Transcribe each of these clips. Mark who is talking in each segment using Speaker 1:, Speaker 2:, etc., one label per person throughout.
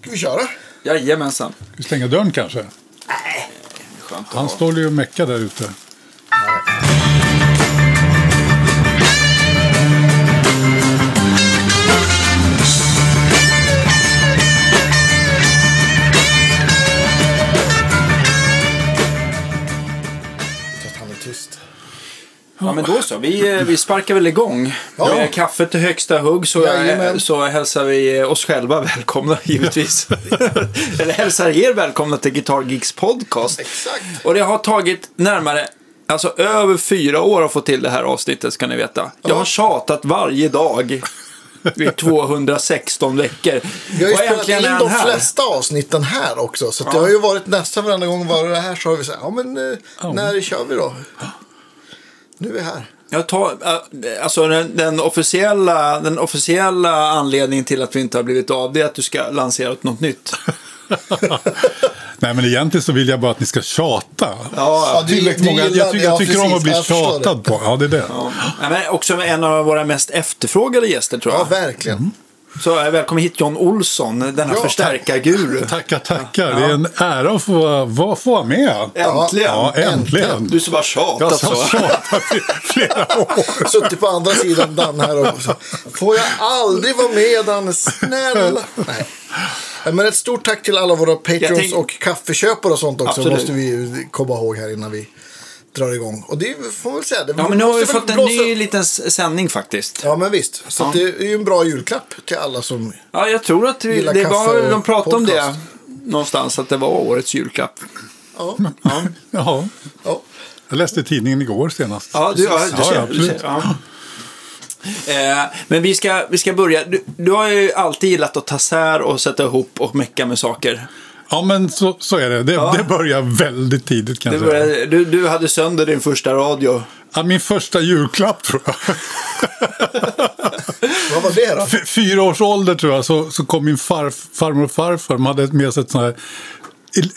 Speaker 1: Ska vi köra?
Speaker 2: Jajamensan.
Speaker 3: Ska vi stänga dörren kanske?
Speaker 2: Skönt att
Speaker 3: Han
Speaker 2: ha.
Speaker 3: står ju och meckar där ute.
Speaker 1: Så att han är tyst.
Speaker 2: Ja, men då så. Vi, eh, vi sparkar väl igång.
Speaker 1: Ja.
Speaker 2: Med kaffe till högsta hugg så, eh,
Speaker 1: Jajamän.
Speaker 2: så hälsar vi eh, oss själva välkomna givetvis. Eller hälsar er välkomna till Guitar Geeks podcast.
Speaker 1: Exakt.
Speaker 2: Och det har tagit närmare, alltså över fyra år att få till det här avsnittet ska ni veta. Jag har tjatat varje dag. I 216 veckor.
Speaker 1: Vi har ju
Speaker 2: Och
Speaker 1: spelat
Speaker 2: äntligen är
Speaker 1: in
Speaker 2: han
Speaker 1: de
Speaker 2: här.
Speaker 1: flesta avsnitten här också. Så att det har ju varit nästan varenda gång var det här så har vi sagt, ja men eh, när kör vi då? Nu är vi här.
Speaker 2: Jag tar, äh, alltså den, den, officiella, den officiella anledningen till att vi inte har blivit av det är att du ska lansera något nytt.
Speaker 3: Nej, men egentligen så vill jag bara att ni ska tjata.
Speaker 1: Ja, du-
Speaker 3: Tillräckligt
Speaker 1: du
Speaker 3: många.
Speaker 1: gillar-
Speaker 3: Jag, tycker,
Speaker 1: ja,
Speaker 3: jag tycker om
Speaker 1: precis.
Speaker 3: att bli
Speaker 1: Jag förstår
Speaker 3: tjatad på. Ja, det är det.
Speaker 2: Nej, men också en av våra mest efterfrågade gäster tror
Speaker 1: Ja,
Speaker 2: jag.
Speaker 1: verkligen.
Speaker 2: Så äh, välkommen hit John Olsson, denna
Speaker 1: Ja,
Speaker 2: förstärkarguru.
Speaker 3: Tackar, tackar. Det är en ära att få, vara- få vara med.
Speaker 2: Äntligen!
Speaker 3: Ja, äntligen.
Speaker 2: Du som bara tjatat
Speaker 3: Jag
Speaker 2: så.
Speaker 3: har tjatat i flera år.
Speaker 1: Suttit på andra sidan Dan här också. Får jag aldrig vara med Dan? Snälla. Nej. Men ett stort tack till alla våra
Speaker 2: Jag
Speaker 1: patrons
Speaker 2: tänk-
Speaker 1: och kaffeköpare och sånt också.
Speaker 2: Absolut.
Speaker 1: måste vi ju komma ihåg här innan vi drar igång. Och det får man väl säga. Det
Speaker 2: Ja, men nu har vi
Speaker 1: måste väl
Speaker 2: fått en
Speaker 1: blåsa-
Speaker 2: ny liten s- sändning faktiskt.
Speaker 1: Ja, men visst. Så att det är ju en bra julklapp till alla som...
Speaker 2: Ja, jag tror att vi,
Speaker 1: Gillar
Speaker 2: det
Speaker 1: kaffe
Speaker 2: var,
Speaker 1: och
Speaker 2: de pratade om det
Speaker 1: podcast.
Speaker 2: någonstans, att det var årets julklapp.
Speaker 1: Ja,
Speaker 3: Ja,
Speaker 1: ja.
Speaker 3: jag läste tidningen igår senast.
Speaker 2: Ja, du, ja, du
Speaker 3: Ja,
Speaker 2: ser.
Speaker 3: ja,
Speaker 2: du ser
Speaker 3: absolut.
Speaker 2: ja. Eh, men vi ska, vi ska börja. Du, du har ju alltid gillat att ta sär och sätta ihop och mecka med saker.
Speaker 3: Ja, men så, så är det. Det, det börjar väldigt tidigt kan
Speaker 2: Du,
Speaker 3: jag säga.
Speaker 2: började, du, du hade sönder din första radio.
Speaker 3: Ja, min första julklapp tror jag.
Speaker 1: Vad var det då?
Speaker 3: F- fyra års ålder tror jag så, så kom min farf, farmor och farfar. De hade med sig ett, sånt här,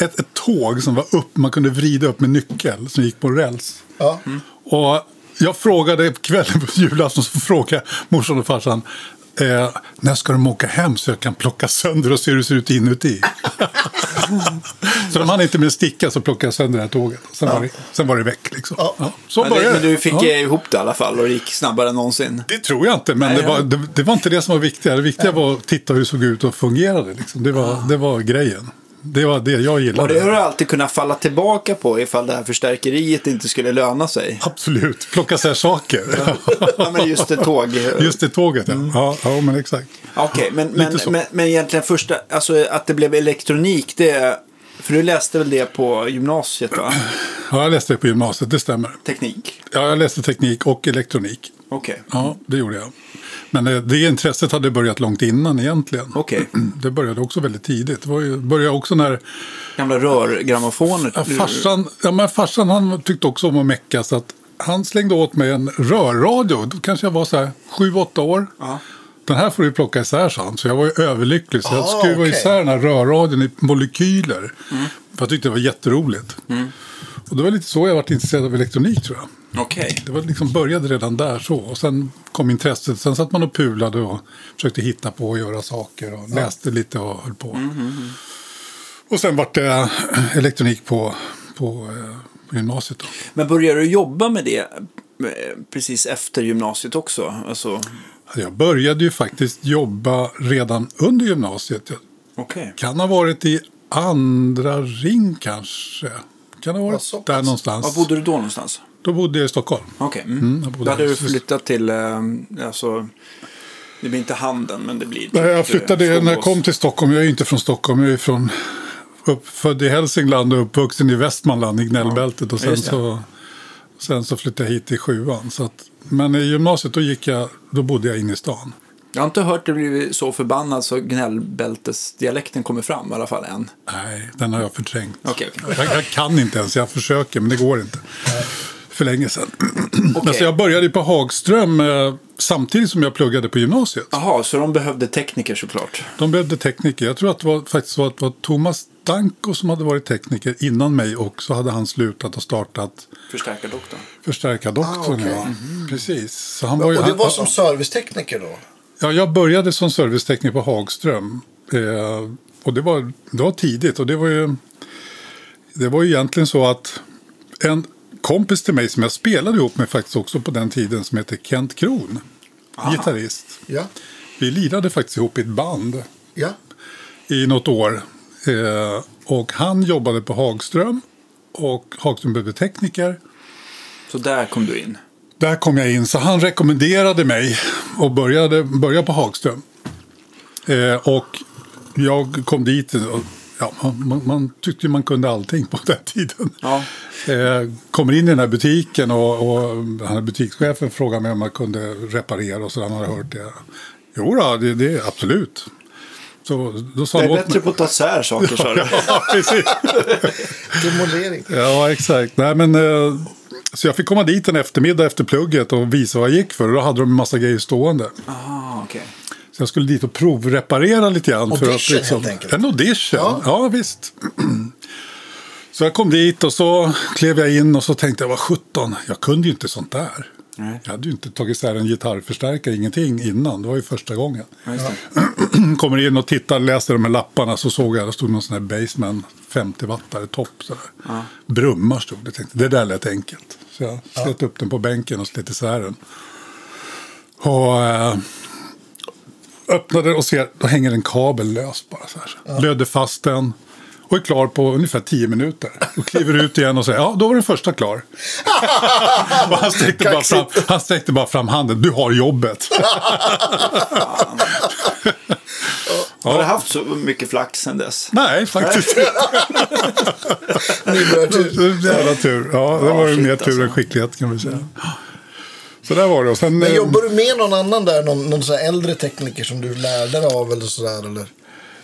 Speaker 3: ett, ett tåg som var upp, man kunde vrida upp med nyckel som gick på räls.
Speaker 1: Ja.
Speaker 2: Mm.
Speaker 3: Och jag frågade kvällen på julafton så frågade jag morsan och farsan eh, när ska de åka hem så jag kan plocka sönder och se hur det ser ut inuti. så de hann inte med en sticka så plockade jag sönder det här tåget. Sen, var, det, sen var det väck liksom.
Speaker 1: Ja.
Speaker 3: Ja, så
Speaker 2: Men, det,
Speaker 3: började
Speaker 2: men
Speaker 3: det.
Speaker 2: du fick
Speaker 3: Ja.
Speaker 2: eh, ihop det i alla fall och det gick snabbare än någonsin.
Speaker 3: Det tror jag inte, men
Speaker 2: Nej,
Speaker 3: det, var,
Speaker 2: ja.
Speaker 3: det, det var inte det som var viktiga. Det viktiga var att titta hur det såg ut och fungerade. Liksom. Det, var, det var grejen. Det var det jag
Speaker 2: Och
Speaker 3: gillade.
Speaker 2: det har du alltid kunnat falla tillbaka på ifall det här förstärkeriet inte skulle löna sig.
Speaker 3: Absolut, plocka så här saker.
Speaker 2: Ja, men just det, tåg. Mm.
Speaker 3: Just det tåget, ja. ja. Ja, men exakt.
Speaker 2: Okej, men, men,
Speaker 3: Lite så.
Speaker 2: men, men egentligen första, alltså att det blev elektronik, det, för du läste väl det på gymnasiet va?
Speaker 3: Ja, jag läste det på gymnasiet, det stämmer.
Speaker 2: Teknik?
Speaker 3: Ja, jag läste teknik och elektronik.
Speaker 2: Okej.
Speaker 3: Ja, det gjorde jag. Men eh, det intresset hade börjat långt innan egentligen.
Speaker 2: Okej.
Speaker 3: Det började också väldigt tidigt. Det var ju, började också när
Speaker 2: Gamla rörgrammofoner.
Speaker 3: Ja, farsan, ja, men farsan han tyckte också om att mecka så att han slängde åt mig en rörradio. Då kanske jag var så här 7-8 år.
Speaker 2: Ja.
Speaker 3: Den här får du plocka isär, sa han. Så jag var ju överlycklig. Så jag
Speaker 1: Ah,
Speaker 3: skruvade
Speaker 1: okej. Mm.
Speaker 3: isär den här rörradion i molekyler. För jag tyckte det var jätteroligt. Och det var lite så jag var intresserad av elektronik tror jag.
Speaker 2: Okej.
Speaker 3: Det var liksom började redan där så. Och sen kom intresset. Sen satt man och pulade och försökte hitta på och göra saker. Och läste lite och höll på.
Speaker 1: Mm,
Speaker 3: Och sen vart det eh, elektronik på, på, eh, på gymnasiet. Då.
Speaker 2: Men började du jobba med det eh, precis efter gymnasiet också? Alltså,
Speaker 3: Jag började ju faktiskt jobba redan under gymnasiet. Jag
Speaker 2: okej.
Speaker 3: kan ha varit i andra ring kanske. Kan ha
Speaker 1: Ja,
Speaker 3: varit
Speaker 1: så pass.
Speaker 3: där någonstans.
Speaker 2: Var bodde du då någonstans?
Speaker 3: Då bodde jag i Stockholm.
Speaker 2: Okej.
Speaker 3: Mm, jag bodde
Speaker 2: då hade
Speaker 3: här.
Speaker 2: du flyttat till, eh, alltså, det blir inte handen men det blir...
Speaker 3: Nej,
Speaker 2: typ, eh,
Speaker 3: jag flyttade när jag
Speaker 2: Skogås.
Speaker 3: kom till Stockholm. Jag är ju inte från Stockholm. Jag är från uppfödd i Hälsingland och uppvuxen i Västmanland i gnällbältet. Och sen,
Speaker 2: just det.
Speaker 3: så, sen så flyttade jag hit i sjuan. Så att, men i gymnasiet då, gick jag, då bodde jag inne i stan.
Speaker 2: Jag har inte hört det bli så förbannad så gnällbältesdialekten kommer fram i alla fall än.
Speaker 3: Nej, den har jag förträngt.
Speaker 2: Okej, okej.
Speaker 3: Jag, jag kan inte ens, jag försöker men det går inte. För länge sedan. Men så jag började ju på Hagström eh, samtidigt som jag pluggade på gymnasiet.
Speaker 2: Jaha, så de behövde tekniker såklart.
Speaker 3: De behövde tekniker. Jag tror att det var, faktiskt så att det var Thomas Danko som hade varit tekniker innan mig och så hade han slutat och startat
Speaker 2: Förstärkardoktorn.
Speaker 3: Förstärkardoktorn.
Speaker 1: Ah, okej.
Speaker 3: ja. Precis. Så han var ju,
Speaker 1: Och det
Speaker 3: han,
Speaker 1: var som servicetekniker då?
Speaker 3: ja, jag började som servicetekniker på Hagström Eh, och det var, det var tidigt och det var ju... Det var ju egentligen så att en kompis till mig som jag spelade ihop med faktiskt också på den tiden som heter Kent Kron, gitarrist.
Speaker 1: Ja,
Speaker 3: Vi lirade faktiskt ihop i ett band
Speaker 1: ja,
Speaker 3: i något år. Eh, och han jobbade på Hagström och Hagström behövde tekniker.
Speaker 2: Så där kom du in.
Speaker 3: Där kom jag in, så han rekommenderade mig och började, började på Hagström. Eh, och jag kom dit, och, ja, man, man tyckte ju man kunde allting på den tiden.
Speaker 2: Ja.
Speaker 3: Eh, kommer in i den här butiken och, och han här butikschefen frågade mig om jag kunde reparera och så han hade hört det. Jo då, det, det är absolut. Så, då sa
Speaker 2: Det är
Speaker 3: han åt
Speaker 2: bättre på att ta isär saker, sa du.
Speaker 3: mig. Ja, precis.
Speaker 1: demolering.
Speaker 3: Ja, exakt. Nej, men, eh, så jag fick komma dit en eftermiddag efter plugget och visa vad jag gick för. Och då hade de en massa grejer stående.
Speaker 2: Ah, okej.
Speaker 3: Så jag skulle dit och provreparera lite grann. för
Speaker 1: Audition,
Speaker 3: att, liksom,
Speaker 1: helt enkelt.
Speaker 3: En audition,
Speaker 1: Ja.
Speaker 3: ja, visst. Så jag kom dit och så klev jag in och så tänkte jag, var 17, jag kunde ju inte sånt där.
Speaker 2: Nej.
Speaker 3: Jag hade ju inte tagit isär en gitarrförstärkare, ingenting innan. Det var ju första gången.
Speaker 2: Ja, just det.
Speaker 3: Kommer in och tittar, läser de här lapparna så såg jag, det stod någon sån här Baseman 50 wattare topp. Sådär. Brummar stod det, tänkte det där lät enkelt. Så jag slet upp den på bänken och slet isär den. Och eh, öppnade och ser, då hänger en kabel lös bara så här. Lödde fast den och är klar på ungefär 10 minuter. Och kliver ut igen och säger, ja då var den första klar. och han, sträckte bara fram, han sträckte bara fram handen, du har jobbet.
Speaker 2: Har du haft så mycket flax sen dess?
Speaker 3: Nej, faktiskt
Speaker 1: Nybörjartur.
Speaker 3: Så Jävla tur. Ja, det
Speaker 2: Ja,
Speaker 3: var ju
Speaker 2: shit,
Speaker 3: mer tur än
Speaker 2: alltså.
Speaker 3: skicklighet kan vi säga. Så där var det. Och sen,
Speaker 1: Men
Speaker 2: Ehm.
Speaker 3: eh,
Speaker 1: jobbar du med någon annan där, någon, någon sån här äldre tekniker som du lärde dig av eller sådär? Eller?
Speaker 3: eh,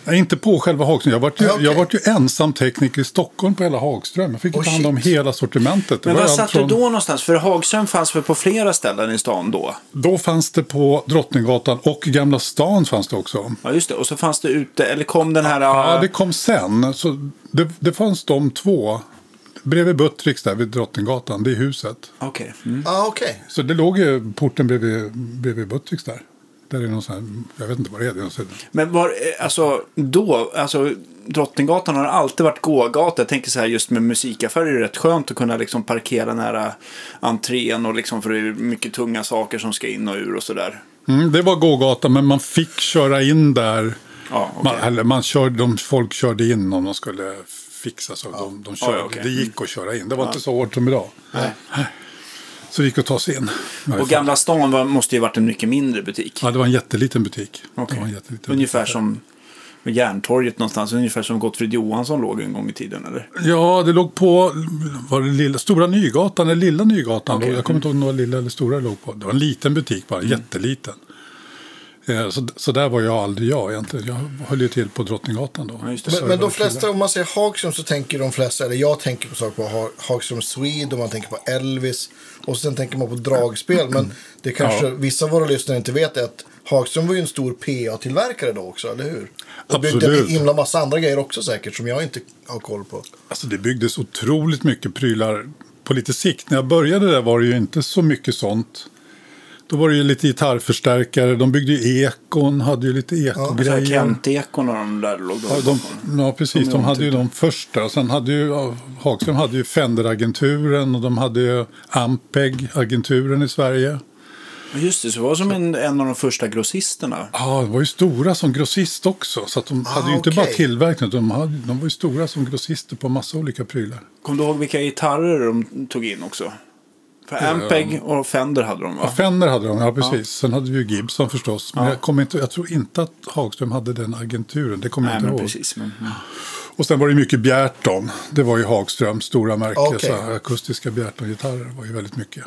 Speaker 3: nej, inte på själva Hagström. Jag vart, ju,
Speaker 1: Ja, okej.
Speaker 3: jag vart ju ensam tekniker i Stockholm på hela Hagström. Jag fick
Speaker 1: Oh,
Speaker 3: ta hand om
Speaker 1: shit.
Speaker 3: hela sortimentet. Det
Speaker 2: Men
Speaker 3: var
Speaker 2: var
Speaker 3: allt
Speaker 2: satt du
Speaker 3: från-
Speaker 2: då någonstans? För Hagström fanns väl på flera ställen i stan då?
Speaker 3: Då fanns det på Drottninggatan och Gamla stan fanns det också.
Speaker 2: Ja, just det. Och så fanns det ute, eller kom den här...
Speaker 3: Ja,
Speaker 2: äh,
Speaker 3: det kom sen. Så det, det fanns de två. Bredvid Buttricks där vid Drottninggatan, det är huset.
Speaker 2: Okej. Mm.
Speaker 1: Ah, okej.
Speaker 3: Så det låg ju porten bredvid, bredvid Buttricks där. Där är någon sån här, jag vet inte vad det är. Det är någon sån här,
Speaker 2: Men var, eh, alltså då, alltså Drottninggatan har alltid varit gågata. Jag tänker så här just med musikaffärer är det rätt skönt att kunna liksom parkera nära entrén och liksom för det är mycket tunga saker som ska in och ur och sådär.
Speaker 3: Mm, det var gågata, men man fick köra in där.
Speaker 2: Ja, okej.
Speaker 3: man, eller man körde, de, folk körde in om de skulle fixa så. De, de körde,
Speaker 2: Ja, ja, okej.
Speaker 3: Det gick att köra in. Det var inte så hårt som idag. Så det gick att ta sig in.
Speaker 2: Och Gamla stan var, måste ju varit en mycket mindre butik.
Speaker 3: Ja, det var en jätteliten butik. Det
Speaker 2: Okej.
Speaker 3: var en jätteliten
Speaker 2: Ungefär som med Järntorget någonstans. Ungefär som Gottfrid Johansson låg en gång i tiden eller?
Speaker 3: butik. Ja, det låg på var det lilla, Stora Nygatan eller Lilla Nygatan.
Speaker 2: Okej. mm.
Speaker 3: Jag kommer inte ihåg om det var Lilla eller Stora det låg på. Det var en liten butik bara, jätteliten. Eh, Så, så där var jag aldrig jag egentligen. Jag höll ju till på Drottninggatan då.
Speaker 2: Ja, just det.
Speaker 1: Men, men de flesta, om man säger Hagström så tänker de flesta, eller jag tänker på saker på Ha- Hagström Swede och man tänker på Elvis. Och sen tänker man på dragspel. Men det kanske vissa av våra lyssnare inte vet är att Hagström var ju en stor PA-tillverkare då också, eller hur? Och byggde en
Speaker 3: Absolut.
Speaker 1: himla massa andra grejer också säkert som jag inte har koll på.
Speaker 3: Alltså det byggdes otroligt mycket prylar på lite sikt. När jag började där var det ju inte så mycket sånt. Då var det ju lite gitarrförstärkare, de byggde ju ekon, hade ju lite
Speaker 2: Så här
Speaker 3: ekogrejer.
Speaker 2: Alltså, Kent-ekon och de där låg då.
Speaker 3: Ja, de, ja precis, de hade ju de första. Sen hade ju, ja, Hagström hade ju Fender-agenturen och de hade ju Ampeg-agenturen i Sverige.
Speaker 2: Just det, så var det som en, en av de första grossisterna.
Speaker 3: Ja, de var ju stora som grossist också. Så att de hade
Speaker 2: Ah,
Speaker 3: ju inte
Speaker 1: okej.
Speaker 3: bara tillverkning, utan de, hade, de var ju stora som grossister på massa olika prylar.
Speaker 2: Kommer du ihåg vilka gitarrer de tog in också? För Ampeg och Fender hade de va?
Speaker 3: Ja, Fender
Speaker 2: Ah.
Speaker 3: hade de, ja precis. Sen hade vi ju Gibson förstås. Men jag, kommer inte, jag tror inte att Hagström hade den agenturen. Det kommer
Speaker 2: Nej,
Speaker 3: jag inte
Speaker 2: men
Speaker 3: ihåg.
Speaker 2: precis. Men, mm.
Speaker 3: Och sen var det mycket Bjärton. Det var ju Hagströms stora märke.
Speaker 1: Okej.
Speaker 3: Så här, akustiska Bjärton-gitarrer var ju väldigt mycket.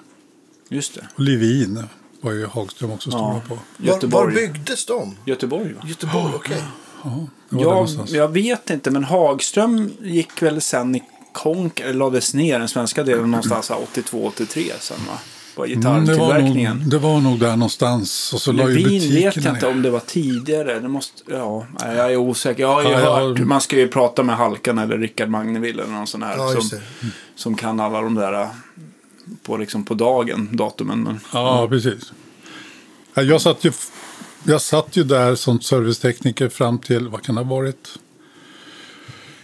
Speaker 2: Just det.
Speaker 3: Och Levin var ju Hagström också stora
Speaker 2: Ja.
Speaker 3: på.
Speaker 1: Var,
Speaker 2: Göteborg.
Speaker 1: var byggdes de?
Speaker 2: Göteborg va?
Speaker 1: Göteborg, okej.
Speaker 3: Det var där
Speaker 2: Jag,
Speaker 3: någonstans.
Speaker 2: jag vet inte, men Hagström gick väl sen i konk, eller lades ner, den svenska delen någonstans 82-83 sen va? Var
Speaker 3: Mm, det, var nog,
Speaker 2: gitarrtillverkningen.
Speaker 3: det var nog där någonstans. Och så la ju
Speaker 2: Levin vet jag
Speaker 3: butikerna
Speaker 2: inte
Speaker 3: ner.
Speaker 2: om det var tidigare. Det måste, ja, nej, jag är osäker. Jag har ju
Speaker 3: Ja, jag
Speaker 2: hört,
Speaker 3: har-
Speaker 2: man ska ju prata med Halkan eller Rickard Magneville eller någon sån här.
Speaker 1: Ja, just
Speaker 2: som,
Speaker 1: det.
Speaker 3: Mm.
Speaker 2: som kan alla de där äh, på, liksom på dagen, datumen. Men,
Speaker 3: Ja, precis. Ja, Jag satt ju f- jag satt ju där som servicetekniker fram till, vad kan det ha varit?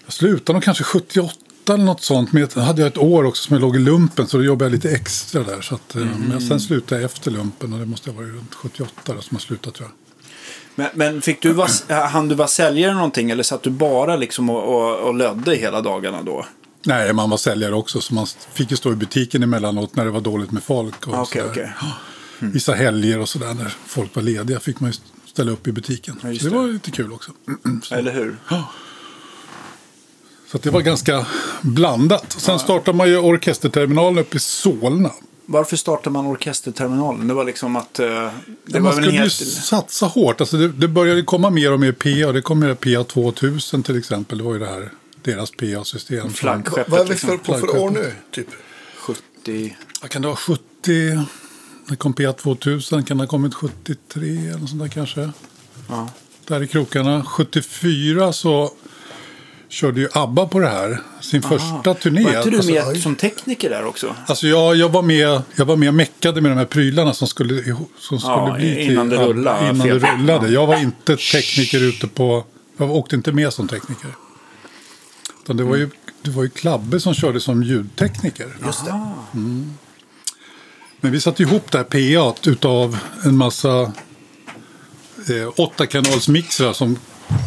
Speaker 3: Jag slutade nog kanske 78 eller något sånt. Men jag hade jag ett år också som jag låg i lumpen så då jobbade jag lite extra där. Så att, eh, Men
Speaker 2: Mm.
Speaker 3: sen slutade jag efter lumpen och det måste ha varit runt 78 då, som jag slutade tror jag.
Speaker 2: Men, men fick du vara, hann du vara säljare någonting eller satt du bara liksom och, och, och lödde hela dagarna då?
Speaker 3: Nej, man var säljare också så man fick ju stå i butiken emellanåt när det var dåligt med folk. Och
Speaker 2: Okej,
Speaker 3: sådär.
Speaker 2: okej. Mm.
Speaker 3: Ja. Vissa helger och sådär när folk var lediga fick man ju ställa upp i butiken.
Speaker 2: Ja, just
Speaker 3: så det,
Speaker 2: det.
Speaker 3: var lite kul också. Så,
Speaker 2: Eller hur?
Speaker 3: så att det var ganska blandat. Sen startade man ju orkesterterminalen uppe i Solna.
Speaker 2: Varför startade man orkesterterminalen? Det var liksom att... eh, det var
Speaker 3: man
Speaker 2: väl en
Speaker 3: skulle
Speaker 2: helt...
Speaker 3: ju satsa hårt. Alltså det, det började komma mer och mer PA. Det kom ju PA 2000 till exempel. Det var ju det här, deras PA-system.
Speaker 2: Flaggskeppet
Speaker 1: Vad är vi
Speaker 2: liksom.
Speaker 1: för, på för år nu? Typ?
Speaker 2: 70...
Speaker 3: Vad kan det vara? 70... När kom PA 2000? Kan det ha kommit 73 eller något sånt där kanske?
Speaker 2: Ja.
Speaker 3: Där i krokarna. 74 så körde ju ABBA på det här. Sin första turné.
Speaker 2: Var inte du
Speaker 3: Alltså,
Speaker 2: med
Speaker 1: oj.
Speaker 2: som tekniker där också?
Speaker 3: Alltså jag, jag, var med, jag var med och meckade med de här prylarna som skulle, ihop- som skulle
Speaker 2: Ja,
Speaker 3: bli till...
Speaker 2: innan det rullade.
Speaker 3: Innan det
Speaker 2: Fel.
Speaker 3: rullade. Jag var inte tekniker ute på... Jag åkte inte med som tekniker. Utan det var ju, det var ju Klabbe som körde som ljudtekniker.
Speaker 1: Just det.
Speaker 3: Men vi satte ihop det här PA t utav en massa eh, åttakanalsmixrar som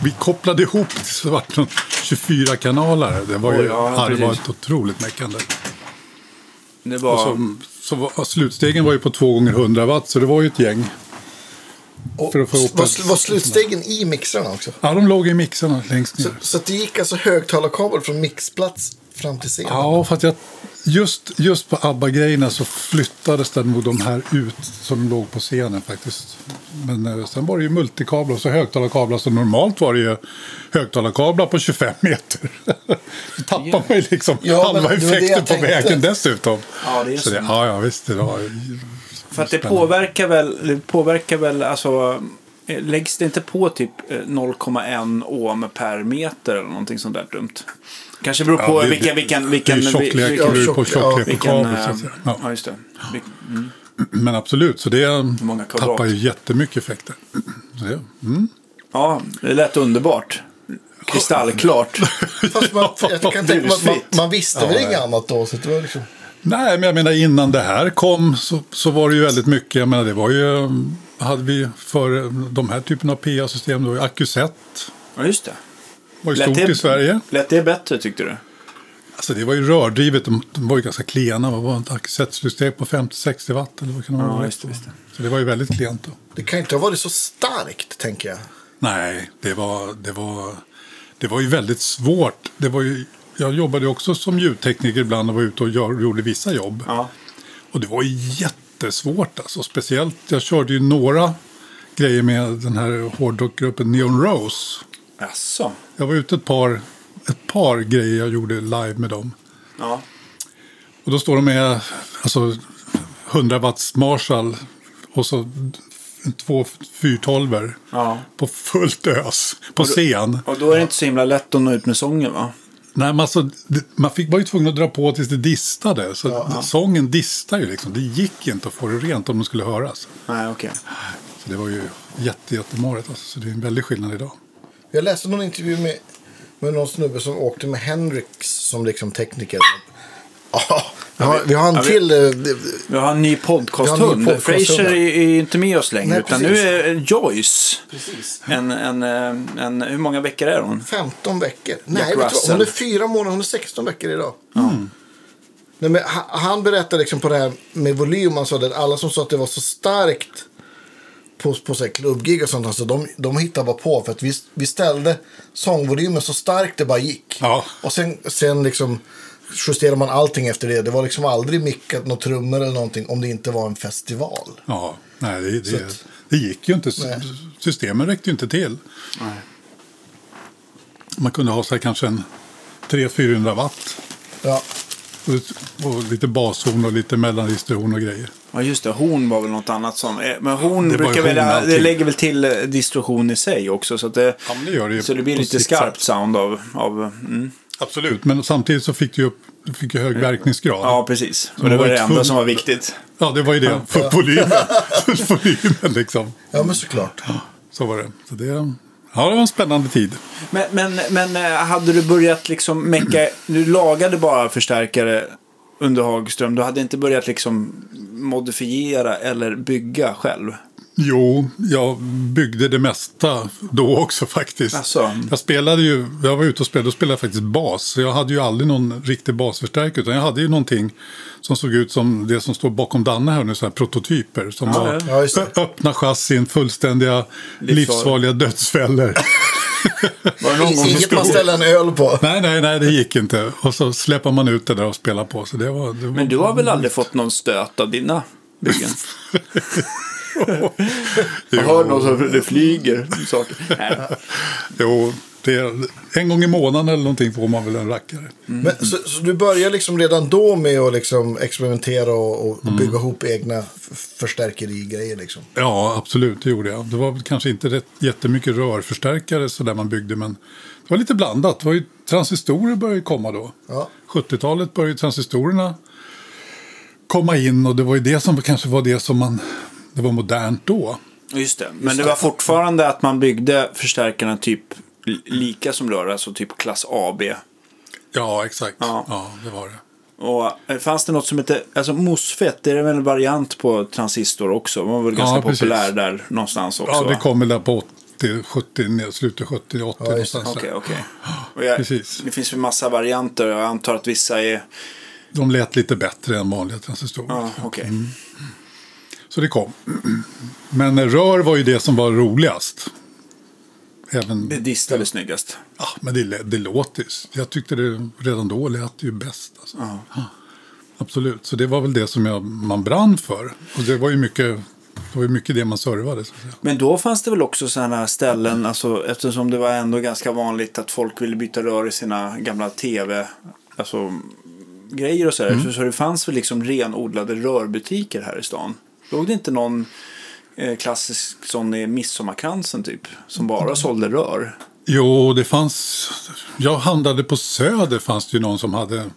Speaker 3: vi kopplade ihop till så vart det 24 kanaler. Det var ju
Speaker 2: Oj, ja,
Speaker 3: ja, det var
Speaker 2: precis.
Speaker 3: ett otroligt mäckande.
Speaker 2: Det
Speaker 3: Och
Speaker 2: var...
Speaker 3: så, så var, slutstegen var ju på 2 gånger 100 watt så det var ju ett gäng.
Speaker 1: Och
Speaker 3: För att få ihop
Speaker 1: var,
Speaker 3: det.
Speaker 1: var slutstegen i mixrarna också?
Speaker 3: Ja, de låg i mixarna längst ner.
Speaker 1: Så, så att det gick alltså högtalarkabel från mixplats fram till scenen?
Speaker 3: Ja, för att jag, just, just på ABBA-grejerna så flyttades den mot de här ut som låg på scenen faktiskt. Men eh, sen var det ju multikablar och så högtalarkablar. Så normalt var det ju högtalarkablar på 25 meter. Då tappar man ju liksom
Speaker 1: Ja, men
Speaker 3: halva
Speaker 1: det var det jag
Speaker 3: effekten på
Speaker 1: tänkte.
Speaker 3: vägen dessutom.
Speaker 2: Ja, det är
Speaker 3: så det,
Speaker 2: sant.
Speaker 3: ja, ja, visst. Det var,
Speaker 2: För att det
Speaker 3: spännande.
Speaker 2: påverkar väl, det påverkar väl alltså, eh, läggs det inte på typ eh, 0,1 ohm per meter eller någonting sånt där dumt? Kanske beror på
Speaker 3: Ja, det-
Speaker 2: vilken,
Speaker 3: det-
Speaker 2: vilken, vilken,
Speaker 3: det är tjocklek
Speaker 2: vilken,
Speaker 1: Ja,
Speaker 3: beror på
Speaker 1: tjock-
Speaker 3: tjocklek på
Speaker 2: vilken,
Speaker 3: kabeln. så att
Speaker 2: eh,
Speaker 3: säga. Ja.
Speaker 2: ja just det. Vil- mm.
Speaker 3: Men absolut, så det
Speaker 2: många kvadrat?
Speaker 3: tappar ju jättemycket effekter. Så det, mm.
Speaker 2: Ja, det lät underbart. Kristallklart.
Speaker 1: Fast man, jag kan tänka mig att man, man visste väl inget annat då? Så det var liksom...
Speaker 3: Nej, men jag menar innan det här kom så, så var det ju väldigt mycket. Jag menar, det var ju, mm, hade vi för eh, de här typen av PA-system, då Accuset
Speaker 2: Ja, just det.
Speaker 3: var ju stort i Sverige.
Speaker 2: lät det bättre tyckte du?
Speaker 3: Alltså det var ju rördrivet, de, de var ju ganska klena. Vad var ett Accuset-system på 50-60 watt eller vad kan det
Speaker 2: Ja,
Speaker 3: vara?
Speaker 2: just det, just det.
Speaker 3: Så det var ju väldigt klent då.
Speaker 1: Det kan ju inte ha varit så starkt, tänker jag.
Speaker 3: Nej, det var, det var, det var ju väldigt svårt. Det var ju, jag jobbade också som ljudtekniker ibland och var ute och gör, gjorde vissa jobb.
Speaker 2: Ja.
Speaker 3: Och det var ju jättesvårt alltså. Speciellt, jag körde ju några grejer med den här hårdrockgruppen Neon Rose.
Speaker 2: Jaså?
Speaker 3: Jag var ute ett par, ett par grejer jag gjorde live med dem.
Speaker 2: Ja.
Speaker 3: Och då står de med alltså, 100 watts Marshall och så två 412
Speaker 2: Ja.
Speaker 3: på fullt ös på scen.
Speaker 2: Och då är det inte så himla lätt att nå ut med sången va?
Speaker 3: Nej, men alltså, det- man fick, var ju tvungen att dra på tills det distade. Så sången distade ju liksom. Det gick inte att få det rent om de skulle höras.
Speaker 2: Nej, okej.
Speaker 3: Så det var ju jätte, jättemarigt. Alltså, så det är en väldig skillnad idag.
Speaker 1: Jag läste någon intervju med, med någon snubbe som åkte med Hendrix som liksom tekniker. Ja, vi har, vi har en
Speaker 2: Ja, vi-
Speaker 1: till. eh,
Speaker 2: Vi har en ny
Speaker 1: Vi har en ny
Speaker 2: podcasthund.
Speaker 1: podcasthund.
Speaker 2: Fraser är, är inte med oss längre.
Speaker 1: Nej,
Speaker 2: utan
Speaker 1: precis.
Speaker 2: nu är Joyce.
Speaker 1: Precis.
Speaker 2: En, en, eh, en, hur många veckor är hon?
Speaker 1: 15 veckor. Nej, vet du vad?
Speaker 2: Russell.
Speaker 1: Hon är fyra månader, hon är 16 veckor idag. Nej, men ha- han berättade liksom på det här med volym. Han sa det, att alla som sa att det var så starkt på, på så här klubbgig och sånt. Alltså, de, de hittade bara på. För att vi, vi ställde sångvolymen så starkt det bara gick.
Speaker 3: Ja.
Speaker 1: Och sen, sen liksom justerade man allting efter det. Det var liksom aldrig mickat några trummor eller någonting om det inte var en festival.
Speaker 3: Ja, nej, det,
Speaker 1: Så
Speaker 3: det,
Speaker 1: att-
Speaker 3: det gick ju inte. S-
Speaker 1: Nej.
Speaker 3: Systemen räckte ju inte till.
Speaker 2: Nej.
Speaker 3: Man kunde ha så här kanske en 300-400 watt.
Speaker 1: Ja.
Speaker 3: Och, och lite bashorn och lite mellanregisterhorn och grejer.
Speaker 2: Ja, just det. Horn var väl något annat som... eh, Men horn
Speaker 3: Det var
Speaker 2: brukar
Speaker 3: ju horn
Speaker 2: väl...
Speaker 3: allting.
Speaker 2: Det lägger väl till eh, distorsion i sig också. Så, att det,
Speaker 3: Ja, men det gör det ju
Speaker 2: så det blir
Speaker 3: på
Speaker 2: lite
Speaker 3: sitt
Speaker 2: skarpt
Speaker 3: sätt.
Speaker 2: sound av... av mm.
Speaker 3: Absolut, men samtidigt så fick du ju upp, du fick ju hög verkningsgrad.
Speaker 2: Ja, precis. Och
Speaker 3: det
Speaker 2: det
Speaker 3: var
Speaker 2: var det
Speaker 3: ett
Speaker 2: enda
Speaker 3: hund-
Speaker 2: som var viktigt.
Speaker 3: Ja, det var ju det. För volymen. För volymen liksom.
Speaker 1: Ja, men såklart.
Speaker 3: Så var det. Så det, ja, det var en spännande tid.
Speaker 2: Men, men, men eh, hade du börjat liksom mecka, du lagade bara förstärkare under Hagström, du hade inte börjat liksom modifiera eller bygga själv?
Speaker 3: Jo, jag byggde det mesta då också faktiskt.
Speaker 2: Alltså.
Speaker 3: Jag spelade ju, jag var ute och spelade, då spelade jag faktiskt bas. Så jag hade ju aldrig någon riktig basförstärkare, utan jag hade ju någonting som såg ut som det som står bakom Danne här nu, så här prototyper. Som
Speaker 2: Ja,
Speaker 3: var
Speaker 2: ja.
Speaker 1: Ja, just det.
Speaker 3: ö- öppna chassin, fullständiga livsfarliga dödsfällor.
Speaker 2: Var det någon gång du
Speaker 1: Inget man
Speaker 2: skulle...
Speaker 1: ställer en öl på.
Speaker 3: nej, nej, nej, det gick inte. Och så släpper man ut det där och spelar på. Så det var, det var...
Speaker 2: Men du har väl aldrig fått någon stöt av dina byggen? Jag hör någon som det flyger saker. Nej.
Speaker 3: Jo, det, en gång i månaden eller någonting får man väl en rackare.
Speaker 1: Men, så, så du börjar liksom redan då med att liksom experimentera och, och bygga ihop egna f- förstärkerigrejer liksom?
Speaker 3: Ja, absolut, det gjorde jag. Det var väl kanske inte rätt, jättemycket rörförstärkare så där man byggde, men det var lite blandat. Det var ju, transistorer började komma då.
Speaker 1: Ja.
Speaker 3: 70-talet började ju transistorerna komma in och det var ju det som kanske var det som man... Det var modernt då.
Speaker 2: Just det. Men det var fortfarande att man byggde förstärkarna typ li- lika som rör, alltså typ klass AB.
Speaker 3: Ja, exakt.
Speaker 2: Ja.
Speaker 3: Ja, det var det.
Speaker 2: Och eh, fanns det något som hette, alltså MOSFET, det är väl en variant på transistor också? Man var väl ganska
Speaker 3: Ja, precis.
Speaker 2: populär där någonstans också?
Speaker 3: Ja, det
Speaker 2: va?
Speaker 3: kom väl där på 80, 70, ner- slutet 70, 80
Speaker 1: Ja, just det.
Speaker 3: någonstans. där.
Speaker 2: Okej, okej. Och jag-
Speaker 3: Precis.
Speaker 2: Det finns ju massa varianter och jag antar att vissa är...
Speaker 3: De lät lite bättre än vanliga transistorer.
Speaker 2: Ja, okej.
Speaker 3: Mm. Så det kom. Men rör var ju det som var roligast. Även,
Speaker 2: Det distade snyggast.
Speaker 3: ja, men det, lä- det låter ju. Jag tyckte det redan då lät ju bäst. Alltså. Ja, Absolut, så det var väl det som jag, man brann för. Och det var ju mycket det, var ju mycket det man servade. Så att säga.
Speaker 2: Men då fanns det väl också sådana ställen, alltså, eftersom det var ändå ganska vanligt att folk ville byta rör i sina gamla tv, alltså grejer och sådär. Så, så det fanns väl liksom renodlade rörbutiker här i stan. Låg det inte någon eh, klassisk sån i Midsommarkransen typ, som bara sålde rör?
Speaker 3: Jo, det fanns... Jag handlade på Söder fanns det ju någon som hade...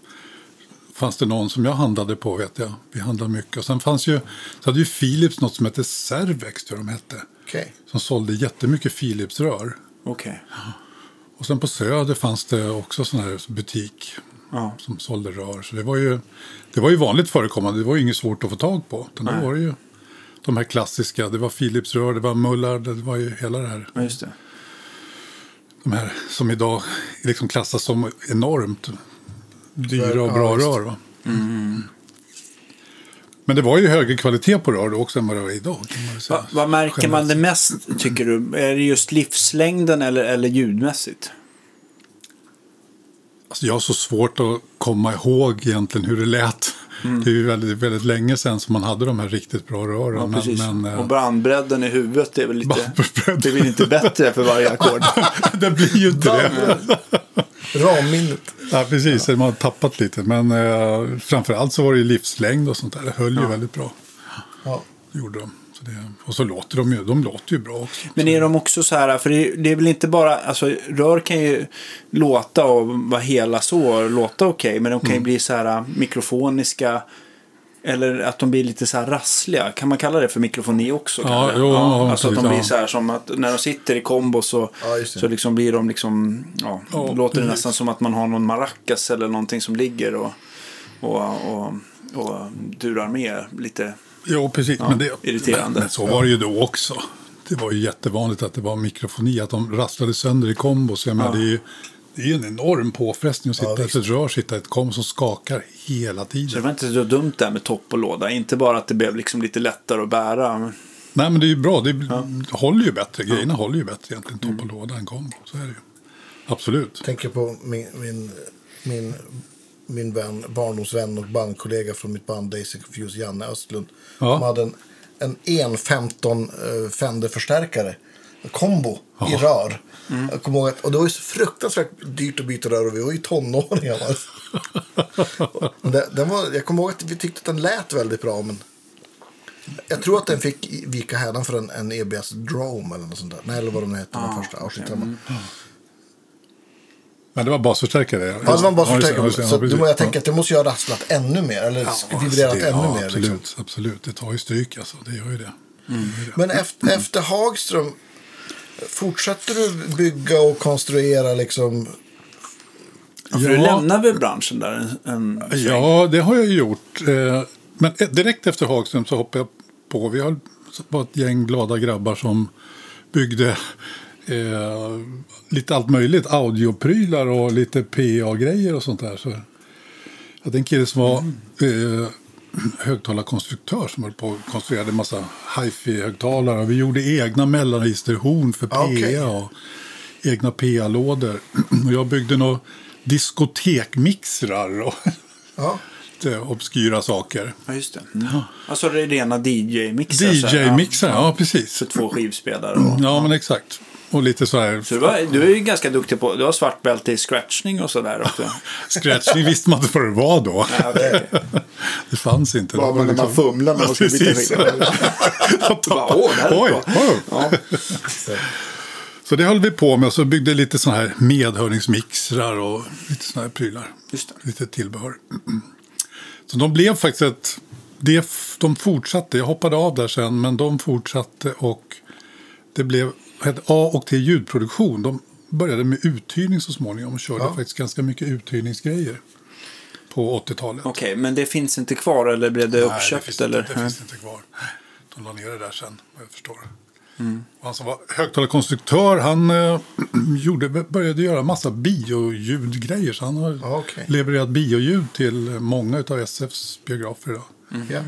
Speaker 3: Fanns det någon som jag handlade på vet jag. Vi handlade mycket. Och sen fanns ju... Så hade ju Philips något som hette Cervex tror jag de hette.
Speaker 1: Okej.
Speaker 3: Som sålde jättemycket Philips-rör.
Speaker 2: Okej.
Speaker 3: Och sen på Söder fanns det också sån här butik
Speaker 2: Ja.
Speaker 3: som sålde rör. Så det var ju, det var ju vanligt förekommande, det var ju inget svårt att få tag på. Utan
Speaker 2: Nej.
Speaker 3: då var det ju de här klassiska, det var Philips rör, det var Mullard, det var ju hela det här.
Speaker 2: Ja, just det.
Speaker 3: De här som idag liksom klassas som enormt dyra och
Speaker 1: Ja,
Speaker 3: bra
Speaker 1: visst.
Speaker 3: rör. Va?
Speaker 2: Mm.
Speaker 3: Men det var ju högre kvalitet på rör då också än vad det är idag. Kan man väl säga.
Speaker 2: Va, vad märker man det mest, tycker du? Är det just livslängden eller, eller ljudmässigt?
Speaker 3: Alltså jag har så svårt att komma ihåg egentligen hur det lät.
Speaker 2: Mm.
Speaker 3: Det är ju väldigt, väldigt länge sedan som man hade de här riktigt bra rören.
Speaker 2: Ja, precis.
Speaker 3: men, men,
Speaker 2: och
Speaker 3: eh,
Speaker 2: bandbredden i huvudet är väl lite...
Speaker 3: Bandbredden.
Speaker 2: Det blir inte bättre för varje ackord.
Speaker 3: det blir ju inte det.
Speaker 1: Ramminnet.
Speaker 3: Ja, precis, man har tappat lite. Men eh, framförallt så var det ju livslängd och sånt där. Det höll ju väldigt bra.
Speaker 1: Ja.
Speaker 3: Det Gjorde de. Så det, och så låter de ju, de låter ju bra också.
Speaker 2: Men är de också så här, för det, det är väl inte bara, alltså rör kan ju låta och vara hela så och låta okej, men de kan
Speaker 3: Mm.
Speaker 2: ju bli så här äh, mikrofoniska. Eller att de blir lite så här rassliga. Kan man kalla det för mikrofoni också?
Speaker 3: Ja,
Speaker 2: kanske?
Speaker 3: jo, ja,
Speaker 2: alltså att de
Speaker 3: precis,
Speaker 2: blir
Speaker 3: ja.
Speaker 2: så här som att när de sitter i kombo så,
Speaker 1: Ja, just det.
Speaker 2: så liksom blir de liksom, ja,
Speaker 3: Ja,
Speaker 2: låter det
Speaker 3: precis.
Speaker 2: nästan som att man har någon maracas eller någonting som ligger och, och, och, och durar med lite.
Speaker 3: Jo, precis. men det,
Speaker 2: irriterande.
Speaker 3: Men så var det ju då också. Det var ju jättevanligt att det var mikrofoni, att de rasslade sönder i kombo. Så jag menar, det är ju det är ju en enorm påfrestning att sitta i ett rör, sitta i ett kombo som skakar hela tiden.
Speaker 2: Så det var inte så dumt det här med topp och låda. Inte bara att det blev liksom lite lättare att bära. Men...
Speaker 3: Nej, men det är ju bra. Det håller ju bättre. Grejerna håller ju bättre egentligen. Topp
Speaker 2: Mm.
Speaker 3: och låda än kombo. Så är det ju. Absolut.
Speaker 1: Tänker på min, min, min, min vän, barndomsvän och bandkollega från mitt band Daisy Confused, Janne Östlund.
Speaker 3: Ja.
Speaker 1: Som hade en, en 1.15 eh, Fender-förstärkare. Kombo i rör.
Speaker 3: Mm.
Speaker 1: Jag kommer ihåg att, och det var ju så fruktansvärt dyrt att byta rör och vi var ju tonåringar. Alltså. Men det- den var, jag kommer ihåg att vi tyckte att den lät väldigt bra. Men jag tror att den fick i- vika hädan för en, E en
Speaker 3: Mm.
Speaker 1: EBS Drome eller något sånt där. Nej, eller vad de nu hette. den första. Auschwitz-drömmen.
Speaker 3: Men det var basförstärkare. Ja,
Speaker 1: Ja, det var bara förstärkare.
Speaker 3: just
Speaker 1: Så
Speaker 3: det, ja,
Speaker 1: att du,
Speaker 3: precis.
Speaker 1: jag
Speaker 3: Ja.
Speaker 1: tänker att det måste ju ha rasslat ännu mer. Eller vibrerat
Speaker 3: Det-
Speaker 1: ännu
Speaker 3: ja,
Speaker 1: mer.
Speaker 3: Absolut,
Speaker 1: Liksom.
Speaker 3: absolut. Det tar ju stryk alltså. Det gör ju det.
Speaker 2: Mm.
Speaker 3: Det gör det.
Speaker 1: Men efter, efter Hagström, fortsätter du bygga och konstruera liksom?
Speaker 2: För du
Speaker 3: Ja.
Speaker 2: lämnar väl branschen där en, en
Speaker 3: Ja, det har jag ju gjort. Eh, Men direkt efter Hagström så hoppade jag på. Vi höll- var ett gäng glada grabbar som byggde eh, lite allt möjligt. Audioprylar och lite PA-grejer och sånt där. Så jag hade en kille som var eh, högtalarkonstruktör som höll på och konstruerade en massa hifi-högtalare. Vi gjorde egna mellanregisterhorn för PA.
Speaker 1: Ah, okej.
Speaker 3: och egna PA-lådor. Och jag byggde några diskotekmixrar och
Speaker 1: Ja.
Speaker 3: lite eh, obskyra saker.
Speaker 2: Ja, just det. Alltså det är rena DJ-mixar. så här.
Speaker 3: DJ-mixrar, ja precis.
Speaker 2: För två skivspelare. Och...
Speaker 3: Ja men exakt. Och lite så här
Speaker 2: Så du, var, du är ju ganska duktig på, du har svart bälte i scratchning och sådär också.
Speaker 3: scratching visste man inte vad det var då.
Speaker 2: Ja, okej.
Speaker 3: Det fanns inte.
Speaker 4: Ja, men när man fumlar när man ska byta
Speaker 3: liksom. precis.
Speaker 4: skivor.
Speaker 3: Jag
Speaker 2: Bara,
Speaker 3: tappade-
Speaker 2: Åh, det här är
Speaker 3: Oj,
Speaker 2: bra.
Speaker 3: oj.
Speaker 2: Ja.
Speaker 3: Så det höll vi på med och så byggde lite sådana här medhörningsmixrar och lite sådana här prylar.
Speaker 2: Just det.
Speaker 3: Lite tillbehör. Så de blev faktiskt ett... Det, f- de fortsatte, jag hoppade av där sen, men de fortsatte och det blev hette A och T ljudproduktion. De började med uthyrning så småningom och körde
Speaker 1: Ja.
Speaker 3: faktiskt ganska mycket uthyrningsgrejer på 80-talet.
Speaker 2: Okej, men det finns inte kvar eller blev det
Speaker 3: Nej,
Speaker 2: uppköpt?
Speaker 3: det finns,
Speaker 2: eller?
Speaker 3: Inte, det finns inte kvar. De la ner det där sen, vad jag förstår. Och Han som var högtalarkonstruktör, han eh, gjorde, började göra massa bioljudgrejer. Så han har
Speaker 1: Ja, okej.
Speaker 3: levererat bioljud till eh, många av SFs biografer idag.
Speaker 1: ja.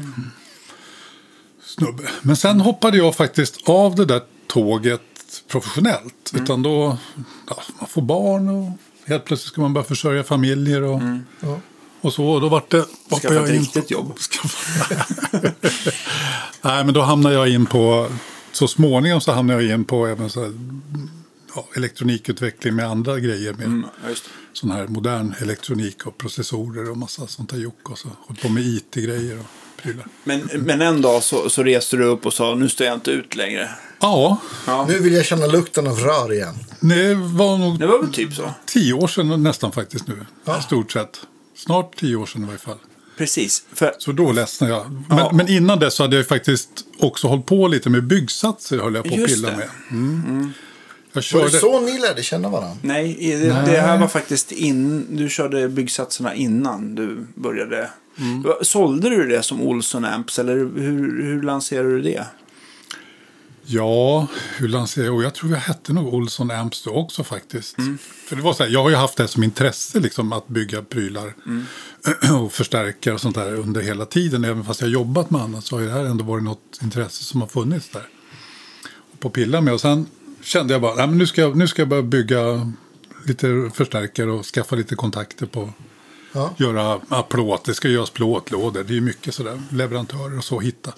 Speaker 3: Snubbe. Men sen hoppade jag faktiskt av det där tåget professionellt.
Speaker 2: Mm.
Speaker 3: Utan då, ja, man får barn och helt plötsligt ska man börja försörja familjer. Och,
Speaker 1: Ja.
Speaker 3: och så, och då vart det... hoppade
Speaker 2: Mm. Skaffa ett
Speaker 3: jag in-
Speaker 2: riktigt jobb.
Speaker 3: Nej, men då hamnade jag in på, så småningom så hamnade jag in på även så här, ja, elektronikutveckling med andra grejer. Med
Speaker 2: Mm, ja, just det.
Speaker 3: sån här modern elektronik och processorer och massa sånt där jock. Och så höll på med IT-grejer och prylar.
Speaker 2: Men, men en dag så, så reste du upp och sa nu står jag inte ut längre.
Speaker 3: Ja,
Speaker 2: Ja.
Speaker 1: Nu vill jag känna lukten av rör igen.
Speaker 3: det var nog
Speaker 2: Det var väl typ så.
Speaker 3: tio år sedan nästan faktiskt nu. I stort sett. Snart tio år sedan i varje fall.
Speaker 2: Precis. För,
Speaker 3: Så då ledsnade jag. Men,
Speaker 2: Ja.
Speaker 3: men innan dess så hade jag faktiskt också hållit på lite med byggsatser. Höll jag på att
Speaker 2: Just
Speaker 3: pilla
Speaker 2: det.
Speaker 3: med. Mm. Jag
Speaker 1: Var
Speaker 3: körde...
Speaker 1: det så ni lärde känna varandra?
Speaker 2: nej, i- det,
Speaker 3: Nej.
Speaker 2: det här var faktiskt in, du körde byggsatserna innan du började.
Speaker 3: Mm.
Speaker 2: Va- Sålde du det som Olsson Amps eller hur, hur lanserade du det?
Speaker 3: Ja, hur lanserade jag? Och jag tror jag hette nog Olsson Amps då också faktiskt. För det var så här, jag har ju haft det här som intresse liksom att bygga prylar och förstärkare och sånt där under hela tiden. Även fast jag har jobbat med annat så har ju det här ändå varit något intresse som har funnits där. Och på pilla med. Och sen kände jag bara, Nej, men nu, ska jag, nu ska jag börja bygga lite förstärkare och skaffa lite kontakter på
Speaker 1: Ja.
Speaker 3: göra ja, plåt, det ska göras plåtlådor, det är ju mycket sådär, leverantörer och så hitta.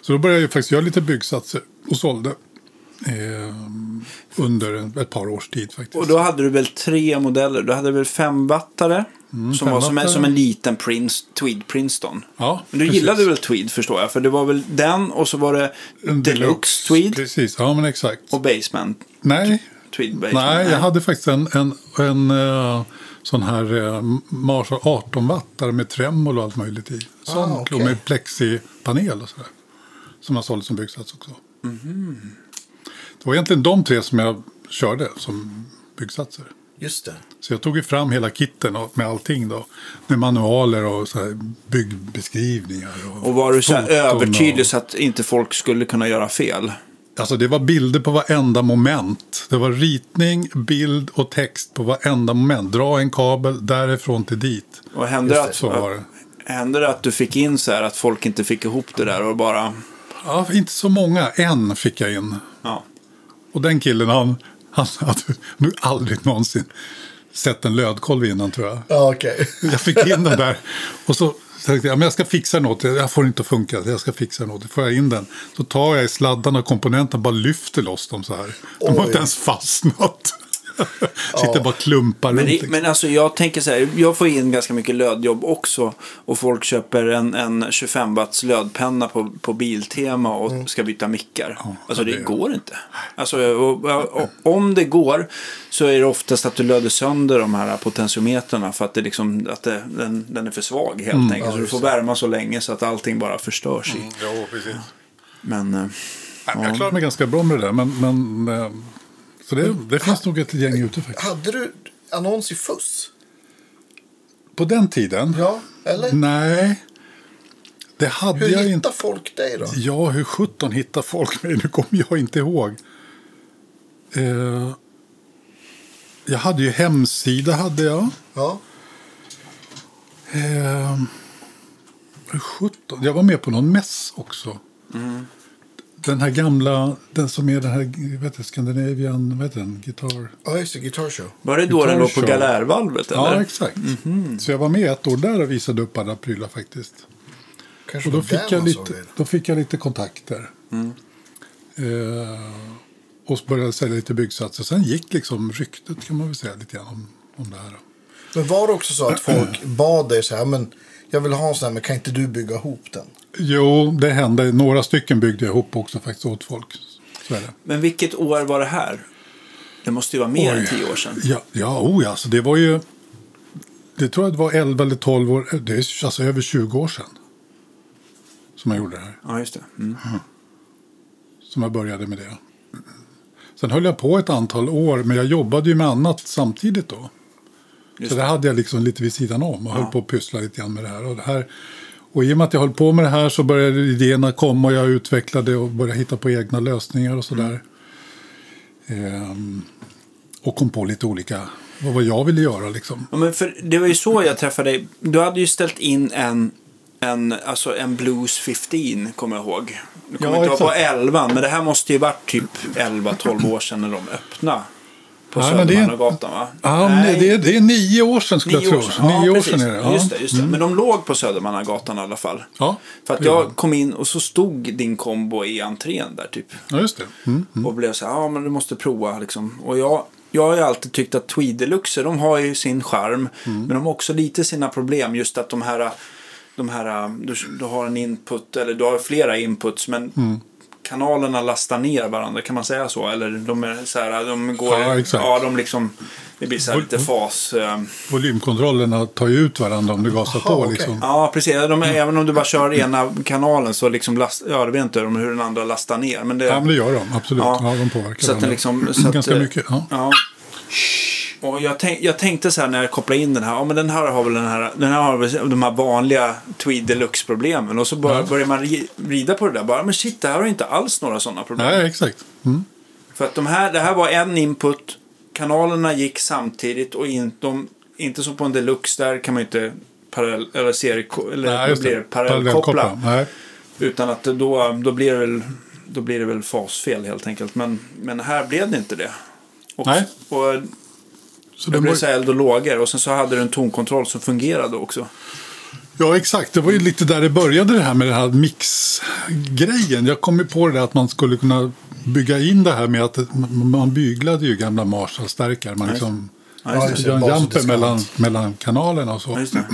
Speaker 3: Så då började jag faktiskt göra lite byggsatser och sålde eh, under en- ett par års tid faktiskt.
Speaker 2: Och då hade du väl tre modeller? Du hade väl femwattare? som var som en,
Speaker 3: Mm, femwattare.
Speaker 2: som en liten Prince, Tweed Princeton.
Speaker 3: Ja,
Speaker 2: Men du
Speaker 3: precis.
Speaker 2: gillade väl Tweed förstår jag. För det var väl den och så var det
Speaker 3: En
Speaker 2: Deluxe, Tweed
Speaker 3: Precis, ja men exakt.
Speaker 2: och Basement.
Speaker 3: nej,
Speaker 2: Tweed Basement.
Speaker 3: nej, jag hade faktiskt en, en, en eh, sån här eh, Marshall 18-wattare med tremolo och allt möjligt i.
Speaker 2: Ah,
Speaker 3: Sånt,
Speaker 1: okej.
Speaker 3: och med plexipanel och sådär. Som jag sålde som byggsats också.
Speaker 2: Mhm.
Speaker 3: Det var egentligen de tre som jag körde som byggsatser.
Speaker 1: Just det.
Speaker 3: Så jag tog ju fram hela kitten och- med allting då. Med manualer och så här byggbeskrivningar. Och,
Speaker 2: Och var du så här
Speaker 3: foton och-
Speaker 2: övertydlig så att inte folk skulle kunna göra fel?
Speaker 3: Alltså det var bilder på varenda moment. Det var ritning, bild och text på varenda moment. Dra en kabel därifrån till dit.
Speaker 2: Och hände det,
Speaker 3: Just det,
Speaker 2: att,
Speaker 3: så var det.
Speaker 2: hände det att du fick in så här att folk inte fick ihop det där och bara...
Speaker 3: Ja, inte så många. En fick jag in.
Speaker 2: Ja.
Speaker 3: Och den killen han, han hade nu aldrig någonsin sett en lödkolv innan tror jag.
Speaker 1: Ja, okej.
Speaker 3: Jag fick in den där och så tänkte jag men jag ska fixa något. Jag får inte att funka. Jag ska fixa något. Då får jag in den. Så tar jag i sladdarna och komponenterna och bara lyfter loss dem så här. De har
Speaker 1: Oj.
Speaker 3: inte ens fastnat. Sitter bara klumpar
Speaker 2: Men,
Speaker 3: runt.
Speaker 2: det,
Speaker 3: liksom.
Speaker 2: men alltså jag tänker så här, jag får in ganska mycket lödjobb också. Och folk köper en, en 25 watts lödpenna på, på Biltema och ska byta mickar. alltså det,
Speaker 3: Mm. det-
Speaker 2: går inte. Alltså, och, och, och, om det går så är det oftast att du löder sönder de här potentiometerna för att, det liksom, att det, den, den är för svag helt
Speaker 3: Mm,
Speaker 2: enkelt. så du får värma så länge så att allting bara förstörs. i.
Speaker 3: Ja, precis.
Speaker 2: Men eh,
Speaker 3: Nej, men Jag klarar mig ganska bra med det där. Men, men, eh, så det, det finns nog ett gäng ute faktiskt.
Speaker 1: Hade du annons i fuss?
Speaker 3: På den tiden?
Speaker 1: Ja, eller?
Speaker 3: Nej. Det hade
Speaker 1: Hur
Speaker 3: jag
Speaker 1: hittar
Speaker 3: inte.
Speaker 1: folk dig då?
Speaker 3: Ja, hur sjutton hittar folk mig? Nu kommer jag inte ihåg. Eh, jag hade ju hemsida, hade jag.
Speaker 1: Ja.
Speaker 3: Eh, hur sjutton? Jag var med på någon mäss också.
Speaker 1: Mm.
Speaker 3: Den här gamla, den som är den här, vet du, Scandinavian, vad heter den, gitarr?
Speaker 1: Ja, just det. Guitar show.
Speaker 2: var det då
Speaker 3: Guitar
Speaker 2: den låg på
Speaker 3: Show.
Speaker 2: galärvalvet?
Speaker 3: Ja,
Speaker 2: Eller? Mhm.
Speaker 3: exakt. Så jag var med ett år där och visade upp alla prylar faktiskt.
Speaker 1: Kanske
Speaker 3: Och då
Speaker 1: var
Speaker 3: fick,
Speaker 1: där
Speaker 3: jag
Speaker 1: man såg
Speaker 3: lite,
Speaker 1: det.
Speaker 3: då fick jag lite kontakter.
Speaker 2: Mm.
Speaker 3: Eh, och så började jag sälja lite byggsatser. Sen gick liksom ryktet kan man väl säga lite grann om, om det här. då.
Speaker 1: Men var det också så att folk bad dig så här, men jag vill ha en sån här, men kan inte du bygga ihop den?
Speaker 3: Jo, det hände. Några stycken byggde jag ihop också faktiskt åt folk. Så är det.
Speaker 2: Men vilket år var det här? Det måste ju vara mer än
Speaker 3: Oj.
Speaker 2: tio år sedan.
Speaker 3: Ja, ja oh ja, så det var ju... Det tror jag det var 11 eller 12 år, det är alltså över 20 år sedan. Som jag gjorde det här.
Speaker 2: Ja, just det. Mm.
Speaker 3: som jag började med det. Sen höll jag på ett antal år, men jag jobbade ju med annat samtidigt då.
Speaker 2: Just
Speaker 3: så det
Speaker 2: det.
Speaker 3: hade jag liksom lite vid sidan om och höll på att pyssla lite grann med det här. Och, det här. och i och med att jag höll på med det här så började idéerna komma och jag utvecklade och började hitta på egna lösningar och sådär.
Speaker 2: Mm.
Speaker 3: Ehm, och kom på lite olika, vad vad jag ville göra liksom.
Speaker 2: Ja, men för det var ju så jag träffade dig. Du hade ju ställt in en, en, alltså en Blues 15, kommer jag ihåg. Du kommer
Speaker 3: Ja,
Speaker 2: inte vara på
Speaker 3: exakt.
Speaker 2: 11, men det här måste ju varit typ 11-12 år sedan när de öppnade. På
Speaker 3: Nej, men det är-
Speaker 2: Södermannagatan, va?
Speaker 3: Ja, nej. Det, är, det är nio år sedan skulle
Speaker 2: Nio
Speaker 3: jag tro.
Speaker 2: år sedan. Ja,
Speaker 3: nio år
Speaker 2: precis.
Speaker 3: sedan är det. Ja. Mm.
Speaker 2: Just det, just det. Men de låg på Södermannagatan i alla fall.
Speaker 3: Ja,
Speaker 2: För att
Speaker 3: det gjorde
Speaker 2: jag
Speaker 3: de.
Speaker 2: kom in och så stod din kombo i entrén där typ.
Speaker 3: ja, just det. Mm.
Speaker 2: Och blev så här, ja men du måste prova liksom. Och jag, jag har ju alltid tyckt att tweedeluxer, de har ju sin charm.
Speaker 3: Mm.
Speaker 2: Men de har också lite sina problem. Just att de här, de här du, du har en input, eller du har flera inputs. Men
Speaker 3: Mm.
Speaker 2: kanalerna lastar ner varandra, kan man säga så? Eller de är så här, de går,
Speaker 3: Ja, exakt.
Speaker 2: de liksom, det blir så här lite fas. eh,
Speaker 3: Volymkontrollerna tar ju ut varandra om du gasar på
Speaker 1: okej.
Speaker 3: liksom.
Speaker 2: Ja, precis. De, Även om du bara kör ena kanalen så liksom, last, ja, det vet inte om hur den andra lastar ner. Men det,
Speaker 3: Ja, men det gör de. Absolut. Ja. de påverkar
Speaker 2: så att den
Speaker 3: varandra. Mm,
Speaker 2: liksom, så att,
Speaker 3: Ganska
Speaker 2: eh,
Speaker 3: mycket. Ja.
Speaker 2: ja. Och jag, tänk, jag tänkte så här när jag kopplade in den här. Ja, men den här har väl, den här, den här har väl de här vanliga tweed deluxe-problemen. Och så bör, börjar man ri- rida på det där. Bara, men shit, det här har ju inte alls några sådana problem.
Speaker 3: Nej, exakt. Mm.
Speaker 2: För att de här, det här var en input. Kanalerna gick samtidigt och in, de, inte som på en deluxe. Där kan man ju inte parallell, eller seri, eller
Speaker 3: Nej,
Speaker 2: då
Speaker 3: just det.
Speaker 2: blir det parallellkoppla.
Speaker 3: Parallellkoppla. Nej.
Speaker 2: Utan att då, då blir det väl då blir det väl fasfel helt enkelt. Men, men här blev det inte det. Och,
Speaker 3: Nej.
Speaker 2: och
Speaker 3: Så
Speaker 2: det
Speaker 3: det
Speaker 2: blev
Speaker 3: var,
Speaker 2: så här eld och lågor. Och sen så hade du en tonkontroll som fungerade också.
Speaker 3: ja, exakt. Det var ju lite där det började det här med den här mixgrejen. Jag kom ju på det där att man skulle kunna bygga in det här med att man man byglade ju gamla Marshall-stärkare. Man liksom
Speaker 2: Ja,
Speaker 1: just det.
Speaker 3: gör en
Speaker 1: Bas och
Speaker 3: jumper
Speaker 1: diskant.
Speaker 3: mellan, mellan kanalerna och
Speaker 2: Ja,
Speaker 3: så.
Speaker 2: just det.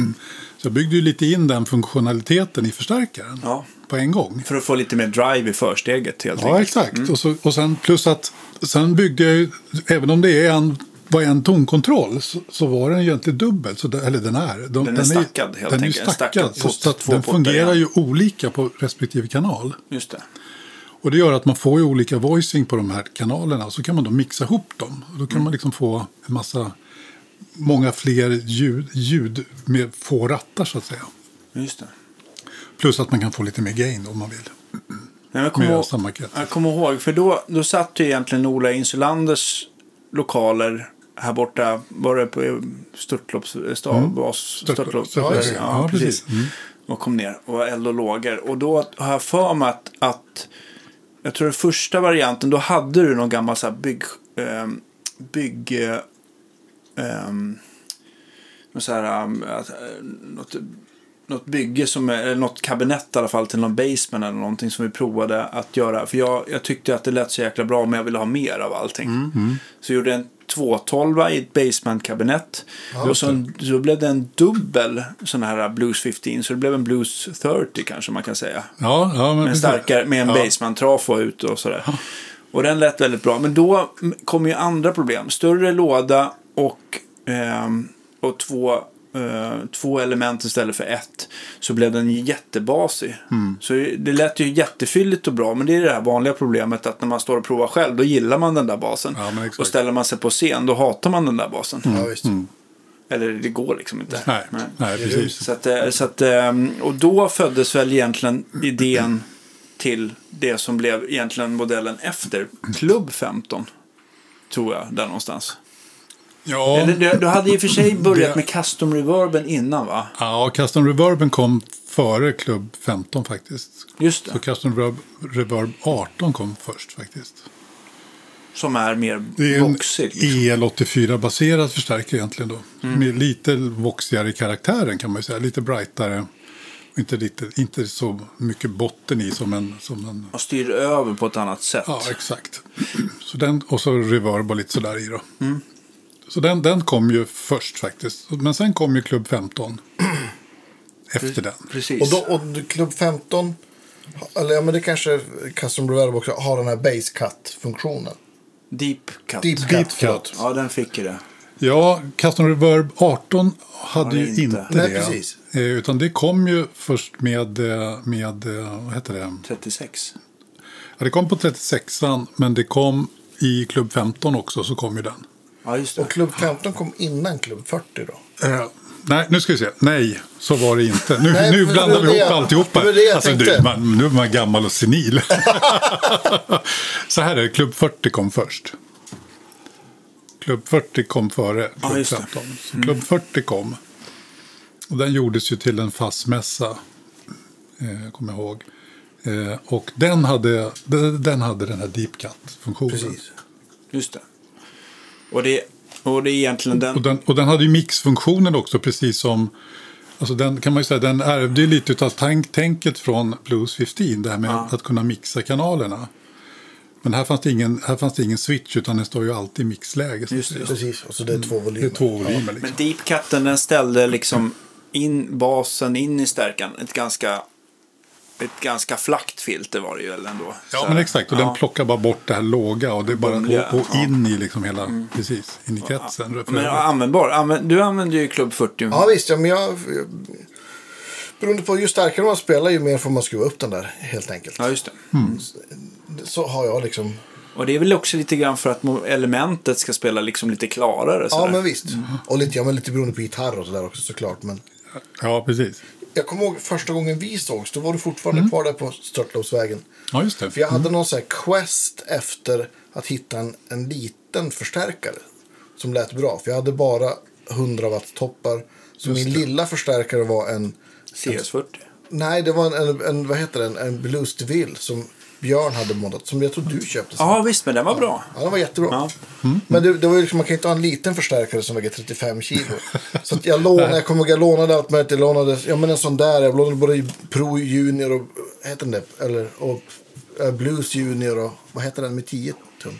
Speaker 3: Så jag byggde ju lite in den funktionaliteten i förstärkaren
Speaker 2: Ja.
Speaker 3: på en gång.
Speaker 2: För att få lite mer drive i försteget helt
Speaker 3: Ja,
Speaker 2: enkelt.
Speaker 3: exakt. Och, så, och sen plus att sen byggde jag ju, även om det är en, var en tonkontroll så, så var den ju egentligen dubbel. Så det, eller den är. De,
Speaker 2: är stackad, helt
Speaker 3: den är ju
Speaker 2: enkelt. En stackad
Speaker 3: stackad. Så,
Speaker 2: pott,
Speaker 3: så att
Speaker 2: två
Speaker 3: den
Speaker 2: pottar, ja.
Speaker 3: fungerar ju olika på respektive kanal.
Speaker 2: Just det.
Speaker 3: Och det gör att man får ju olika voicing på de här kanalerna. Och så kan man då mixa ihop dem. Och då
Speaker 2: Mm.
Speaker 3: kan man liksom få en massa, många fler ljud, ljud med få rattar så att säga.
Speaker 2: Just det.
Speaker 3: Plus att man kan få lite mer gain om man vill.
Speaker 2: Nej, jag, kommer
Speaker 3: Mer
Speaker 2: ihåg,
Speaker 3: samma krets.
Speaker 2: jag kommer ihåg, för då, då satt ju egentligen Ola Insulanders lokaler här borta. Var det på eh, störtloppsbas?
Speaker 3: Störtlopp-
Speaker 2: Störtlopp, ja,
Speaker 3: störtlopp,
Speaker 2: ja,
Speaker 3: ja,
Speaker 2: precis.
Speaker 3: precis.
Speaker 2: Och kom ner och var eld och lågor. Och då har jag för mig att, att jag tror den första varianten, då hade du någon gammal så här bygg... ehm, bygg eh, ehm, någon så här, um, att, eh, ehm, något något bygge, som, eller något kabinett i alla fall till någon basement eller någonting som vi provade att göra. För jag, jag tyckte att det lät så jäkla bra men jag ville ha mer av allting. Så jag gjorde en 212 i ett basementkabinett. och sen så blev det en dubbel sån här Blues 15. Så det blev en Blues 30 kanske man kan säga.
Speaker 3: Ja, ja, men
Speaker 2: Med en,
Speaker 3: precis.
Speaker 2: starkare, med en
Speaker 3: ja.
Speaker 2: baseman-trafo ute och sådär. Och den lät väldigt bra. Men då kom ju andra problem. Större låda och, ehm, och två, eh, två element istället för ett. Så blev den ju jättebasig.
Speaker 3: Mm.
Speaker 2: Så det lät ju jättefylligt och bra. Men det är det här vanliga problemet att när man står och provar själv då gillar man den där basen.
Speaker 3: Ja, men exakt. Mm.
Speaker 2: och ställer man sig på scen då hatar man den där basen.
Speaker 1: Ja, visst.
Speaker 2: Eller det går liksom inte.
Speaker 3: Nej, nej, precis.
Speaker 2: Så att, eh, så att, eh, och då föddes väl egentligen idén till det som blev egentligen modellen efter Klubb 15. Tror jag, där någonstans.
Speaker 3: Ja,
Speaker 2: Eller, du, du hade i och för sig börjat
Speaker 3: Det-
Speaker 2: med custom reverben innan va?
Speaker 3: ja, Custom Reverben kom före Club 15 faktiskt.
Speaker 2: Just
Speaker 3: Så
Speaker 2: det.
Speaker 3: Custom Reverb- Reverb 18 kom först faktiskt.
Speaker 2: Som är mer
Speaker 3: Det är en E
Speaker 2: boxig. Liksom.
Speaker 3: EL84-baserad förstärkare egentligen då. Med lite voxigare i karaktären kan man ju säga. Lite brightare. Och inte, lite, inte så mycket botten i som en... Som en
Speaker 2: Och styr över på ett annat sätt.
Speaker 3: ja, exakt. Så den, och så reverb och lite sådär i då. Så den, den kom ju först faktiskt. Men sen kom ju Club 15. efter den.
Speaker 2: Precis.
Speaker 1: Och, då, och Klubb 15, eller ja, men det kanske Custom Reverb också har den här base cut-funktionen.
Speaker 2: Deep cut.
Speaker 1: Deep,
Speaker 3: Deep
Speaker 1: cut, förlåt.
Speaker 3: cut.
Speaker 2: Ja, den fick ju det.
Speaker 3: Ja, Custom Reverb 18
Speaker 2: Har
Speaker 3: hade
Speaker 2: det
Speaker 3: ju
Speaker 2: inte.
Speaker 3: inte,
Speaker 1: Nej,
Speaker 3: det.
Speaker 1: precis.
Speaker 3: Eh, Utan det kom ju först med, eh, med eh, vad heter det?
Speaker 2: 36.
Speaker 3: Ja, det kom på 36an, men det kom i Klubb 15 också, så kom ju den.
Speaker 2: Ja, just det.
Speaker 1: Och Klubb 15 kom innan Klubb 40 då.
Speaker 3: Eh, nej, nu ska vi se. Nej, så var det inte. Nu,
Speaker 1: Nej,
Speaker 3: nu
Speaker 1: för
Speaker 3: blandar
Speaker 1: det
Speaker 3: vi
Speaker 1: var det
Speaker 3: ihop
Speaker 1: jag-
Speaker 3: alltihopa.
Speaker 1: det var det jag
Speaker 3: alltså,
Speaker 1: tänkte.
Speaker 3: du, man, nu är man gammal och senil. så här är det, Klubb 40 kom först. Klubb 40 kom före Klubb
Speaker 2: just det. Mm.
Speaker 3: 15. Så Klubb 40 kom. Och den gjordes ju till en fastmässa, eh, kommer jag ihåg. Eh, och den hade, den den hade den här deep cut-funktionen.
Speaker 1: Precis.
Speaker 2: Just det. Och det, och det är egentligen den...
Speaker 3: Och den, och den hade ju mixfunktionen också, precis som... Alltså den kan man ju säga, den ärvde ju lite av tank, tänket från Blues 15, det här med att kunna mixa kanalerna. Men här fanns det ingen, här fanns det ingen switch, utan den står ju alltid i mixläge. så att säga.
Speaker 1: Precis, och så det är två
Speaker 3: Det
Speaker 1: volymer.
Speaker 3: är två volymer liksom.
Speaker 2: Men deep cutten den ställde liksom in basen in i stärkan. Ett ganska, ett ganska flackt filter var det ju väl ändå.
Speaker 3: Ja, men exakt. Och den plockar bara bort det här låga och, det är bara,
Speaker 2: Bumliga,
Speaker 3: och, och
Speaker 2: ja.
Speaker 3: in i liksom hela, precis, in i kretsen. För
Speaker 2: Men
Speaker 3: övrigt.
Speaker 2: användbar. Använd, du använde ju Club 40.
Speaker 1: Ja visst, ja, men jag... Beroende på ju starkare man spelar ju mer får man skruva upp den där helt enkelt.
Speaker 2: Ja, just det.
Speaker 1: Så har jag liksom.
Speaker 2: Och det är väl också lite grann för att mo- elementet ska spela liksom lite klarare.
Speaker 1: Ja
Speaker 2: sådär.
Speaker 1: men visst. Och lite, ja, men lite beroende på gitarr och sådär också såklart. Men
Speaker 3: Ja, precis.
Speaker 1: jag kommer ihåg första gången vi sågs. Då var du fortfarande kvar där på Störtlovsvägen.
Speaker 3: Ja, just det.
Speaker 1: För jag hade någon sån här quest efter att hitta en, en liten förstärkare. Som lät bra. För jag hade bara 100 watt toppar. Så min lilla förstärkare var en...
Speaker 2: CS40.
Speaker 1: Nej, det var en, en, en vad heter den? En Blues DeVille som Björn hade moddat. Som jag tror du köpte. sen.
Speaker 2: Ja, visst, men den var bra.
Speaker 1: Ja, den var jättebra.
Speaker 2: Ja.
Speaker 1: Men det, det var ju liksom, man kan ju inte ha en liten förstärkare som väger 35 kilo. så att jag lånade, jag kommer ihåg, jag lånade allt möjligt. Jag lånade, ja men en sån där, jag lånade både Pro Junior och, heter den det? Eller, och eh, Blues Junior och, vad heter den med 10 tum?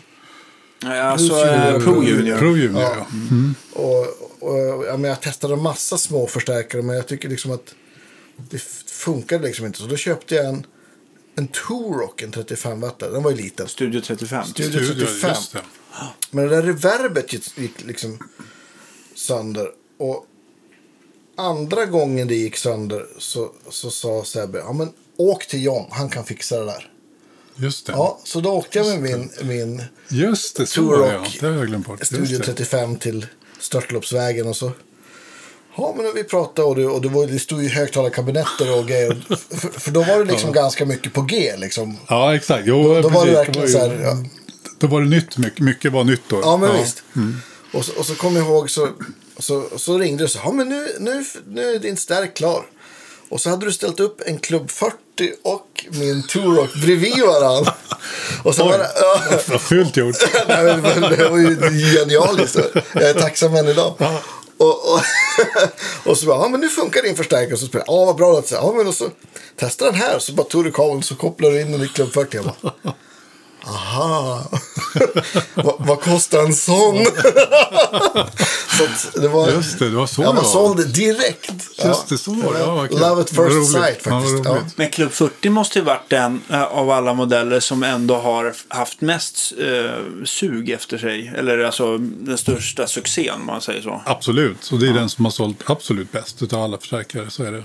Speaker 2: Ja, Alltså,
Speaker 1: Junior.
Speaker 2: eh, Pro Junior.
Speaker 3: Pro Junior, ja. Mm.
Speaker 1: Och, och ja, men jag testade en massa små förstärkare, men jag tycker liksom att det f- funkade liksom inte. Så då köpte jag en, en Turok, en 35 watt Den var ju liten.
Speaker 2: Studio 35.
Speaker 1: Studio-
Speaker 3: Studio,
Speaker 1: 35.
Speaker 3: just det.
Speaker 1: Men det där reverbet gick, gick liksom sönder. Och andra gången det gick sönder så, så sa Sebbe, ja men åk till John, han kan fixa det där.
Speaker 3: Just det.
Speaker 1: Ja, så då åkte jag med min, min
Speaker 3: Just det, så var det, ja.
Speaker 1: Turok
Speaker 3: Det har jag glömt bort. Just
Speaker 1: Studio
Speaker 3: det.
Speaker 1: 35 till Störtloppsvägen och så. Ja, men när vi pratade och det, och det, var, det stod ju högtalarkabinetter och grejer. För, för då var det liksom ganska mycket på G liksom.
Speaker 3: Ja, exakt. Jo,
Speaker 1: då
Speaker 3: precis.
Speaker 1: var det verkligen
Speaker 3: ju-
Speaker 1: så här, ja.
Speaker 3: Då var det nytt, mycket, mycket var nytt då.
Speaker 1: Ja, men visst. Och, så, och så kom jag ihåg så, så, så ringde du och sa, ja men nu, nu, nu är din stärk klar. Och så hade du ställt upp en klubb 40 och min Turok bredvid varandra. Och så var det, ja,
Speaker 3: Vad fult gjort.
Speaker 1: Nej, men det var ju genialiskt. Jag är tacksam än idag. Och, och, och så bara, ja men nu funkar din förstärkare. Så spelar jag, ja vad bra det är." Ja men och så testa den här. Så bara tog du kabeln så kopplade du in den i Club 40. Jag bara, aha. vad, vad kostar en sån? så att det var,
Speaker 3: Just det, det var så
Speaker 1: jag
Speaker 3: det
Speaker 1: var
Speaker 3: var.
Speaker 1: såld direkt.
Speaker 3: Just det, så var det. Ja, vad kul.
Speaker 1: Love at
Speaker 3: Vad
Speaker 1: first
Speaker 3: roligt.
Speaker 1: sight
Speaker 3: Ja, vad
Speaker 1: faktiskt. Ja,
Speaker 3: roligt.
Speaker 2: Men Club 40 måste ju varit den eh, av alla modeller som ändå har haft mest eh, sug efter sig. Eller alltså den största succén om man säger så.
Speaker 3: Absolut, så det är den som har sålt absolut bäst utav alla förstärkare. Så är det.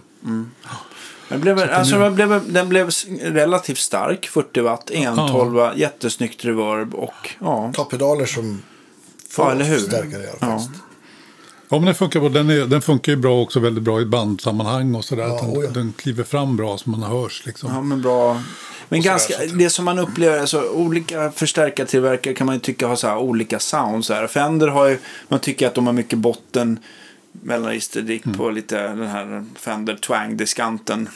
Speaker 2: Den blev, alltså, den, blev, den blev s- relativt stark, 40 watt, 112, jättesnyggt reverb och ja.
Speaker 1: Ta pedaler som
Speaker 2: Ja, eller hur?
Speaker 1: förstärkare i alla fall.
Speaker 2: Ja.
Speaker 3: Ja, men den funkar, bra. den, är, den funkar ju bra också, väldigt bra i bandsammanhang och sådär. att
Speaker 1: oh
Speaker 3: den,
Speaker 1: ja.
Speaker 3: den kliver fram bra så man hörs liksom.
Speaker 2: Ja, men bra. Men ganska,
Speaker 1: sådär,
Speaker 2: det som man upplever, alltså olika förstärkartillverkare kan man ju tycka har så här olika sound. Så här. Fender har ju, man tycker att de har mycket botten, mellanregisterdick på lite den här Fender Twang-diskanten.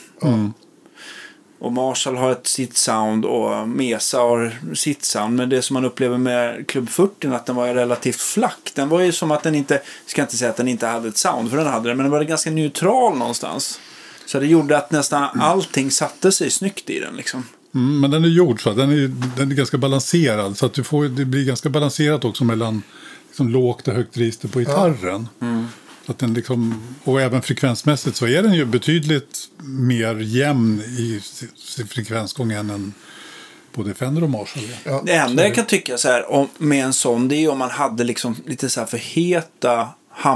Speaker 2: Och Marshall har ett sitt sound och Mesa har sitt sound. Men det som man upplever med Club 40 är att den var ju relativt flack. Den var ju som att den inte, ska inte säga att den inte hade ett sound, för den hade det, men den var ganska neutral någonstans. Så det gjorde att nästan allting satte sig snyggt i den liksom.
Speaker 3: Mm, men den är gjord så att den är, den är ganska balanserad. Så att du får, det blir ganska balanserat också mellan liksom, lågt och högt register på gitarren. Så att den liksom, och även frekvensmässigt så är den ju betydligt mer jämn i sin- sin frekvensgång än en, både Fender och Marshall. Ja.
Speaker 1: Ja.
Speaker 2: Det enda jag kan tycka så här om, med en sån det är ju om man hade liksom lite så här för heta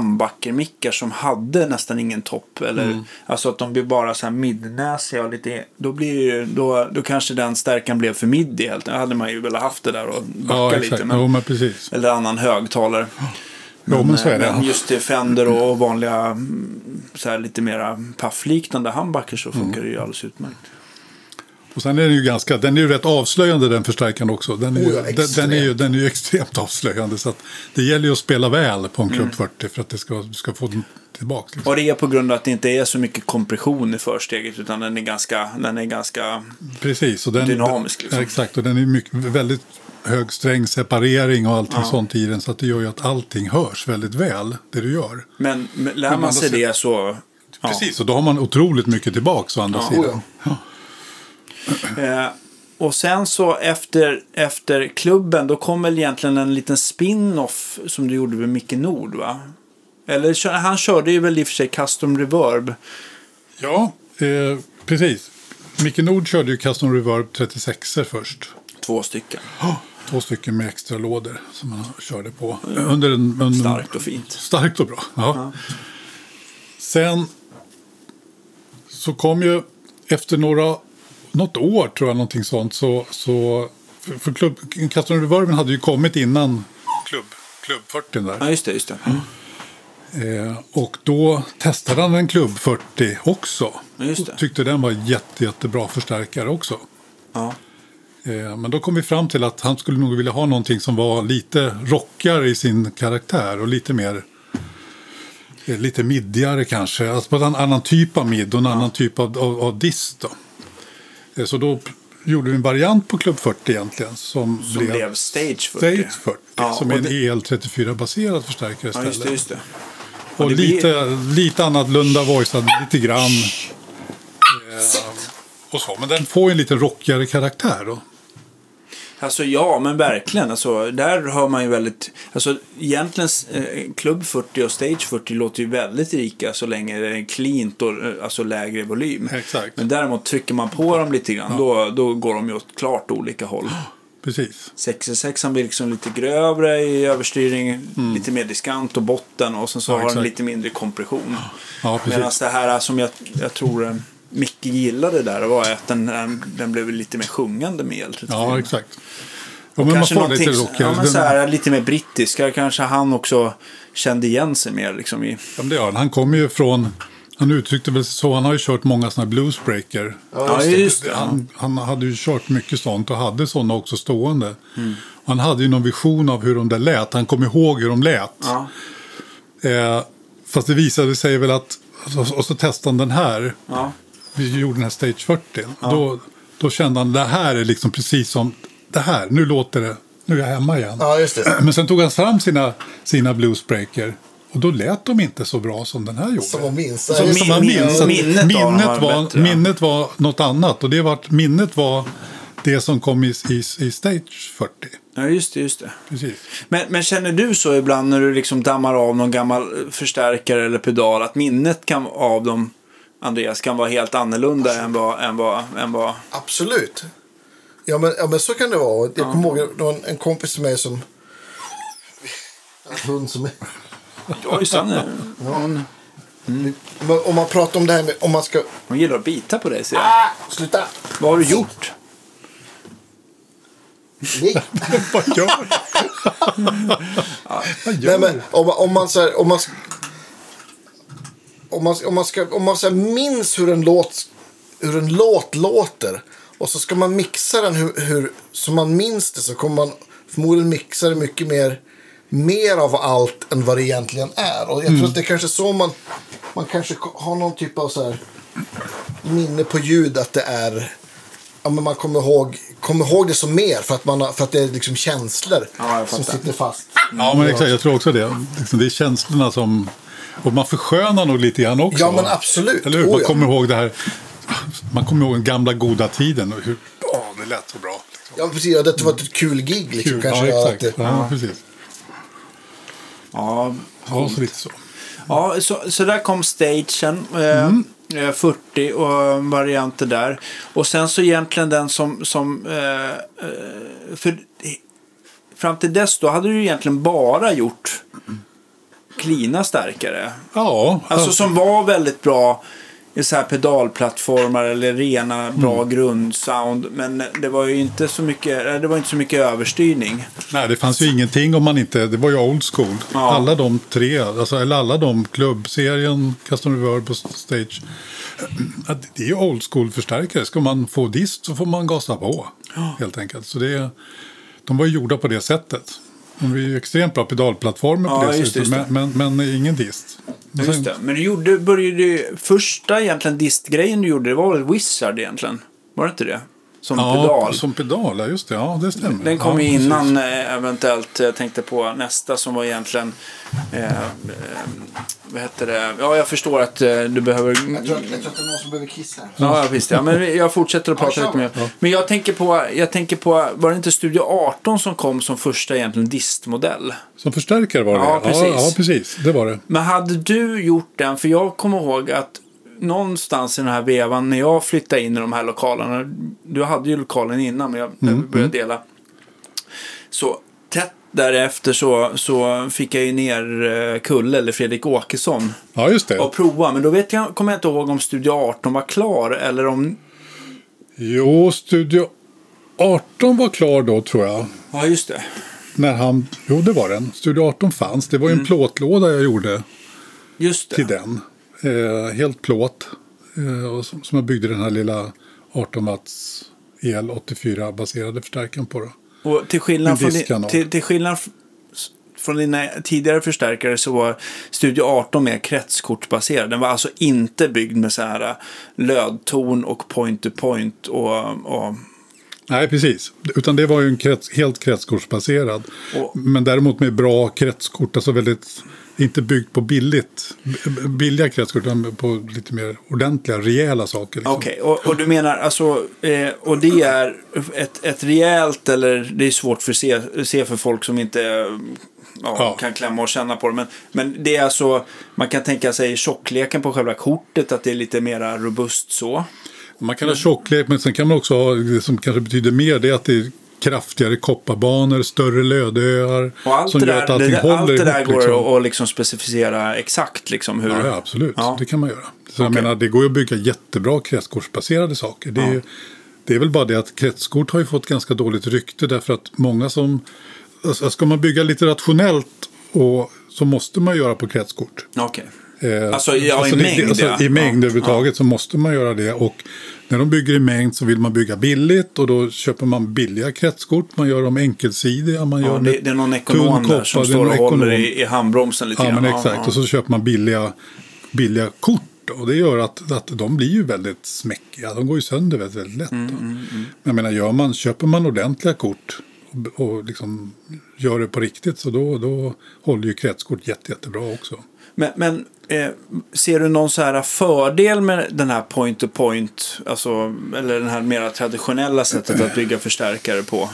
Speaker 2: handbackermickar som hade nästan ingen topp. Eller,
Speaker 3: Mm.
Speaker 2: Alltså att de blir bara så här midnäsiga och lite, då, blir det ju, då, då kanske den stärkan blev för middig helt. Då hade man ju velat haft det där och backa
Speaker 3: Ja, exakt.
Speaker 2: lite. Men,
Speaker 3: Jo, men precis.
Speaker 2: Eller annan högtalare.
Speaker 3: Jo, men så är det.
Speaker 2: Men just till Fender och vanliga mm, så här lite mera paffliknande handbacker
Speaker 3: Mm.
Speaker 2: så funkar det ju alldeles utmärkt.
Speaker 3: Och sen är den ju ganska, den är ju rätt avslöjande den förstärkaren också. Den är,
Speaker 1: Oh ja,
Speaker 3: ju, den, den är, ju,
Speaker 1: extremt.
Speaker 3: den är ju extremt avslöjande. Så att det gäller ju att spela väl på en Club 40 för att det ska, du ska få den tillbaka. Liksom.
Speaker 2: Och det är på grund av att det inte är så mycket kompression i försteget utan den är ganska, den är ganska
Speaker 3: Precis. Och den,
Speaker 2: Dynamisk, liksom.
Speaker 3: Ja, exakt, och den är mycket, väldigt hög sträng separering och allting sånt i den. Så att det gör ju att allting hörs väldigt väl, det du gör.
Speaker 2: Men men lär
Speaker 3: Men
Speaker 2: man
Speaker 3: andra
Speaker 2: sig
Speaker 3: sidan-
Speaker 2: det så... Ja.
Speaker 3: Precis, och då har man otroligt mycket tillbaka å andra
Speaker 2: Ja.
Speaker 3: sidan.
Speaker 1: Oh
Speaker 2: Eh, och sen så efter, efter klubben, då kom väl egentligen en liten spin-off som du gjorde med Micke Nord va? Eller kö- han körde ju väl i och för sig custom reverb.
Speaker 3: Ja, eh, precis. Micke Nord körde ju Custom Reverb 36 först.
Speaker 2: Två stycken.
Speaker 3: Två stycken med extra lådor som man körde på. Under en, under,
Speaker 2: Starkt och fint.
Speaker 3: Starkt och bra. Ja. Sen så kom ju efter några, något år tror jag någonting sånt så, så för, för klubb, Custom Reverben hade ju kommit innan klubb, klubb 40 där.
Speaker 2: Ja, just det, just det.
Speaker 3: Mm. Eh, och då testade han en Club 40 också.
Speaker 2: Ja, just det.
Speaker 3: Och tyckte den var jätte, jättebra förstärkare också.
Speaker 2: Ja.
Speaker 3: Eh, Men då kom vi fram till att han skulle nog vilja ha någonting som var lite rockigare i sin karaktär och lite mer eh, lite middigare kanske. Alltså på en annan typ av midd och en annan typ av, av, av diss då. Eh, Så då p- gjorde vi en variant på Club 40 egentligen som,
Speaker 2: Som blev Stage 40.
Speaker 3: Stage 40
Speaker 2: Ja,
Speaker 3: som är
Speaker 2: och
Speaker 3: en
Speaker 2: det-
Speaker 3: EL34-baserad förstärkare
Speaker 2: Ja,
Speaker 3: istället.
Speaker 2: just det, just det.
Speaker 3: Och
Speaker 2: det blir-
Speaker 3: lite, lite annorlunda voicead, lite grann. Eh, och så. Men den får ju en lite rockigare karaktär då.
Speaker 2: Alltså ja, men verkligen. Alltså, där hör man ju väldigt... Alltså egentligen, eh, Club 40 och Stage 40 låter ju väldigt rika så länge det är cleant och eh, alltså, lägre volym.
Speaker 3: Exakt.
Speaker 2: Men däremot trycker man på dem lite grann, då, då går de ju åt klart olika håll.
Speaker 3: Precis.
Speaker 2: 66 blir liksom lite grövre i överstyrning, lite mer diskant och botten och sen så har den
Speaker 3: Mm. exakt.
Speaker 2: lite mindre kompression.
Speaker 3: Ja, precis.
Speaker 2: Medan det här som jag, jag tror eh, Micke gillade där var att den, den, den blev lite mer sjungande med el
Speaker 3: Ja, exakt. Ja, men man
Speaker 2: kanske
Speaker 3: får lite
Speaker 2: någonting-
Speaker 3: rockigare.
Speaker 2: Ja, men
Speaker 3: Den-
Speaker 2: så här, lite mer brittiska. Kanske han också kände igen sig mer. Liksom, i,
Speaker 3: ja, men det gör han. Han kommer ju från, han uttryckte väl så, han har ju kört många sådana här bluesbreaker.
Speaker 2: ja, just det. Ja.
Speaker 3: Han, han hade ju kört mycket sånt och hade sådana också stående.
Speaker 2: Mm.
Speaker 3: Och Han hade ju någon vision av hur de där lät. Han kom ihåg hur de lät.
Speaker 2: Ja.
Speaker 3: Eh, fast det visade sig väl att, och så, och så testade han den här.
Speaker 2: Ja.
Speaker 3: Vi gjorde den här Stage 40. Då, då kände han, det här är liksom precis som, det här, nu låter det, nu är jag hemma igen.
Speaker 1: Ja, just det.
Speaker 3: Men sen tog han fram sina, sina bluesbreaker. Och Och då lät de inte så bra som den här gjorde.
Speaker 1: Som man minns.
Speaker 3: Som,
Speaker 1: Nej,
Speaker 2: min-
Speaker 3: som man minns. att
Speaker 2: minnet av den
Speaker 3: minnet,
Speaker 2: var
Speaker 3: var,
Speaker 2: bättre, ja.
Speaker 3: minnet var något annat. Och det var, minnet var det som kom i, i, i Stage 40.
Speaker 2: Ja, just det, just det.
Speaker 3: Precis.
Speaker 2: Men, men känner du så ibland när du liksom dammar av någon gammal eh, förstärkare eller pedal att minnet kan, av dem, Andreas, kan vara helt annorlunda än vad... Än vad, än vad...
Speaker 1: Absolut. Ja men, ja, men så kan det vara. Jag kommer ihåg det var en, en kompis till mig som... En hund som...
Speaker 2: Oj, Sanne, hon,
Speaker 1: Men Om man pratar om det här med... Om man ska...
Speaker 2: hon gillar att bita på dig, ser jag.
Speaker 1: Ah, sluta!
Speaker 2: Vad har du gjort?
Speaker 1: Nej.
Speaker 3: Vad gör du? Vad
Speaker 1: Nej
Speaker 3: gör
Speaker 1: men om, om man så här, om man, om man, om man, ska, om man så här minns hur en, låt, hur en låt låter och så ska man mixa den hur, hur, som man minns det så kommer man förmodligen mixa det mycket mer, mer av allt än vad det egentligen är. Och jag
Speaker 3: Mm.
Speaker 1: tror att det är kanske så man, man kanske har någon typ av så här minne på ljud att det är Ja, men man kommer ihåg, kommer ihåg det som mer för att, man har, för att det är liksom känslor
Speaker 2: Ja, jag
Speaker 1: som
Speaker 2: fattar.
Speaker 1: sitter fast.
Speaker 3: Ja, men exakt. Jag tror också det. Liksom, Det är känslorna som... Och man förskönar nog lite grann också.
Speaker 1: Ja, men absolut.
Speaker 3: Eller hur?
Speaker 1: Oh,
Speaker 3: Man
Speaker 1: ja.
Speaker 3: kommer ihåg det här... Man kommer ihåg den gamla goda tiden och hur... Åh, det lät så bra. Liksom.
Speaker 1: Ja, precis. Ja, det var ett kul gig. Liksom,
Speaker 3: Kul.
Speaker 1: Kanske
Speaker 3: ja,
Speaker 1: gör
Speaker 3: exakt.
Speaker 1: att det,
Speaker 3: Ja, precis.
Speaker 2: Ja,
Speaker 3: Ja, så lite så.
Speaker 2: Ja, så, så där kom stagen. Eh, eh, 40 och varianter där. Och sen så egentligen den som... som eh, eh, för, fram till dess då hade du egentligen bara gjort klina stärkare.
Speaker 3: Ja,
Speaker 2: Alltså som var väldigt bra i så här pedalplattformar eller rena bra grundsound. Men det var ju inte så mycket, eh, det var inte så mycket överstyrning.
Speaker 3: Nej, det fanns ju ingenting om man inte... Det var ju old school.
Speaker 2: Ja.
Speaker 3: Alla de tre, alltså, eller alla de, klubbserien, Custom Reverb och Stage. Att Det är ju old school-förstärkare. Ska man få dist så får man gasa på, helt enkelt. Så det, de var ju gjorda på det sättet. De var ju extremt bra pedalplattformar på
Speaker 2: Ja,
Speaker 3: det
Speaker 2: just det,
Speaker 3: sättet,
Speaker 2: just
Speaker 3: men, men, men ingen dist. Men
Speaker 2: Just
Speaker 3: sen-
Speaker 2: det. Men du gjorde, började ju, första egentligen distgrejen du gjorde, det var väl Wizard egentligen? Var det inte det? Som
Speaker 3: Ja,
Speaker 2: pedal.
Speaker 3: som pedal, ja just det. Ja, det stämmer.
Speaker 2: Den kom
Speaker 3: ja,
Speaker 2: ju
Speaker 3: precis.
Speaker 2: innan eh, eventuellt, jag tänkte på nästa som var egentligen, eh, eh, vad hette det, ja jag förstår att eh, du behöver...
Speaker 1: jag, tror, att- jag tror att det är någon som behöver kissa. här.
Speaker 2: Ja, ja, visst. Ja, men vi- jag fortsätter att prata
Speaker 1: Ja,
Speaker 2: lite mer. Men jag tänker, på, jag tänker på, var det inte Studio 18 som kom som första egentligen distmodell?
Speaker 3: Som förstärkare var det.
Speaker 2: Ja, precis.
Speaker 3: Ja, ja, precis. Det var det.
Speaker 2: Men hade du gjort den, för jag kommer ihåg att någonstans i den här vevan när jag flyttade in i de här lokalerna, du hade ju lokalen innan men jag när vi började dela. Så tätt därefter så, så fick jag ju ner eh, Kulle eller Fredrik Åkesson
Speaker 3: Ja, just det.
Speaker 2: och prova. Men då vet jag, kommer jag inte ihåg om Studio 18 var klar eller om...
Speaker 3: Jo, Studio 18 var klar då tror jag.
Speaker 2: Ja, just det.
Speaker 3: När han... Jo, det var den. Studio 18 fanns. Det var ju
Speaker 2: Mm.
Speaker 3: en plåtlåda jag gjorde
Speaker 2: Just det.
Speaker 3: till den. Eh, helt plåt. Eh, och som, som jag byggde den här lilla 18 watts el 84 baserade förstärkaren på. Då.
Speaker 2: Och till skillnad,
Speaker 3: En
Speaker 2: från, din,
Speaker 3: diskkanal.
Speaker 2: till, till skillnad f- s- från dina tidigare förstärkare så var Studio 18 mer kretskortbaserad. Den var alltså inte byggd med så här äh, lödton och point-to-point och, och
Speaker 3: Nej, precis. Utan det var ju en krets, helt kretskortsbaserad.
Speaker 2: Och-
Speaker 3: Men däremot med bra kretskort. Alltså väldigt... Inte byggt på billigt, b- billiga kretskort, utan på lite mer ordentliga, rejäla saker. Liksom.
Speaker 2: Okej, och, och du menar alltså, eh, och det är ett, ett rejält, eller det är svårt för se, se för folk som inte eh, ja,
Speaker 3: Ja.
Speaker 2: kan klämma och känna på det. Men, men det är alltså, man kan tänka sig tjockleken på själva kortet, att det är lite mera robust så.
Speaker 3: Man kan ha tjocklek, men sen kan man också ha det som kanske betyder mer, det är att det är kraftigare kopparbanor, större lödöar.
Speaker 2: Och allt
Speaker 3: som
Speaker 2: det
Speaker 3: gör
Speaker 2: där,
Speaker 3: att allting
Speaker 2: det,
Speaker 3: håller
Speaker 2: allt det där
Speaker 3: ihop,
Speaker 2: går
Speaker 3: liksom.
Speaker 2: att att liksom specificera exakt. Liksom, hur...
Speaker 3: Ja, ja, absolut.
Speaker 2: Ja.
Speaker 3: Det kan man göra. Så jag
Speaker 2: Okej.
Speaker 3: menar, det går ju att bygga jättebra kretskortsbaserade saker. Det är, ju, det är väl bara det att kretskort har ju fått ganska dåligt rykte därför att många som... Alltså, ska man bygga lite rationellt och, så måste man göra på kretskort.
Speaker 2: Okej.
Speaker 3: Eh,
Speaker 2: Alltså, ja, i
Speaker 3: det-
Speaker 2: mängd,
Speaker 3: alltså,
Speaker 2: ja.
Speaker 3: I mängd
Speaker 2: Ja,
Speaker 3: överhuvudtaget så måste man göra det. Och när de bygger i mängd så vill man bygga billigt och då köper man billiga kretskort. Man gör dem enkelsidiga. Man
Speaker 2: Ja,
Speaker 3: gör
Speaker 2: det,
Speaker 3: med
Speaker 2: det är någon
Speaker 3: tunn
Speaker 2: ekonom där
Speaker 3: koppar,
Speaker 2: som
Speaker 3: det är någon
Speaker 2: står och håller
Speaker 3: ekonom.
Speaker 2: i, i handbromsen lite
Speaker 3: Ja,
Speaker 2: grann.
Speaker 3: men exakt.
Speaker 2: ja.
Speaker 3: Och så köper man billiga, billiga kort. Och det gör att, att de blir ju väldigt
Speaker 2: Mm,
Speaker 3: smäckiga. De går ju sönder väldigt, väldigt lätt. då. Men jag menar, gör man, köper man ordentliga kort och, och liksom gör det på riktigt så då, då håller ju kretskort jätte, jättebra också.
Speaker 2: Men, men eh, ser du någon så här fördel med den här point to point? Alltså, eller den här mera traditionella sättet att bygga förstärkare på?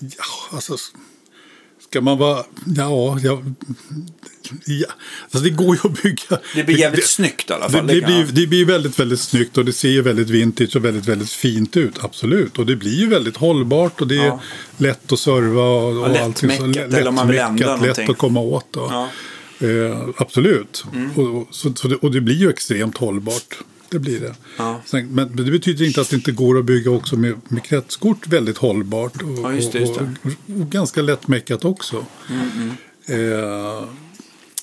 Speaker 3: Ja, alltså, ska man vara... Ja, ja, ja. Alltså, det går ju att bygga...
Speaker 2: Det blir jävligt snyggt i alla
Speaker 3: Det,
Speaker 2: fall.
Speaker 3: det,
Speaker 2: kan
Speaker 3: blir,
Speaker 2: jag-
Speaker 3: det blir väldigt, väldigt snyggt och det ser ju väldigt vintage och väldigt, väldigt fint ut. Absolut. Och det blir ju väldigt hållbart och det är
Speaker 2: Ja.
Speaker 3: lätt att serva och, och
Speaker 2: lättmäckat,
Speaker 3: allting. Så lä-
Speaker 2: eller om man vill ändra
Speaker 3: lättmäckat, lätt
Speaker 2: någonting.
Speaker 3: att komma åt. Och,
Speaker 2: Ja. Mm.
Speaker 3: eh, absolut. Och, och, så, så det, och det blir ju extremt hållbart. Det blir det.
Speaker 2: Ja.
Speaker 3: Sen, men men det betyder inte att det inte går att bygga också med, med kretskort väldigt hållbart. Och,
Speaker 2: Ja, just det, just det. Mm,
Speaker 3: Och, och, och ganska lättmäckat också. Eh,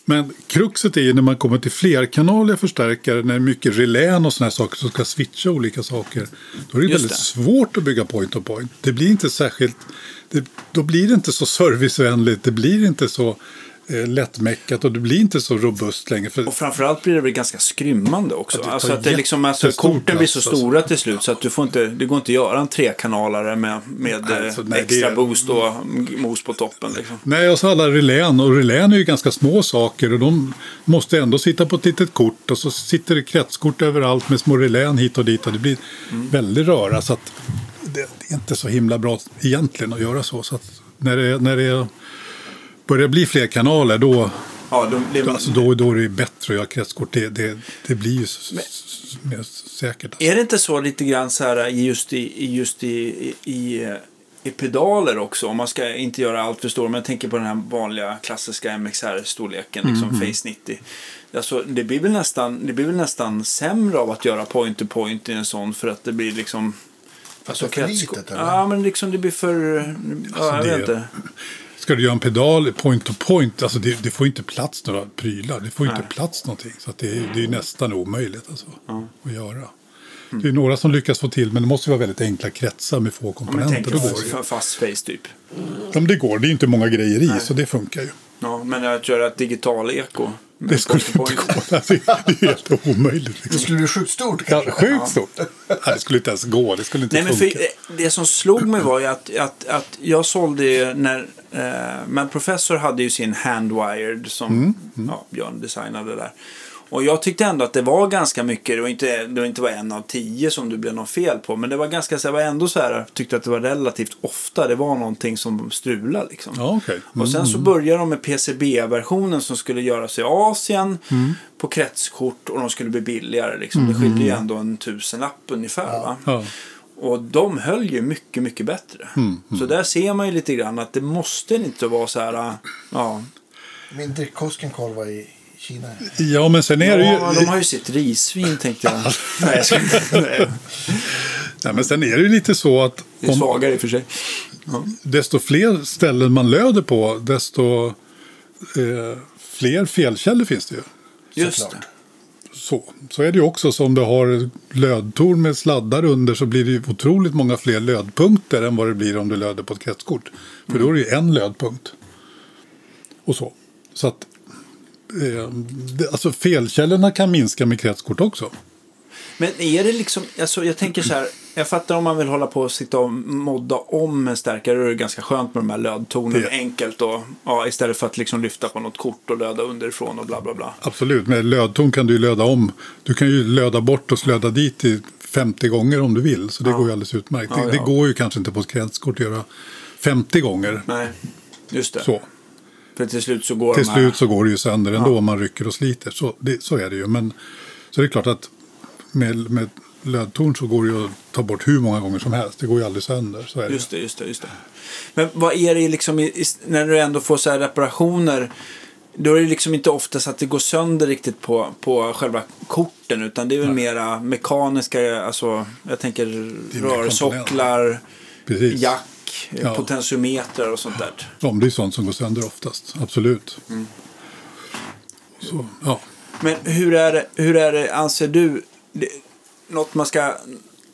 Speaker 3: men kruxet är ju när man kommer till flerkanaliga förstärkare, när det är mycket relän och sådana här saker som ska switcha olika saker. Då är det
Speaker 2: Just
Speaker 3: väldigt
Speaker 2: det.
Speaker 3: svårt att bygga point to point. Det blir inte särskilt, det, då blir det inte så servicevänligt, det blir inte så eh, lättmäckat och det blir inte så robust längre. För,
Speaker 2: Och framförallt blir det väl ganska skrymmande också.
Speaker 3: Ja, det tar
Speaker 2: alltså att det är liksom, alltså,
Speaker 3: jättestor
Speaker 2: korten blir så
Speaker 3: plats, alltså.
Speaker 2: stora till slut så att du får inte, det går inte att göra en trekanalare med, med
Speaker 3: Nej,
Speaker 2: eh,
Speaker 3: så nej,
Speaker 2: extra
Speaker 3: det-
Speaker 2: boost och mos på toppen. Liksom.
Speaker 3: Nej, och så alla relän. Och relän är ju ganska små saker och de måste ändå sitta på ett litet kort. Och så sitter det kretskort överallt med små relän hit och dit. Och det blir väldigt röra. Så att det är inte så himla bra egentligen att göra så. så att när, det, när det börjar bli fler kanaler då,
Speaker 2: Ja, de, det,
Speaker 3: alltså då, då är det bättre att göra kretskort. Det, det, det blir ju s- s- mer säkert.
Speaker 2: Är det inte så lite grann så här just i, i- just i, i, i, eh, i pedaler också? Om man ska inte göra allt för stor, men jag tänker på den här vanliga klassiska MXR-storleken, liksom Face 90. Alltså, det, blir väl nästan, det blir väl nästan sämre av att göra point-to-point i en sån för att det blir liksom...
Speaker 1: det är för
Speaker 2: kretsko-
Speaker 1: litet, eller?
Speaker 2: Ja, men liksom det blir för... ja, jag
Speaker 3: det-
Speaker 2: vet inte.
Speaker 3: Ska du göra en pedal point to point, alltså det, det får inte plats några prylar. Det får inte plats någonting. Så att det, är- det är nästan omöjligt alltså, att göra.
Speaker 2: Mm.
Speaker 3: Det är några som lyckas få till, men det måste ju vara väldigt enkla kretsar med få
Speaker 2: Om jag
Speaker 3: komponenter.
Speaker 2: tänker
Speaker 3: Då går det, ju.
Speaker 2: fa- fast face typ.
Speaker 3: Ja, men det går, det är inte många grejer i, så det funkar ju.
Speaker 2: Ja, men att göra ett digital eko. med
Speaker 3: Det skulle inte
Speaker 2: point-to-point.
Speaker 3: gå, alltså, det är helt omöjligt.
Speaker 1: Det
Speaker 3: Liksom.
Speaker 1: skulle bli sjukt stort
Speaker 3: Ja,
Speaker 1: kanske.
Speaker 3: Sjukt stort! Nej, det skulle inte ens gå, det skulle inte
Speaker 2: Nej, men för,
Speaker 3: funka.
Speaker 2: eh, det som slog mig var ju att, att, att jag sålde ju när... Eh, men Professor hade ju sin Handwired som
Speaker 3: Mm,
Speaker 2: Ja, Björn designade där. Och jag tyckte ändå att det var ganska mycket. Det var inte, det var inte var en av tio som det blev något fel på. Men det var ganska så här, jag var ändå så här, jag tyckte att det var relativt ofta det var någonting som strulade liksom.
Speaker 3: Ja, okej. Mm.
Speaker 2: Och sen så började de med PCB-versionen som skulle göras i Asien
Speaker 3: Mm.
Speaker 2: på kretskort och de skulle bli billigare. Liksom. Det skilde ju ändå en tusenlapp ungefär. Va?
Speaker 3: Ja. Mm.
Speaker 2: Och de höll ju mycket, mycket bättre. Så där ser man ju lite grann att det måste inte vara så här, äh, ja.
Speaker 1: Min Dirk Koskenkorva i Kina.
Speaker 3: Ja, men sen är det ju...
Speaker 2: ja de har ju sitt risvin tänkte jag. Nej, jag ska inte. Nej,
Speaker 3: Nej, men sen är det ju lite så att...
Speaker 2: Det är
Speaker 3: om-
Speaker 2: svagare i och för sig.
Speaker 3: desto fler ställen man löder på, desto eh, fler felkällor finns det ju.
Speaker 2: Just
Speaker 1: Såklart.
Speaker 2: det.
Speaker 3: Så, så är det ju också, så om du har lödtorn med sladdar under så blir det ju otroligt många fler lödpunkter än vad det blir om du löder på ett kretskort. För då är det ju en lödpunkt. Och så. Så att eh, det, alltså felkällorna kan minska med kretskort också.
Speaker 2: Men är det liksom, alltså jag tänker så här, jag fattar om man vill hålla på och sitta och modda om en stärkare, då är det ganska skönt med de här lödtonerna,
Speaker 3: Det-
Speaker 2: enkelt och, ja, istället för att liksom lyfta på något kort och löda underifrån och bla bla bla.
Speaker 3: Absolut, med lödton kan du ju löda om. Du kan ju löda bort och slöda dit i 50 gånger om du vill. Så det går ju alldeles utmärkt.
Speaker 2: Ja,
Speaker 3: det, det
Speaker 2: ja.
Speaker 3: går ju kanske inte på ett kretskort att göra 50 gånger.
Speaker 2: Nej, just det.
Speaker 3: Så.
Speaker 2: För till slut så går
Speaker 3: Till
Speaker 2: de här,
Speaker 3: slut så går det ju sönder ändå om man rycker och sliter. Så, det, så är det ju. Men, så det är klart att med, med lödtorn så går det ju att ta bort hur många gånger som helst. Det går ju aldrig sönder. Så är det.
Speaker 2: Just det, just det, just det. Men vad är det liksom, i, i, när du ändå får så här reparationer, då är det liksom inte oftast att det går sönder riktigt på, på själva korten, utan det är väl mera mekaniska, alltså, jag tänker
Speaker 3: är mer
Speaker 2: rörsocklar,
Speaker 3: Precis.
Speaker 2: jack, eh,
Speaker 3: Ja.
Speaker 2: potentiometer och sånt där.
Speaker 3: Ja, men det är sånt som går sönder oftast. Absolut.
Speaker 2: Mm.
Speaker 3: Så, ja.
Speaker 2: Men hur är det, hur är det anser du, det, något, man ska,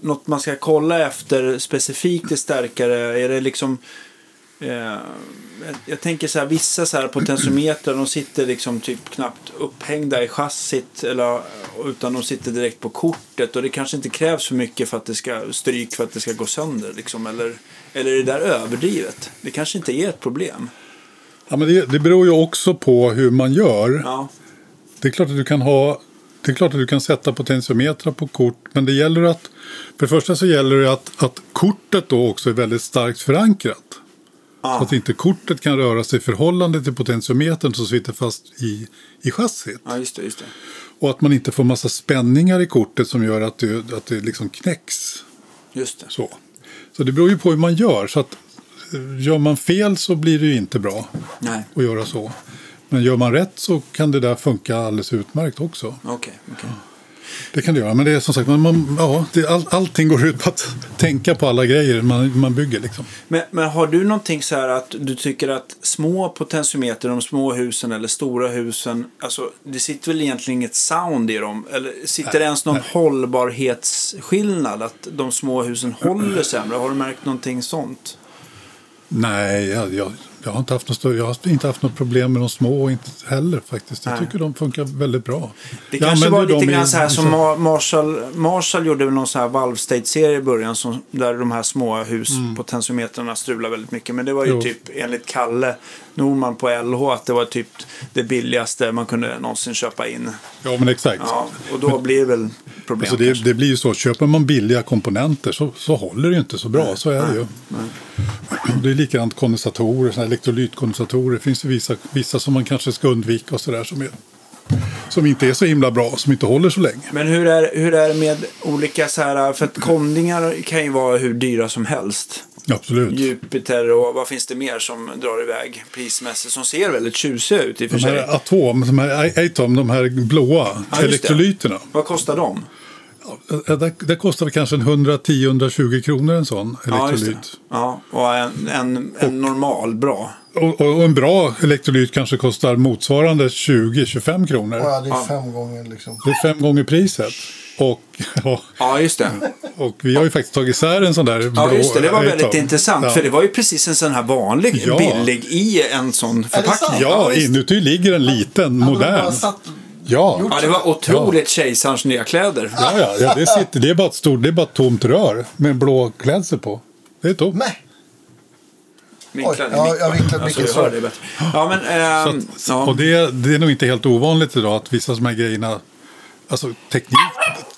Speaker 2: något man ska kolla efter specifikt i stärkare? Är det liksom Eh, jag, jag tänker så här, vissa så här potentiometer, de sitter liksom typ knappt upphängda i chassit eller, utan de sitter direkt på kortet och det kanske inte krävs så mycket för att det ska stryk för att det ska gå sönder liksom, eller, eller är det där överdrivet? Det kanske inte är ett problem.
Speaker 3: Ja, men det, det beror ju också på hur man gör.
Speaker 2: Ja,
Speaker 3: Det är klart att du kan ha det är klart att du kan sätta potentiometrar på kort, men det gäller att... För det första så gäller det att, att kortet då också är väldigt starkt förankrat. Så
Speaker 2: ah,
Speaker 3: att inte kortet kan röra sig i förhållande till potentiometern som sitter fast i, i chassit.
Speaker 2: ja just det, just det.
Speaker 3: Och att man inte får massa spänningar i kortet som gör att det, att det liksom knäcks.
Speaker 2: Just det.
Speaker 3: Så. så det beror ju på hur man gör. Så att, eh, gör man fel så blir det ju inte bra
Speaker 2: Nej,
Speaker 3: att göra så. Men gör man rätt så kan det där funka alldeles utmärkt också.
Speaker 2: okej. okej.
Speaker 3: Det kan det göra, men det är som sagt, man, man, ja, det, all, allting går ut på att tänka på alla grejer man, man bygger. Liksom.
Speaker 2: Men, men har du någonting så här att du tycker att små potentiometer, de små husen eller stora husen, alltså det sitter väl egentligen inget sound i dem? Eller sitter det ens någon hållbarhetsskillnad? Att de små husen håller sämre? Har du märkt någonting sånt?
Speaker 3: Nej, jag, jag, jag, har inte haft något, större- jag har inte haft något problem med de små och inte heller faktiskt. Jag
Speaker 2: Nej.
Speaker 3: tycker de funkar väldigt bra.
Speaker 2: Det
Speaker 3: Jag
Speaker 2: kanske var
Speaker 3: använder
Speaker 2: lite
Speaker 3: dem i-
Speaker 2: grann så här som Ma- Marshall, Marshall gjorde väl någon så här Valve State-serie i början som, där de här små huspotentiometrarna strulade väldigt mycket. Men det var ju
Speaker 3: Mm. Jo.
Speaker 2: typ enligt Kalle Norman på LH att det var typ det billigaste man kunde någonsin köpa in.
Speaker 3: Ja, men exakt.
Speaker 2: Ja, och då blir det väl problem
Speaker 3: Alltså det,
Speaker 2: kanske.
Speaker 3: det blir ju så, köper man billiga komponenter så, så håller det ju inte så bra, så är det ju. Det är likadant kondensatorer, såna här elektrolytkondensatorer. Det finns ju vissa, vissa som man kanske ska undvika och sådär som, är- som inte är så himla bra, som inte håller så länge.
Speaker 2: Men hur är, hur är det med olika så här, för att kondingar kan ju vara hur dyra som helst.
Speaker 3: Absolut.
Speaker 2: Jupiter och vad finns det mer som drar iväg prismässigt som ser väldigt tjusiga ut i och för
Speaker 3: De
Speaker 2: sig.
Speaker 3: här atom, de här atom, de här blåa
Speaker 2: just det.
Speaker 3: elektrolyterna.
Speaker 2: Vad kostar de?
Speaker 3: Ja, Där, där kostar det kanske en 110-120 kronor en sån
Speaker 2: Ja, just
Speaker 3: elektrolyt.
Speaker 2: det. Ja, och en, en, en normal bra.
Speaker 3: och, och och en bra elektrolyt kanske kostar motsvarande 20-25 kronor.
Speaker 1: Ja, det är fem gånger liksom.
Speaker 3: Det är fem gånger priset. Och, ja,
Speaker 2: Ja, just det.
Speaker 3: och vi har ju faktiskt tagit isär en sån där blå
Speaker 2: Ja, just det. Det var väldigt
Speaker 3: item.
Speaker 2: intressant.
Speaker 3: Ja.
Speaker 2: För det var ju precis en sån här vanlig,
Speaker 3: Ja.
Speaker 2: billig i en sån förpackning.
Speaker 1: sant?
Speaker 3: Ja,
Speaker 1: Ja, visst.
Speaker 3: inuti ligger en
Speaker 1: Hade
Speaker 3: liten,
Speaker 1: de
Speaker 3: modern.
Speaker 1: bara satt-
Speaker 3: Ja.
Speaker 2: Ja, det var otroligt kejsarens nya kläder.
Speaker 3: Ja, ja, ja det, sitter, det, är bara ett stort, det är bara ett tomt rör med en blå klädsel på. Det är tomt.
Speaker 1: Nej,
Speaker 2: Min
Speaker 1: Oj,
Speaker 2: klädd
Speaker 1: ja,
Speaker 2: mick,
Speaker 1: jag
Speaker 2: va?
Speaker 1: vinklade
Speaker 2: alltså, jag
Speaker 1: micken,
Speaker 2: hör
Speaker 1: sorry.
Speaker 2: det bättre. Ja, men...
Speaker 3: Så
Speaker 2: ehm,
Speaker 3: att,
Speaker 2: ja.
Speaker 3: Och det, det är nog inte helt ovanligt idag att vissa av de här grejerna, alltså teknik,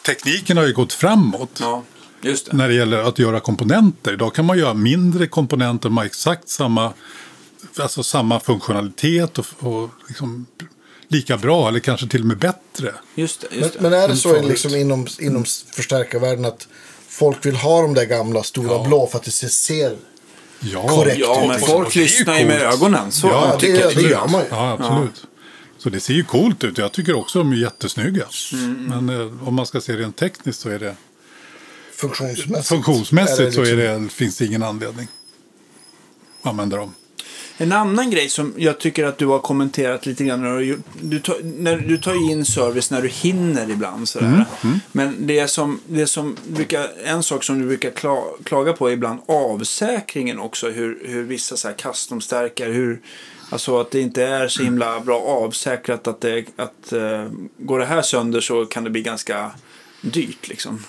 Speaker 3: tekniken har ju gått framåt.
Speaker 2: ja, just det.
Speaker 3: när det gäller att göra komponenter. Idag kan man göra mindre komponenter med exakt samma, alltså samma funktionalitet och, och liksom lika bra eller kanske till och med bättre.
Speaker 2: Just det,
Speaker 1: men,
Speaker 2: just det.
Speaker 1: men är det så
Speaker 3: Förut.
Speaker 1: liksom inom, inom förstärkarvärlden att folk vill ha de där gamla stora blå för att det ser- ser...
Speaker 3: Ja,
Speaker 1: Korrekt.
Speaker 2: ja, men
Speaker 3: och- och
Speaker 2: folk
Speaker 3: det är ju
Speaker 2: lyssnar ju med
Speaker 3: coolt.
Speaker 2: ögonen. Så
Speaker 1: Ja,
Speaker 2: tycker
Speaker 1: det-
Speaker 2: jag.
Speaker 1: det gör man ju.
Speaker 3: Ja, absolut. Så det ser ju coolt ut. Jag tycker också de är jättesnygga.
Speaker 2: Mm,
Speaker 3: Men eh, om man ska se rent tekniskt så är det
Speaker 1: Funktionsmässigt.
Speaker 3: funktionsmässigt
Speaker 1: Är det liksom-
Speaker 3: så är det, finns det ingen anledning att använda dem.
Speaker 2: En annan grej som jag tycker att du har kommenterat lite grann. När du, har gjort- du, tar, när, du tar ju in service när du hinner ibland. Sådär. Men det som, det som brukar, en sak som du brukar kla, klaga på är ibland avsäkringen också. Hur, hur vissa så här custom-stärkar, hur, alltså att det inte är så himla bra avsäkrat. Att, det, att eh, går det här sönder så kan det bli ganska dyrt liksom.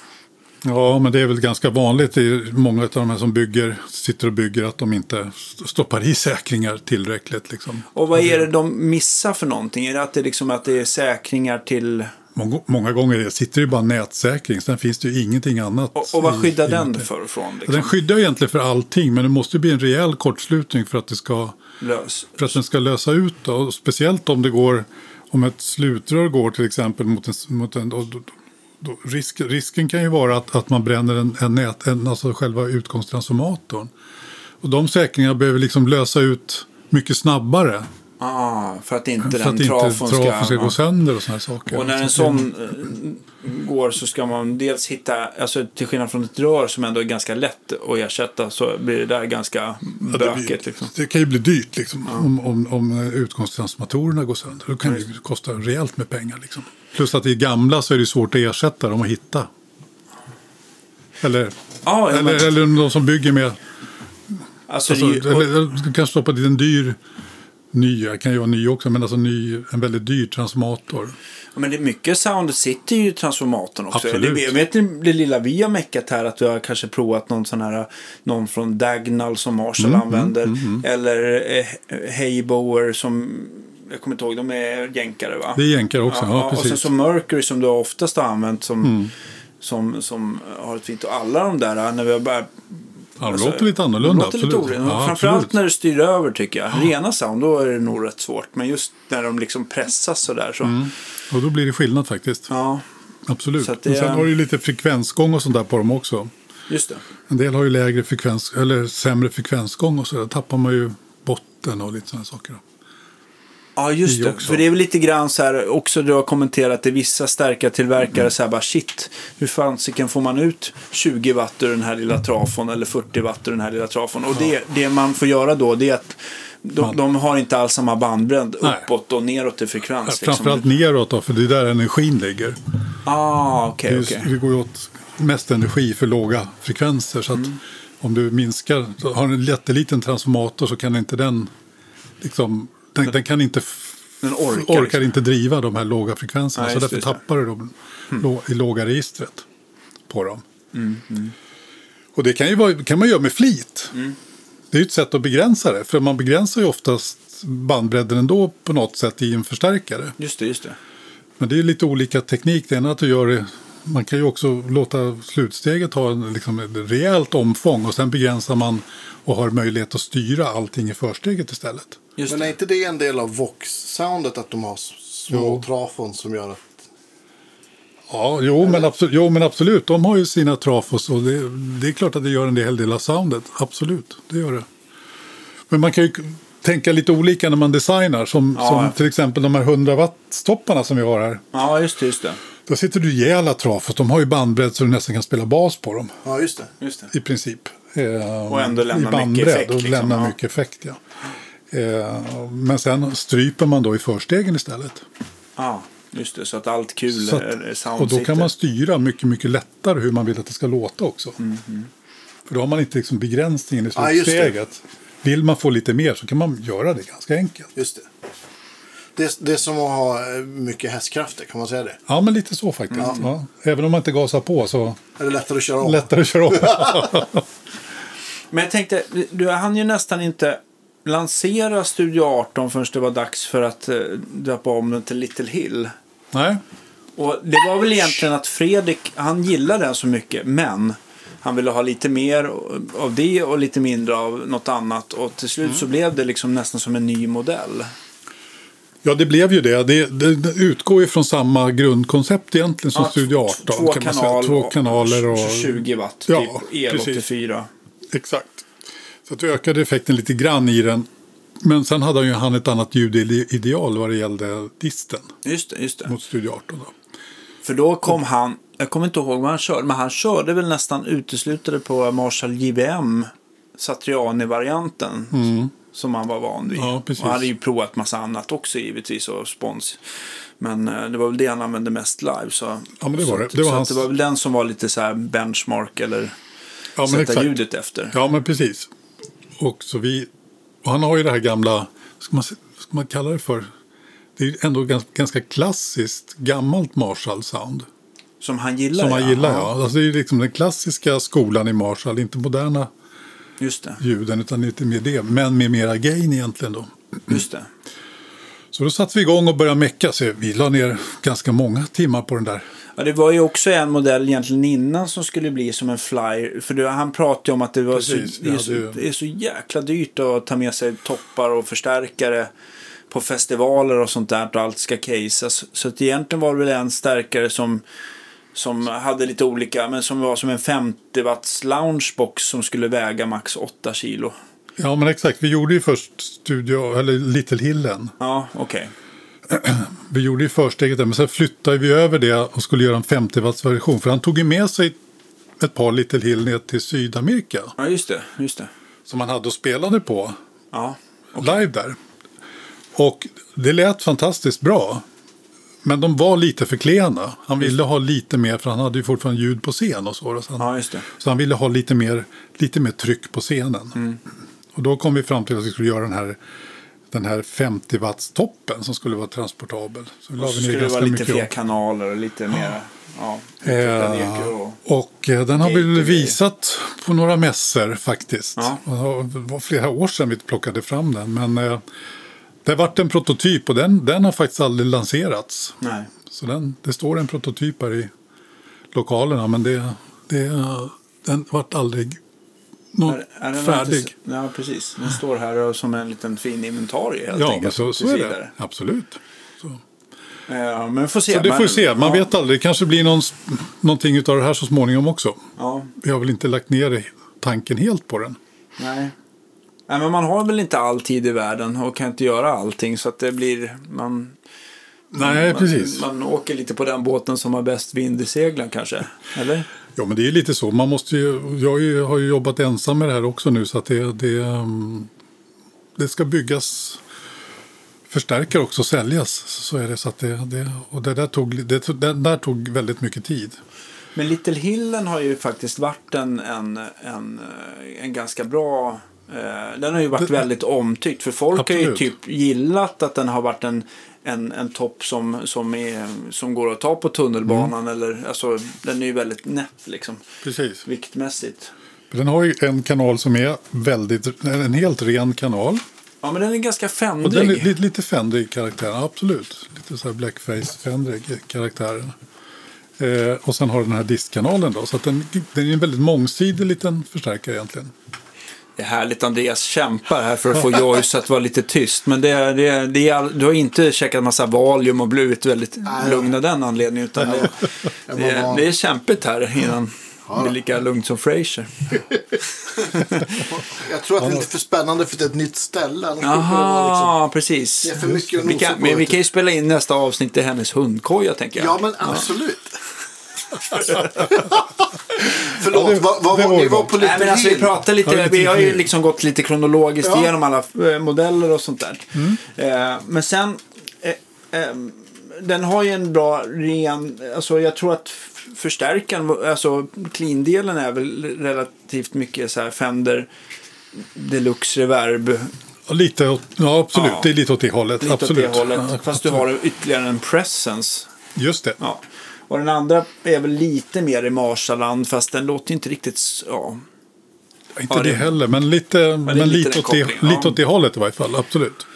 Speaker 3: Ja, men det är väl ganska vanligt i många av de här som bygger, sitter och bygger att de inte st- stoppar i säkringar tillräckligt. Liksom.
Speaker 2: Och vad är det de missar för någonting? Är det att det, liksom, att det är säkringar till
Speaker 3: Många, många gånger det sitter det ju bara nätsäkring, sen finns det ju ingenting annat.
Speaker 2: Och, och vad
Speaker 3: i-
Speaker 2: skyddar
Speaker 3: i-
Speaker 2: den för, från? Liksom?
Speaker 3: Den skyddar ju egentligen för allting, men det måste ju bli en rejäl kortslutning för att, det ska,
Speaker 2: Lös.
Speaker 3: för att den ska lösa ut. Då. Och Speciellt om det går, om ett slutrör går till exempel mot en... Mot en och, då, då, risk, risken kan ju vara att, att man bränner en, en nät, en, alltså själva utgångstransformatorn. Och de säkringarna behöver liksom lösa ut mycket snabbare.
Speaker 2: Ah, för att inte
Speaker 3: För att
Speaker 2: den
Speaker 3: inte
Speaker 2: trafon
Speaker 3: trafon
Speaker 2: ska...
Speaker 3: ska, gå
Speaker 2: ja.
Speaker 3: sönder och sådana saker.
Speaker 2: och när en
Speaker 3: Så det-
Speaker 2: sån eh, går så ska man dels hitta, alltså till skillnad från ett rör som ändå är ganska lätt att ersätta så blir det där ganska
Speaker 3: Ja, det blir-
Speaker 2: bökigt. Liksom.
Speaker 3: Det kan ju bli dyrt liksom, om, om, om utgångstransformatorerna går sönder. Då kan det ju kosta rejält med pengar. Liksom. Plus att i gamla så är det svårt att ersätta dem och hitta. Eller,
Speaker 2: Ah, ja, men,
Speaker 3: eller, eller de som bygger med
Speaker 2: Alltså,
Speaker 3: Alltså,
Speaker 2: det är ju-
Speaker 3: eller, eller, du kan stoppa dit en dyr, ny, jag kan ju vara ny också, men alltså ny, en väldigt dyr transformator.
Speaker 2: Men det är mycket sound sitter ju i transformatorn också.
Speaker 3: Absolut.
Speaker 2: Det, jag vet inte, det lilla vi har meckat här att vi har kanske provat någon sån här, någon från Dagnall som Marshall
Speaker 3: Mm,
Speaker 2: använder. Eller eh, Haybower som, jag kommer inte ihåg, de är jänkare va?
Speaker 3: Det är jänkare också, ja,
Speaker 2: Och sen
Speaker 3: precis. Mm.
Speaker 2: så Mercury som du oftast har använt som, som, som har ett fint, och alla de där äh, när vi har börjat
Speaker 3: Ja, det
Speaker 2: Alltså,
Speaker 3: låter lite annorlunda,
Speaker 2: låter
Speaker 3: absolut.
Speaker 2: lite oren-
Speaker 3: ja,
Speaker 2: Framförallt
Speaker 3: absolut.
Speaker 2: när du styr över tycker jag. Rena sound, då är det nog rätt svårt. Men just när de liksom pressas sådär så.
Speaker 3: Mm. Och då blir det skillnad faktiskt.
Speaker 2: Ja,
Speaker 3: Absolut.
Speaker 2: Så att
Speaker 3: Men
Speaker 2: det är-
Speaker 3: Sen har du ju lite frekvensgång och sånt där på dem också.
Speaker 2: just det.
Speaker 3: En del har ju lägre frekvens, eller sämre frekvensgång och så där. tappar man ju botten och lite sådana saker. då.
Speaker 2: Ja, just
Speaker 3: Vi
Speaker 2: det.
Speaker 3: också.
Speaker 2: För det är väl lite grann så här, också du har kommenterat det, vissa starka tillverkare
Speaker 3: Mm.
Speaker 2: så här bara shit, hur fansiken får man ut 20 watt ur den här lilla trafon eller 40 watt ur den här lilla trafon? Och det, det man får göra då, det är att de, de har inte alls samma bandbredd
Speaker 3: Nej.
Speaker 2: uppåt och neråt i frekvens. liksom.
Speaker 3: Framförallt neråt då, för det är där energin ligger.
Speaker 2: Ah, okej,
Speaker 3: Det, är-
Speaker 2: okej.
Speaker 3: det går ju åt mest energi för låga frekvenser. Så att
Speaker 2: Mm.
Speaker 3: om du minskar, så har du en jätteliten transformator så kan inte den, liksom, den, den kan inte, f-
Speaker 2: Den orkar liksom.
Speaker 3: inte driva de här låga frekvenserna.
Speaker 2: Nej,
Speaker 3: så
Speaker 2: just
Speaker 3: därför
Speaker 2: det, Mm. just det.
Speaker 3: tappar du dem lå- i låga registret på dem.
Speaker 2: Mm,
Speaker 3: Och det kan, ju vara, kan man göra med flit.
Speaker 2: Mm.
Speaker 3: Det är ju ett sätt att begränsa det, för man begränsar ju oftast bandbredden ändå på något sätt i en förstärkare.
Speaker 2: Just det, just det.
Speaker 3: Men det är lite olika teknik. Det ena är att du gör det, man kan ju också låta slutsteget ha en, liksom, ett rejält omfång och sen begränsar man och har möjlighet att styra allting i försteget istället.
Speaker 2: Just
Speaker 1: Men är
Speaker 2: det.
Speaker 1: inte det en del av Vox-soundet att de har s- små trafon som gör att...
Speaker 3: Ja, jo men, absolut, jo, men absolut. De har ju sina trafos och det, det är klart att det gör en hel del av soundet. Absolut, det gör det. Men man kan ju k- tänka lite olika när man designar. Som,
Speaker 2: Ja, ja.
Speaker 3: som till exempel de här 100 watt-stopparna som vi har här.
Speaker 2: Ja, just det, just det.
Speaker 3: Då sitter du ihjäl alla trafos. De har ju bandbredd så du nästan kan spela bas på dem.
Speaker 1: Ja, just det.
Speaker 2: Just det.
Speaker 3: i princip. Eh,
Speaker 2: Och ändå lämna
Speaker 3: i
Speaker 2: mycket
Speaker 3: bandbredd
Speaker 2: effekt,
Speaker 3: Och
Speaker 2: liksom,
Speaker 3: lämna
Speaker 2: ja.
Speaker 3: mycket effekt, ja. Eh, men sen stryper man då i förstegen istället.
Speaker 2: Ja, just det. Så att allt kul
Speaker 3: Så att-
Speaker 2: är sound
Speaker 3: och då
Speaker 2: sitter.
Speaker 3: kan man styra mycket, mycket lättare hur man vill att det ska låta också.
Speaker 2: Mm-hmm.
Speaker 3: För då har man inte liksom begränsningen i
Speaker 1: Ja, just det.
Speaker 3: slutsteget. vill man få lite mer så kan man göra det ganska enkelt.
Speaker 1: Just det. Det, det är som att ha eh, mycket hästkrafter, kan man säga det?
Speaker 3: Ja, men lite så faktiskt. Ja. Även om man inte gasar på så
Speaker 1: Är det lättare att köra om?
Speaker 3: lättare att köra om.
Speaker 2: Men jag tänkte, du hann ju nästan inte lansera Studio 18 förrän det var dags för att eh, döpa om den till Little Hill.
Speaker 3: Nej,
Speaker 2: Och det var väl egentligen att Fredrik, han gillade den så mycket, men han ville ha lite mer av det och lite mindre av något annat. Och till slut
Speaker 3: Mm.
Speaker 2: så blev det liksom nästan som en ny modell.
Speaker 3: Ja, det blev ju det. Det, det, det utgår ju från samma grundkoncept egentligen som
Speaker 2: Ja,
Speaker 3: Studio 18.
Speaker 2: två,
Speaker 3: kan man säga.
Speaker 2: kanal,
Speaker 3: två kanaler och...
Speaker 2: 20 watt,
Speaker 3: Ja,
Speaker 2: typ
Speaker 3: precis.
Speaker 2: el84.
Speaker 3: Exakt. Så att vi ökade effekten lite grann i den. Men sen hade han ju han ett annat ljudideal vad det gällde disten
Speaker 2: Just det, just det.
Speaker 3: mot Studio 18. Då.
Speaker 2: För då kom han, jag kommer inte ihåg vad han körde, men han körde väl nästan uteslutande på Marshall JVM, Satriani-varianten. Som han var van vid.
Speaker 3: Mm. Ja, precis.
Speaker 2: och han hade ju provat massa annat också givetvis och spons. Men eh, det var väl det han använde mest live. Så,
Speaker 3: Ja, men det var
Speaker 2: så,
Speaker 3: det.
Speaker 2: att-
Speaker 3: Det var
Speaker 2: så
Speaker 3: hans-
Speaker 2: att det var väl den som var lite så här benchmark eller
Speaker 3: Ja,
Speaker 2: sätta ljudet efter.
Speaker 3: Ja, men precis. Och, så vi, och han har ju det här gamla, ska man, se- ska man kalla det för, det är ju ändå ganska, ganska klassiskt gammalt Marshall-sound.
Speaker 2: Som han gillar.
Speaker 3: Som man gillar,
Speaker 2: ja.
Speaker 3: ja. Alltså, det är ju liksom den klassiska skolan i Marshall, inte moderna
Speaker 2: Just det.
Speaker 3: ljuden utan lite mer det, men med mera gain egentligen då.
Speaker 2: Just det.
Speaker 3: Så då satte vi igång och började mecka, så vi la ner ganska många timmar på den där.
Speaker 2: Ja, det var ju också en modell egentligen innan som skulle bli som en flyer. För det, han pratade ju om att det, var
Speaker 3: Precis,
Speaker 2: så, det,
Speaker 3: vi
Speaker 2: är
Speaker 3: hade
Speaker 2: så,
Speaker 3: ju-
Speaker 2: det är så jäkla dyrt att ta med sig toppar och förstärkare på festivaler och sånt där och allt ska caseas. Så att egentligen var det väl en stärkare som, som hade lite olika, men som var som en 50 watts loungebox som skulle väga max 8 kilo.
Speaker 3: Ja men exakt, vi gjorde ju först Studio, eller Little Hillen.
Speaker 2: Ja, okej.
Speaker 3: Vi gjorde ju försteget där, men sen flyttade vi över det och skulle göra en 50 watts version. För han tog ju med sig ett par Little Hill ner till Sydamerika.
Speaker 2: Ja, just det. Just det.
Speaker 3: Som han hade och spelade på
Speaker 2: Ja.
Speaker 3: live där. Och det lät fantastiskt bra. Men de var lite för klena. Han ville ha lite mer, för han hade ju fortfarande ljud på scen och så. då, Så han,
Speaker 2: ja, just det. Mm.
Speaker 3: Så han ville ha lite mer, lite mer tryck på scenen. Och då kom vi fram till att vi skulle göra den här, den här 50 wattstoppen som skulle vara transportabel. Så, la
Speaker 2: Och
Speaker 3: vi
Speaker 2: så
Speaker 3: ner
Speaker 2: skulle det
Speaker 3: ganska
Speaker 2: vara lite
Speaker 3: mycket jobb.
Speaker 2: fler kanaler och lite mer... Ja, typ
Speaker 3: Eh,
Speaker 2: och,
Speaker 3: och eh, den har vi
Speaker 2: Gateway.
Speaker 3: visat på några mässor faktiskt.
Speaker 2: Ja.
Speaker 3: Och Det var flera år sedan vi plockade fram den. Men eh, det vart en prototyp och den, den har faktiskt aldrig lanserats.
Speaker 2: nej.
Speaker 3: Så den, det står en prototyp här i lokalerna men det, det, den vart aldrig nå-
Speaker 2: Är, är den
Speaker 3: färdig.
Speaker 2: Inte, ja, precis. Den står här och som en liten fin inventarie helt
Speaker 3: ja,
Speaker 2: enkelt.
Speaker 3: men så, så
Speaker 2: tills
Speaker 3: är det.
Speaker 2: vidare.
Speaker 3: Absolut.
Speaker 2: Eh, men vi får se.
Speaker 3: Så det får
Speaker 2: men,
Speaker 3: vi se. Man vet aldrig. Det kanske blir någon, s- någonting av det här så småningom också.
Speaker 2: Ja,
Speaker 3: Vi har väl inte lagt ner tanken helt på den.
Speaker 2: nej. nej. Men man har väl inte all tid i världen och kan inte göra allting så att det blir... Man,
Speaker 3: Nej,
Speaker 2: man,
Speaker 3: precis.
Speaker 2: Man åker lite på den båten som har bäst vind i seglen kanske. Eller?
Speaker 3: Ja, men det är ju lite så. Man måste ju, jag har ju- har ju jobbat ensam med det här också nu så att det, det, ehm, det ska byggas förstärkare också och säljas. Så är det. Så att det, det, och det där, tog, det, det där tog väldigt mycket tid.
Speaker 2: Men Little Hillen har ju faktiskt varit en, en, en, eh, en ganska bra... Eh, den har ju varit
Speaker 3: Det-
Speaker 2: väldigt omtyckt. För folk har ju
Speaker 3: Absolut.
Speaker 2: typ gillat att den har varit en, en, en topp som, som, är, som går att ta på tunnelbanan.
Speaker 3: Mm.
Speaker 2: Eller, alltså, den är ju väldigt nätt liksom,
Speaker 3: Precis.
Speaker 2: viktmässigt.
Speaker 3: Den har ju en kanal som är väldigt, en helt ren kanal.
Speaker 2: Ja, men den är ganska
Speaker 3: Och
Speaker 2: fändig.
Speaker 3: den är lite, lite fändig karaktären, absolut. Lite så här blackface fändig karaktären. Eh, och sen har den här diskkanalen då. Så att den, den är en väldigt mångsidig liten förstärkare egentligen.
Speaker 2: Det är härligt, Andreas kämpar här för att få Joyce att vara lite tyst. Men det, det, det är, all- du har inte käkat massa Valium och blivit väldigt lugn av den anledningen. Utan det, det, är- det är kämpigt här innan det blir lika lugnt som Fraser.
Speaker 4: Jag tror att det är lite för spännande för det är ett nytt ställe. Annars skulle det vara liksom-
Speaker 2: Jaha, precis.
Speaker 4: Det är för mycket att
Speaker 2: vi
Speaker 4: nosa
Speaker 2: kan,
Speaker 4: på,
Speaker 2: men vi
Speaker 4: vet du.
Speaker 2: kan ju spela in nästa avsnitt i hennes hundkoja, tänker jag.
Speaker 4: Ja, men absolut. Förlåt, vad, vad,
Speaker 3: det
Speaker 4: var
Speaker 3: var
Speaker 4: ni
Speaker 3: ju
Speaker 4: var
Speaker 3: gott.
Speaker 4: på
Speaker 2: Nej,
Speaker 4: lite
Speaker 2: men alltså, vi pratar
Speaker 3: Ja,
Speaker 2: lite,
Speaker 3: lite
Speaker 2: vi har ju
Speaker 3: till.
Speaker 2: liksom gått lite kronologiskt
Speaker 4: Ja.
Speaker 2: igenom alla eh, modeller och sånt där.
Speaker 3: Mm.
Speaker 2: Eh, men sen, eh, eh, den har ju en bra ren, alltså jag tror att f- förstärkaren, alltså clean-delen är väl relativt mycket så här Fender Deluxe Reverb.
Speaker 3: Ja, Lite åt, ja, absolut.
Speaker 2: Ja.
Speaker 3: Det är lite åt det hållet.
Speaker 2: Lite
Speaker 3: absolut.
Speaker 2: åt det hållet.
Speaker 3: Ja,
Speaker 2: Fast du har ytterligare en presence.
Speaker 3: Just det.
Speaker 2: Ja. Och den andra är väl lite mer i Marshallland fast den låter ju inte riktigt, s- ja.
Speaker 3: Inte
Speaker 2: Ja, det-
Speaker 3: det heller, men lite, men
Speaker 2: lite den
Speaker 3: lite, åt, det,
Speaker 2: kopplingen,
Speaker 3: lite
Speaker 2: ja.
Speaker 3: åt det hållet i varje fall. Absolut.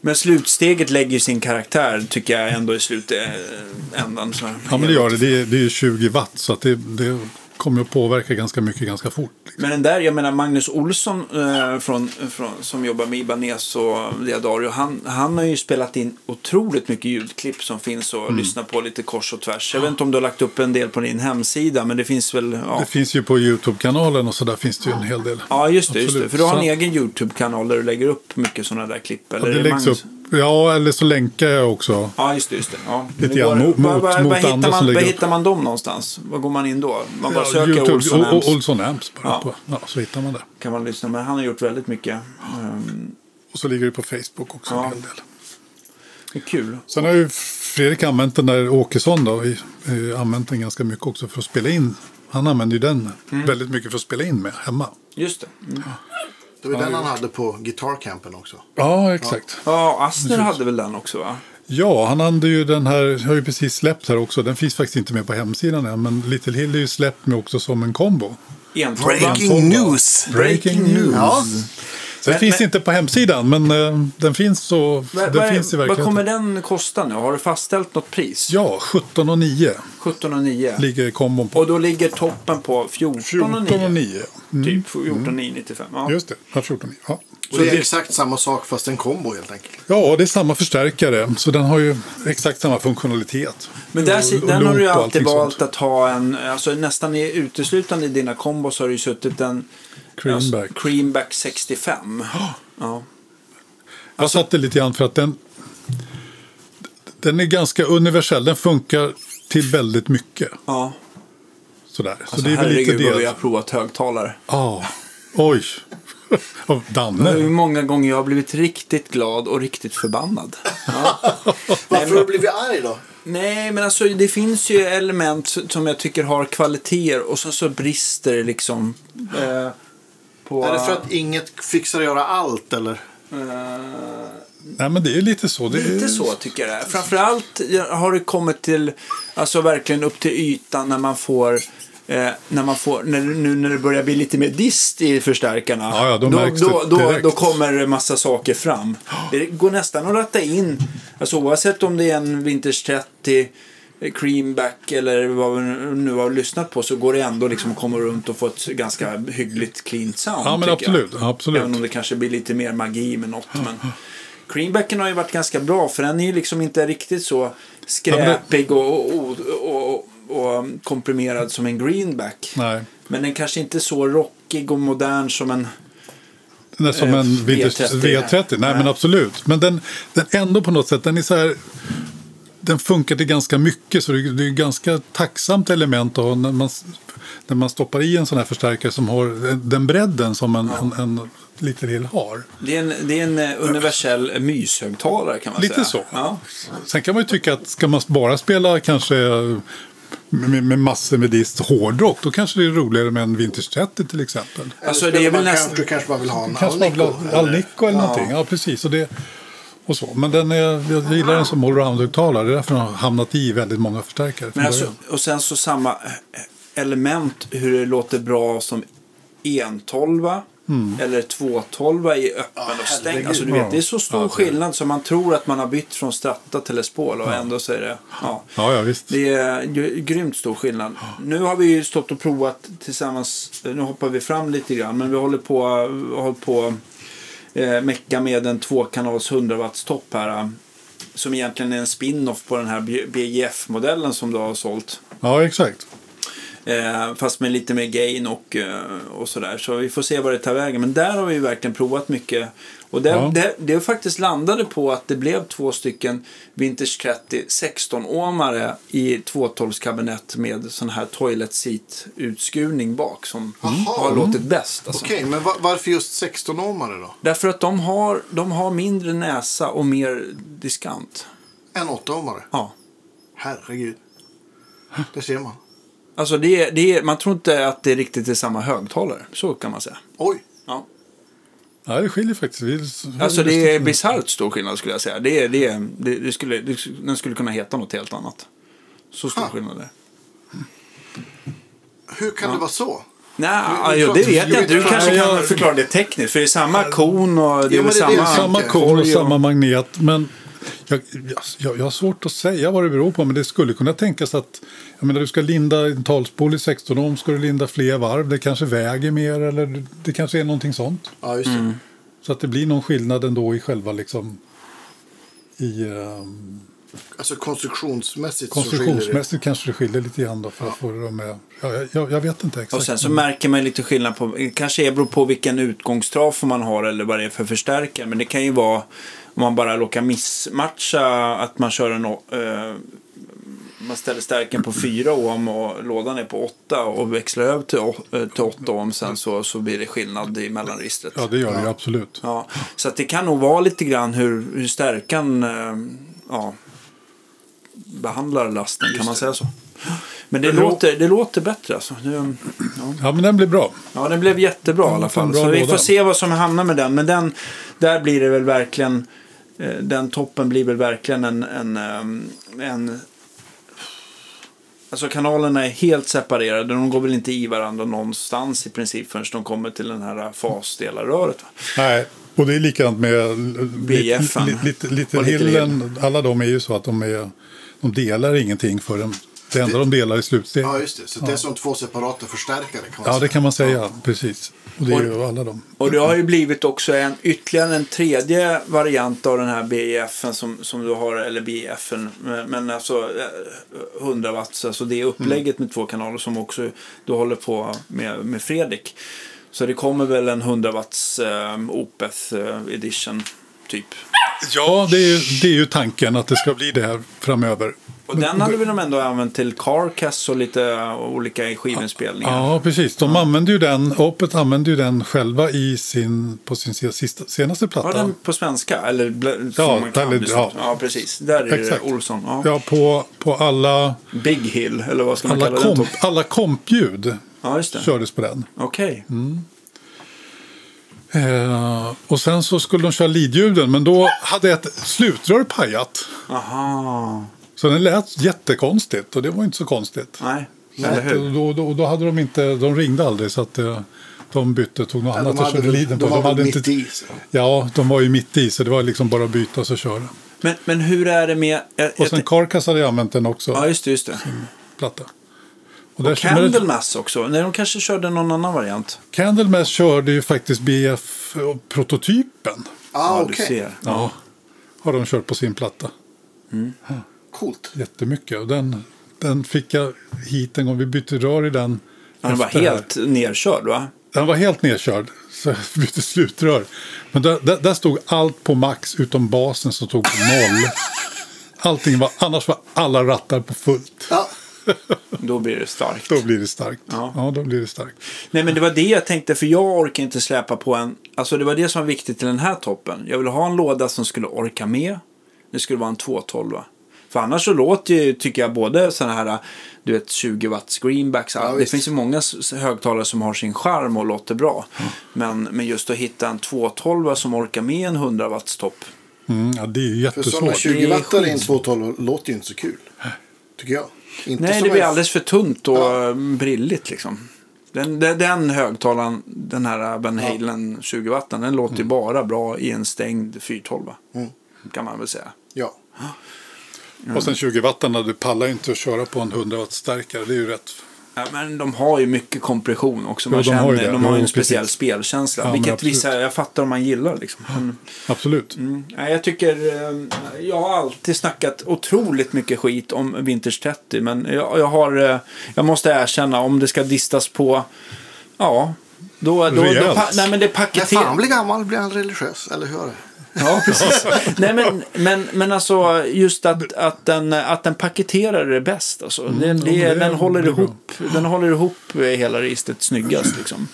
Speaker 2: Men slutsteget lägger ju sin karaktär tycker jag ändå i slutändan. Så.
Speaker 3: Ja, men det gör det. Det är, det är ju 20 watt så att det, det kommer att påverka ganska mycket ganska fort.
Speaker 2: Men den där, jag menar Magnus Olsson eh, från, från, som jobbar med Ibanez och Diadario, han, han har ju spelat in otroligt mycket ljudklipp som finns
Speaker 3: Mm.
Speaker 2: att lyssna på lite kors och tvärs. Jag vet inte om du har lagt upp en del på din hemsida, men det finns väl... Ja,
Speaker 3: Det finns ju på YouTube-kanalen och så där finns det ju en hel del.
Speaker 2: ja just, det, just det.
Speaker 3: Absolut.
Speaker 2: För du har en
Speaker 3: Så-
Speaker 2: egen YouTube-kanal där du lägger upp mycket sådana där klipp. Eller
Speaker 3: Ja,
Speaker 2: är
Speaker 3: det läggs
Speaker 2: Magnus?
Speaker 3: upp. Ja, eller så länkar jag också.
Speaker 2: Ja, just det. Just det. Ja. Men
Speaker 3: Lite
Speaker 2: det går-
Speaker 3: grann mot-
Speaker 2: Var- var-
Speaker 3: mot
Speaker 2: var
Speaker 3: andra
Speaker 2: hittar
Speaker 3: som
Speaker 2: man- Var
Speaker 3: lägger upp.
Speaker 2: hittar man dem någonstans? Var går man in då? Man bara söker
Speaker 3: YouTube-
Speaker 2: Olsson
Speaker 3: O- O-
Speaker 2: Amps.
Speaker 3: Olsson Amps bara
Speaker 2: Ja.
Speaker 3: på. Ja, så hittar man det.
Speaker 2: kan man lyssna. Men han har gjort väldigt mycket. Ehm,
Speaker 3: Och så ligger det på Facebook också
Speaker 2: Ja.
Speaker 3: en hel del.
Speaker 2: det är kul.
Speaker 3: Sen har ju Fredrik använt den där Åkesson då, i- eh, använt den ganska mycket också för att spela in. Han använder ju den
Speaker 2: Mm.
Speaker 3: väldigt mycket för att spela in med hemma.
Speaker 2: Just det. Mm.
Speaker 4: Det var den han hade på Guitar Campen också.
Speaker 3: Ja, exakt. Ja,
Speaker 2: Ja, Asner hade väl den också va?
Speaker 3: han hade ju den här, har ju precis släppt här också. Den finns faktiskt inte med på hemsidan än, men Little Hill är ju släppt med också som en kombo.
Speaker 2: Entolvan.
Speaker 4: Breaking news!
Speaker 3: Breaking news.
Speaker 4: Ja.
Speaker 3: Den
Speaker 2: Men-
Speaker 3: finns
Speaker 2: men-
Speaker 3: inte på hemsidan, men eh, den finns så,
Speaker 2: Vad-
Speaker 3: den
Speaker 2: vad är-
Speaker 3: finns i
Speaker 2: Vad
Speaker 3: verkligheten.
Speaker 2: kommer den kosta nu? Har du fastställt något pris?
Speaker 3: Ja, 17 och 9
Speaker 2: 17 och 9.
Speaker 3: ligger kombon på.
Speaker 2: Och då ligger toppen på 14 och
Speaker 3: 14 och
Speaker 2: 9.
Speaker 3: 9.
Speaker 2: Typ 14 och 995. Ja.
Speaker 3: Just det, ja, 14 och 9. Ja.
Speaker 4: Så det är exakt samma sak fast en kombo helt enkelt.
Speaker 3: Ja, det är samma förstärkare, så den har ju exakt samma funktionalitet.
Speaker 2: Men där,
Speaker 3: Och-
Speaker 2: si-
Speaker 3: och
Speaker 2: den har
Speaker 3: loop
Speaker 2: du ju
Speaker 3: och
Speaker 2: alltid
Speaker 3: allting
Speaker 2: valt
Speaker 3: sånt.
Speaker 2: att ha en, alltså nästan i, uteslutande i dina kombos har du ju suttit en
Speaker 3: Creamback.
Speaker 2: Alltså, creamback 65. Ja.
Speaker 3: Jag
Speaker 2: Alltså-
Speaker 3: satte lite grann för att den, den är ganska universell. Den funkar till väldigt mycket.
Speaker 2: ja.
Speaker 3: Sådär. Så
Speaker 2: Alltså,
Speaker 3: det är väl lite
Speaker 2: herregud vad vi har
Speaker 3: det.
Speaker 2: provat högtalare.
Speaker 3: Ja, oj. Av
Speaker 2: Hur
Speaker 3: Danne.
Speaker 2: många gånger jag har blivit riktigt glad och riktigt förbannad. Ja. Nej,
Speaker 4: Varför har du
Speaker 2: men,
Speaker 4: blivit arg då?
Speaker 2: nej, men alltså det finns ju element som jag tycker har kvaliteter och sen så brister det liksom eh, på på...
Speaker 4: Är det för att inget fixar att göra allt eller?
Speaker 2: eh,
Speaker 3: Nej, men det är lite så. Det är...
Speaker 2: Lite så tycker jag det är. Framförallt har det kommit till, alltså verkligen upp till ytan när man får eh, när man får, när, nu när det börjar bli lite mer dist i förstärkarna.
Speaker 3: Ja, ja, då märks det
Speaker 2: då, då,
Speaker 3: direkt.
Speaker 2: då kommer det massa saker fram. Det går nästan att ratta in, alltså oavsett om det är en Vinters 30 Creamback eller vad vi nu har lyssnat på så går det ändå liksom att komma runt och få ett ganska hyggligt clean sound.
Speaker 3: Ja, men
Speaker 2: tycker jag.
Speaker 3: absolut, absolut.
Speaker 2: Även om det kanske blir lite mer magi med något. Men Greenbacken har ju varit ganska bra för den är ju liksom inte riktigt så skräpig och, och, och, och, och komprimerad som en greenback.
Speaker 3: Nej,
Speaker 2: Men den kanske inte är så rockig och modern som en...
Speaker 3: den är som
Speaker 2: Eh,
Speaker 3: en vintage
Speaker 2: V30.
Speaker 3: V30. Nej, men absolut. Men den, den ändå på något sätt, den är så här... Den funkar till ganska mycket, så det det är ett ganska tacksamt element att ha när man, när man stoppar i en sån här förstärkare som har den bredden som en, en, en liten hill har.
Speaker 2: Det är en, det är en eh, universell myshögtalare kan man
Speaker 3: Lite
Speaker 2: säga.
Speaker 3: så.
Speaker 2: Ja.
Speaker 3: Sen kan man ju tycka att ska man bara spela kanske med, med massor med dist hårdrock, då kanske det är roligare med en Vintage 30 till exempel.
Speaker 2: Alltså,
Speaker 4: Eller
Speaker 2: det är väl
Speaker 4: man
Speaker 2: nästan-
Speaker 4: kanske, du kanske bara vill ha en
Speaker 3: Kanske man vill ha
Speaker 4: Alnico?
Speaker 3: Alnico eller någonting. Ja, precis. Och det, och så. Men den är, jag gillar den som allround-högtalare. Det är därför den har hamnat i väldigt många förstärkare. från
Speaker 2: Men alltså,
Speaker 3: början.
Speaker 2: och sen så samma eh, element hur det låter bra som entolva eller tvåtolva i öppen och stängd.
Speaker 4: herregud.
Speaker 2: Alltså, du vet, det är så stor
Speaker 3: Ja, det är-
Speaker 2: skillnad som man tror att man har bytt från stratta till Les Paul och ändå så är det... Ja.
Speaker 3: Ja, ja, visst.
Speaker 2: Det är ju grymt stor skillnad. Nu har vi ju stått och provat tillsammans. Nu hoppar vi fram lite grann men vi håller på håller på eh, mecka med en tvåkanals 100 watts topp här. eh, Som egentligen är en spin-off på den här BGF-modellen som du har sålt.
Speaker 3: Ja, exakt.
Speaker 2: Eh, fast med lite mer gain och, eh, och sådär. Så vi får se vad det tar vägen. Men där har vi ju verkligen provat mycket. Och det,
Speaker 3: Ja.
Speaker 2: det, det faktiskt landade på att det blev två stycken Vintage 30 16-åmare i 212-kabinett med sån här toilet seat-utskurning bak som har låtit bäst. Alltså.
Speaker 4: Okej, men va- varför just 16-åmare då?
Speaker 2: Därför att de har, de har mindre näsa och mer diskant.
Speaker 4: En 8-åmare?
Speaker 2: Ja.
Speaker 4: Herregud. Det ser man.
Speaker 2: Alltså det, är- det, är- man tror inte att det riktigt är samma högtalare. Så kan man säga.
Speaker 4: Oj,
Speaker 2: Ja.
Speaker 3: Ja, det skiljer faktiskt. Vi,
Speaker 2: Alltså det är bisarrt stor skillnad skulle jag säga. Det är, det är, det, det skulle, det, den skulle kunna heta något helt annat. Så stor
Speaker 4: Ha.
Speaker 2: skillnad är det.
Speaker 4: hur kan det vara så?
Speaker 2: Nej,
Speaker 4: du
Speaker 2: ja,
Speaker 4: tror
Speaker 2: det
Speaker 4: att du
Speaker 2: vet jag inte. Du
Speaker 4: gjorde-
Speaker 2: kanske
Speaker 3: Ja,
Speaker 2: kan
Speaker 3: jag-
Speaker 2: förklara det tekniskt. För det är samma kon och det är
Speaker 4: men
Speaker 2: väl
Speaker 4: det är det
Speaker 2: samma...
Speaker 4: jag
Speaker 3: Samma
Speaker 4: tanke.
Speaker 3: kol och
Speaker 2: korg
Speaker 3: samma magnet. Men jag, jag, jag har svårt att säga vad det beror på. Men det skulle kunna tänkas att jag menar, du ska linda en talspol i 16 ohm. Ska du linda fler varv? Det kanske väger mer eller det kanske är någonting sånt.
Speaker 4: Ja, just det.
Speaker 3: Mm. Så att det blir någon skillnad ändå i själva liksom i ehm,
Speaker 4: Alltså konstruktionsmässigt så skiljer det.
Speaker 3: konstruktionsmässigt kanske det skiljer lite grann då för att få dem med. Ja, jag- jag, jag vet inte exakt.
Speaker 2: Och sen så märker man lite skillnad på, kanske det beror på vilken utgångstrafo man har eller vad det är för förstärkare. Men det kan ju vara om man bara råkar missmatcha att man kör en, eh, man ställer stärken på 4 ohm och lådan är på 8 och växlar över till, å- eh, till 8 ohm sen så, så blir det skillnad i mellanregistret.
Speaker 3: Ja, det gör det ju absolut.
Speaker 2: Ja, så att det kan nog vara lite grann hur, hur stärkan eh, ja, behandlar lasten, kan man säga så. Men det,
Speaker 3: Men då-
Speaker 2: låter, det låter bättre alltså. Det, ja.
Speaker 3: Ja, men den blir bra.
Speaker 2: Ja, den blev jättebra i alla fall.
Speaker 3: en bra
Speaker 2: Så vi
Speaker 3: låda.
Speaker 2: får se vad som hamnar med den. Men den, där blir det väl verkligen, eh, den toppen blir väl verkligen en, en, ehm, en Alltså kanalerna är helt separerade. De går väl inte i varandra någonstans i princip förrän de kommer till den här eh, fasdelarröret. va?
Speaker 3: Nej, och det är likadant med
Speaker 2: BF -an.
Speaker 3: lite, lite, lite
Speaker 2: Och Little
Speaker 3: hillen. Alla de är ju så att de, är, de delar ingenting förrän det enda de delar är slutsteget.
Speaker 4: Ja, just det. Så det är som två separata förstärkare kan man
Speaker 3: Ja, det
Speaker 4: säga.
Speaker 3: kan man säga. Precis. Och det är ju alla de.
Speaker 2: Och det har ju blivit också en, ytterligare en tredje variant av den här BEFen som, som du har, eller BEFen, men- men alltså eh, 100 watts, alltså det upplägget med två kanaler som också du håller på med, med Fredrik. Så det kommer väl en 100 watts eh, Opeth eh, edition, typ.
Speaker 3: Ja, det är, ju- det är ju tanken att det ska bli det här framöver.
Speaker 2: Och den hade vi de ändå använt till Carcass och lite eh, olika skivinspelningar.
Speaker 3: Ja, precis. De använde ju den, Opet använde ju den själva i sin, på sin se- sista, senaste
Speaker 2: Var
Speaker 3: platta.
Speaker 2: den på svenska? Eller bl-
Speaker 3: Ja,
Speaker 2: som man kan,
Speaker 3: eller-
Speaker 2: liksom.
Speaker 3: ja.
Speaker 2: ja, precis. Där är
Speaker 3: Exakt.
Speaker 2: det Olsson. Ja.
Speaker 3: Ja, på, på alla,
Speaker 2: Big Hill, eller vad ska man
Speaker 3: alla,
Speaker 2: kalla den?
Speaker 3: komp, alla kompljud
Speaker 2: Ja, just det.
Speaker 3: Mm. kördes på den.
Speaker 2: Okej.
Speaker 3: Eh, och sen så skulle de köra lidljuden, men då hade ett slutrör pajat.
Speaker 2: Aha.
Speaker 3: Så den lät jättekonstigt och det var inte så konstigt.
Speaker 2: Nej,
Speaker 3: Så
Speaker 2: eller
Speaker 3: att,
Speaker 2: hur?
Speaker 3: eh, då, då, då hade de inte, de ringde aldrig så att eh, de bytte och tog något annat.
Speaker 4: de hade
Speaker 3: och körde
Speaker 4: väl-
Speaker 3: Liden
Speaker 4: de
Speaker 3: på.
Speaker 4: var väl mitt i, så.
Speaker 3: Ja, de var ju mitt i så det var liksom bara att byta och så köra.
Speaker 2: Men, men hur är det med... Jag,
Speaker 3: Och
Speaker 2: jag,
Speaker 3: sen Mm. Carcass hade jag använt den också,
Speaker 2: ja, just det. Just det.
Speaker 3: platta. Och där körde-
Speaker 2: Candlemass också. Nej, de kanske körde någon annan variant.
Speaker 3: Candlemass körde ju faktiskt BF-prototypen.
Speaker 4: Ah,
Speaker 2: ja,
Speaker 4: okej.
Speaker 2: du ser.
Speaker 3: Ja. Har de kört på sin platta.
Speaker 4: Coolt.
Speaker 3: Jättemycket. Och den, den fick jag hit en gång. Vi bytte rör i den.
Speaker 2: Han var
Speaker 3: efter det här.
Speaker 2: helt nerkörd, va?
Speaker 3: Den var helt nedkörd, så jag bytte slutrör. Men där, där, där stod allt på max utom basen som stod på noll. Allting var, annars var alla rattar på fullt.
Speaker 4: Ja.
Speaker 2: Då blir det starkt.
Speaker 3: Då blir det starkt.
Speaker 2: Ja.
Speaker 3: Ja, då blir det starkt.
Speaker 2: Nej men det var det jag tänkte för jag orkar inte släpa på en. Alltså det var det som var viktigt till den här toppen. Jag ville ha en låda som skulle orka med. Det skulle vara en 212. För annars så låter ju, tycker jag, både sådana här du vet 20 watt screenbacks. det
Speaker 4: visst.
Speaker 2: finns ju många s- högtalare som har sin charm och låter bra. Men, men just att hitta en 212 som orkar med en 100 watts topp.
Speaker 3: Mm, ja, det är ju
Speaker 4: För sådana
Speaker 3: jättesvårt.
Speaker 4: 20
Speaker 2: Det är
Speaker 4: wattare i en
Speaker 2: skit.
Speaker 4: 212 låter ju inte så kul. Tycker jag. Inte
Speaker 2: Nej,
Speaker 4: som
Speaker 2: det blir
Speaker 4: en-
Speaker 2: alldeles för tunt och
Speaker 4: Ja.
Speaker 2: eh, brilligt liksom. Den, den, den högtalaren, den här Van Halen 20 watten, den låter
Speaker 4: Mm.
Speaker 2: ju bara bra i en stängd 412. Kan man väl säga.
Speaker 4: Ja.
Speaker 2: Mm.
Speaker 3: Och sen 20 wattarna, du pallar ju inte att köra på en 100 watt stärkare. Det är ju rätt.
Speaker 2: Ja, men de har ju mycket kompression också. Man
Speaker 3: Ja, de
Speaker 2: känner,
Speaker 3: har
Speaker 2: de
Speaker 3: ju
Speaker 2: har ju,
Speaker 3: det. Jo,
Speaker 2: en speciell
Speaker 3: precis.
Speaker 2: spelkänsla.
Speaker 3: Ja, men
Speaker 2: vilket
Speaker 3: absolut.
Speaker 2: vissa, jag fattar om man gillar liksom. Men,
Speaker 3: Absolut.
Speaker 2: mm, nej, jag tycker, eh, jag har alltid snackat otroligt mycket skit om Vintage 30. Men jag, jag har, eh, jag måste erkänna om det ska distas på, ja. Då, då, då,
Speaker 3: Rejält.
Speaker 2: pa, nej men det är
Speaker 4: När
Speaker 2: paketerat.
Speaker 4: fan blir gammal blir han religiös, eller hur? är det?
Speaker 2: Ja, precis. Nej, men, men, men alltså just att, att, den, att den paketerar det bäst. Alltså. Den, det,
Speaker 3: Mm, ja, men det
Speaker 2: den, håller
Speaker 3: blir
Speaker 2: ihop, den håller ihop hela registret snyggast. Liksom.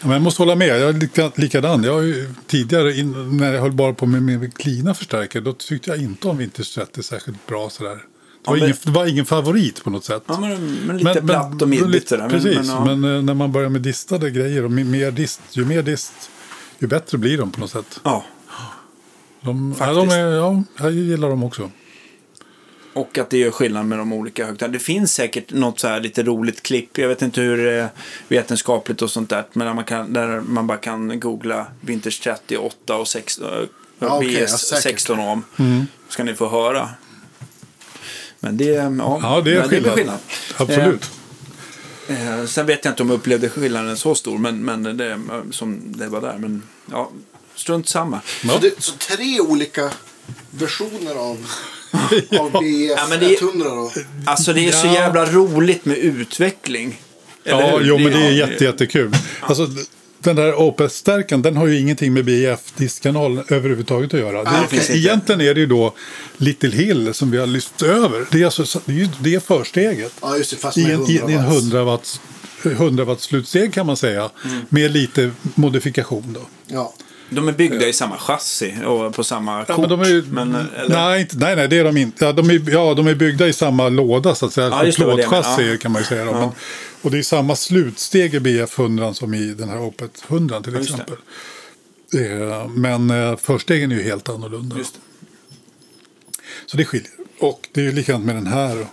Speaker 3: Ja, Men jag måste hålla med, jag är lika- likadan. Jag har ju tidigare, in, när jag höll bara på med min klina förstärkare, då tyckte jag inte om Vintage 30 särskilt bra sådär. Det var,
Speaker 2: men-
Speaker 3: ingen, det var ingen favorit på något sätt.
Speaker 2: Ja, men, men lite platt och midigt.
Speaker 3: lite-
Speaker 2: sådär. Men-
Speaker 3: Precis,
Speaker 2: ja.
Speaker 3: men, eh, när man börjar med distade grejer, och mi- mer dist, ju mer dist, ju bättre blir de på något sätt.
Speaker 2: ja.
Speaker 3: De, ja, de
Speaker 2: Faktiskt.
Speaker 3: är, ja, jag gillar dem också.
Speaker 2: Och att det gör skillnad med de olika högtalarna. Det finns säkert något så här lite roligt klipp. Jag vet inte hur eh, vetenskapligt och sånt där. Men där man, kan, där man bara kan googla Vinters 38 och eh, 16,
Speaker 4: Ja, okej, ja,
Speaker 2: BS
Speaker 4: säkert.
Speaker 2: 16 om. Mm. ska ni få höra. Men det, eh, ja,
Speaker 3: Ja, det är
Speaker 2: men
Speaker 3: skillnad. Absolut.
Speaker 2: Eh, eh, sen vet jag inte om jag upplevde skillnaden så stor. Men, men det, eh, som det var där. Men ja, strunt samma.
Speaker 4: Så,
Speaker 3: Ja.
Speaker 4: det, så tre olika versioner av, av BF
Speaker 2: Ja, men det-
Speaker 4: 100 då?
Speaker 2: Alltså det är så
Speaker 3: Ja.
Speaker 2: jävla roligt med utveckling. Eller
Speaker 3: Ja,
Speaker 2: hur?
Speaker 3: jo, men det är
Speaker 2: ja,
Speaker 3: jätte, jättekul. Alltså, d- den där OPS-stärkan, den har ju ingenting med BIF-diskkanalen överhuvudtaget att göra.
Speaker 2: det
Speaker 3: det,
Speaker 2: finns inte.
Speaker 3: egentligen är det ju då Little Hill som vi har lyft över. Det är, alltså, så- det är ju det försteget.
Speaker 4: Ja, just det, fast
Speaker 3: I
Speaker 4: med
Speaker 3: en, i,
Speaker 4: 100 watts.
Speaker 3: en 100 watts 100 watts slutsteg kan man säga. Med lite modifikation då.
Speaker 4: Ja.
Speaker 2: De är byggda i samma chassi och på samma kort.
Speaker 3: men de är ju, Mm.
Speaker 2: men, eh, eller,
Speaker 3: nej, inte, nej, nej, det är de inte. Ja, de är, ja, de är byggda i samma låda så att säga.
Speaker 2: Ja, just det, vad det är, men,
Speaker 3: Plåtchassier
Speaker 2: ja.
Speaker 3: kan man ju säga. Då.
Speaker 2: Ja.
Speaker 3: Men, och det är samma slutsteg i BF 100 som i den här Opet 100 till
Speaker 2: Ja, just det.
Speaker 3: exempel. Eh, Men eh, förstegen är ju helt annorlunda.
Speaker 2: Just det.
Speaker 3: Så det skiljer. Och det är ju likadant med den här. då,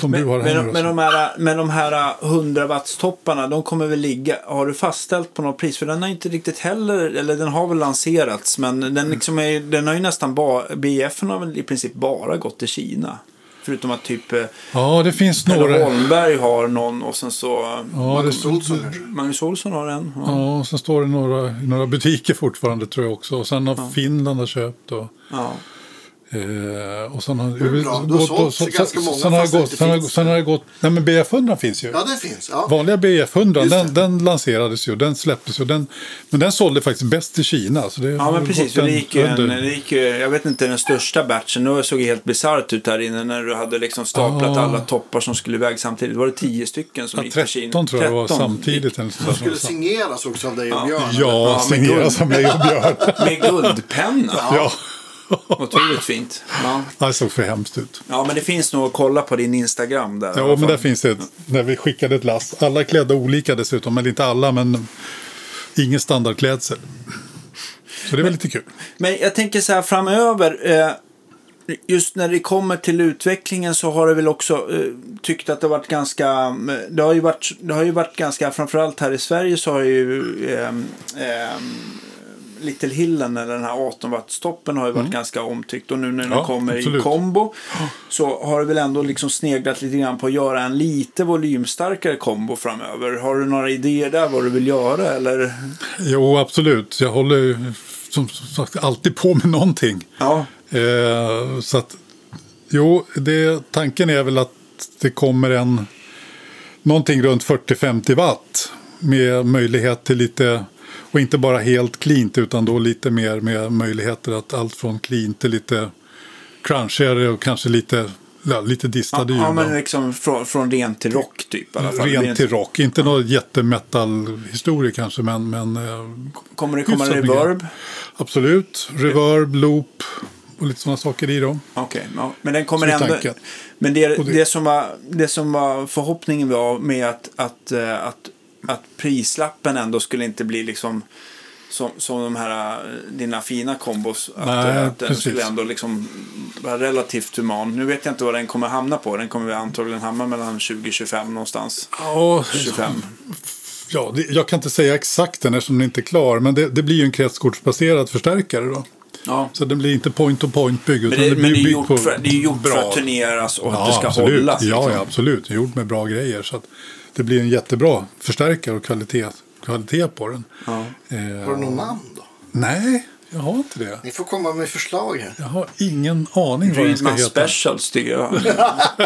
Speaker 3: Som
Speaker 2: men,
Speaker 3: du har
Speaker 2: men,
Speaker 3: här nu då,
Speaker 2: men,
Speaker 3: så.
Speaker 2: de här, men de här 100 wattstopparna, de kommer väl ligga, har du fastställt på något pris? För den har inte riktigt heller, eller den har väl lanserats, men
Speaker 3: Mm.
Speaker 2: den, liksom är, den har ju nästan bara, BF har väl i princip bara gått till Kina. Förutom att typ eh,
Speaker 3: Ja, det finns
Speaker 2: eller
Speaker 3: några.
Speaker 2: Holmberg har någon och sen så
Speaker 3: Ja, det stod,
Speaker 4: Olsson kanske?
Speaker 2: Magnus Olsson har en. Ja.
Speaker 3: ja, och sen står det några, i några butiker fortfarande tror jag också. Och sen har Finland har köpt. Och,
Speaker 2: Ja.
Speaker 3: Eh, och sen har
Speaker 4: är bra. Du har
Speaker 3: gått-
Speaker 4: sålt
Speaker 3: och-
Speaker 4: till
Speaker 3: sen-
Speaker 4: ganska många,
Speaker 3: Sen har,
Speaker 4: fast
Speaker 3: det
Speaker 4: det
Speaker 3: gått,
Speaker 4: inte
Speaker 3: sen, har,
Speaker 4: finns.
Speaker 3: sen har det gått... Nej, men BF100 finns ju.
Speaker 4: ja, det finns. Ja.
Speaker 3: Vanliga BF100,
Speaker 4: Just det.
Speaker 3: den, den lanserades ju. Den släpptes ju. Den, men den sålde faktiskt bäst i Kina. Så det
Speaker 2: Ja
Speaker 3: har
Speaker 2: men
Speaker 3: väl
Speaker 2: precis,
Speaker 3: gått
Speaker 2: för det
Speaker 3: en-
Speaker 2: gick, ju en,
Speaker 3: under.
Speaker 2: det gick ju, jag vet inte den största batchen, det såg ju helt bisarrt ut här inne när du hade liksom staplat
Speaker 3: Ah.
Speaker 2: alla toppar som skulle iväg samtidigt. Var det tio stycken som
Speaker 3: Ja,
Speaker 2: gick till Kina?
Speaker 3: 13 tror jag det var
Speaker 2: 13
Speaker 3: samtidigt. Eller
Speaker 4: De
Speaker 3: sådär,
Speaker 4: skulle signeras också av dig och Björn.
Speaker 3: ja,
Speaker 4: eller?
Speaker 3: ja
Speaker 2: Ja, men
Speaker 3: signera
Speaker 2: guld.
Speaker 3: som mig och Björn.
Speaker 2: Med guldpenna?
Speaker 3: ja.
Speaker 2: Otroligt fint. Ja.
Speaker 3: ja, det såg för hemskt ut.
Speaker 2: ja, men det finns nog att kolla på din Instagram där. i alla
Speaker 3: Ja, men
Speaker 2: fall.
Speaker 3: där finns det ett, när vi skickade ett lass. Alla klädda olika dessutom, eller inte alla, men Ingen standardklädsel. Så det var lite kul.
Speaker 2: Men jag tänker så här framöver. Eh, just när det kommer till utvecklingen så har det väl också eh, tyckt att det har varit ganska. mm, Det har ju varit, det har ju varit ganska. Framförallt här i Sverige så har ju. Eh, eh, Little Hillen eller den här 18-wattstoppen har ju varit ganska omtyckt och nu när den
Speaker 3: Mm. Ja,
Speaker 2: kommer
Speaker 3: absolut.
Speaker 2: i kombo så har det väl ändå liksom sneglat lite grann på att göra en lite volymstarkare kombo framöver. Har du några idéer där vad du vill göra eller?
Speaker 3: Jo, absolut. Jag håller ju som sagt alltid på med någonting.
Speaker 2: Ja,
Speaker 3: Eh, så att, jo, det, tanken är väl att det kommer en någonting runt 40-50 watt med möjlighet till lite och inte bara helt cleant utan då lite mer med möjligheter att allt från clean till lite crunchigare och kanske lite, ja, lite distade
Speaker 2: ja
Speaker 3: ljud
Speaker 2: men
Speaker 3: då.
Speaker 2: liksom från, från ren till rock typ i alla fall. Det blir
Speaker 3: Rent
Speaker 2: inte-
Speaker 3: till rock, inte någon jättemetallhistoria kanske men, men eh,
Speaker 2: Kommer det komma
Speaker 3: Hyfsat mycket.
Speaker 2: reverb?
Speaker 3: absolut reverb, loop och lite sådana saker i dem.
Speaker 2: Okej, ja. men den kommer
Speaker 3: Så är
Speaker 2: ändå.
Speaker 3: tanken.
Speaker 2: Men det,
Speaker 3: Och det-
Speaker 2: det... som var, det som var förhoppningen var med att, att, eh, att, att prislappen ändå skulle inte bli liksom som, som de här eh, dina fina kombos. Att,
Speaker 3: Nej,
Speaker 2: eh, att den
Speaker 3: precis.
Speaker 2: skulle ändå liksom vara relativt human. Nu vet jag inte vad den kommer hamna på. Den kommer vi antagligen hamna mellan 20-25 någonstans.
Speaker 3: Ja,
Speaker 2: 25.
Speaker 3: Ja, det, jag kan inte säga exakt den eftersom den inte är klar, men det, det blir ju en kretskortsbaserad förstärkare då.
Speaker 2: Ja.
Speaker 3: Så den blir inte point-to-point byggd.
Speaker 2: Men
Speaker 3: utan
Speaker 2: det,
Speaker 3: den blir
Speaker 2: men det är
Speaker 3: byggd
Speaker 2: gjort,
Speaker 3: på
Speaker 2: för, det är gjort för
Speaker 3: bra-
Speaker 2: att turneras och
Speaker 3: Ja,
Speaker 2: att det ska
Speaker 3: absolut.
Speaker 2: hållas.
Speaker 3: Ja,
Speaker 2: liksom.
Speaker 3: ja, absolut. Det är gjort med bra grejer. Så att det blir en jättebra förstärkare och kvalitet, kvalitet på den. Eh,
Speaker 4: Har du något namn då?
Speaker 3: nej, jag har inte det.
Speaker 4: Ni får komma med förslag här.
Speaker 3: Jag har ingen aning vad den ska
Speaker 2: Rydman
Speaker 3: heta.
Speaker 2: Specials tycker jag.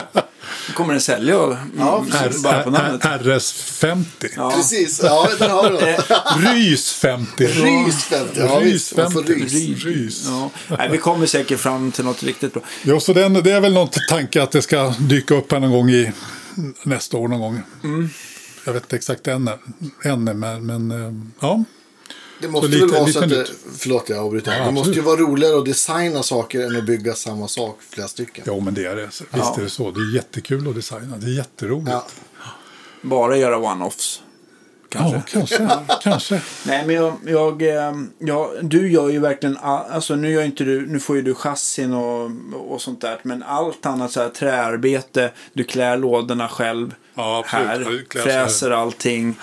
Speaker 2: Kommer den sälja? Mm,
Speaker 4: Ja, precis.
Speaker 2: bara på namnet.
Speaker 3: R- R- RS50.
Speaker 2: Ja.
Speaker 4: Precis, ja där har du det.
Speaker 3: Rys 50.
Speaker 4: Rys 50, ja
Speaker 3: Rys
Speaker 4: visst. Man får
Speaker 3: 50.
Speaker 4: rys.
Speaker 3: Rys.
Speaker 2: Ja. Nej, vi kommer säkert fram till något riktigt bra.
Speaker 3: Ja, så den, det är väl någon tanke att det ska dyka upp här någon gång i nästa år någon gång. Jag vet inte exakt än, ännu, men, men eh, ja.
Speaker 4: Det måste
Speaker 3: Så lite-
Speaker 4: väl vara
Speaker 3: lite
Speaker 4: så att det,
Speaker 3: nytt.
Speaker 4: förlåt jag avbryter.
Speaker 3: Ja,
Speaker 4: det måste ju
Speaker 3: absolut.
Speaker 4: vara roligare att designa saker än att bygga samma sak flera stycken.
Speaker 3: Jo, men det är det. Så Visst är det så. Det är jättekul att designa. Det är jätteroligt.
Speaker 4: Ja.
Speaker 3: Ja,
Speaker 2: Bara göra one-offs. Kanske.
Speaker 3: kanske. kanske.
Speaker 2: Nej, men jag, jag, eh, ja, du gör ju verkligen all, alltså nu gör inte du, nu får ju du chassin och, och sånt där, men allt annat så här träarbete, du klär lådorna själv
Speaker 3: Ja, absolut. Ja,
Speaker 2: här,
Speaker 3: det klär så här.
Speaker 2: fräser allting,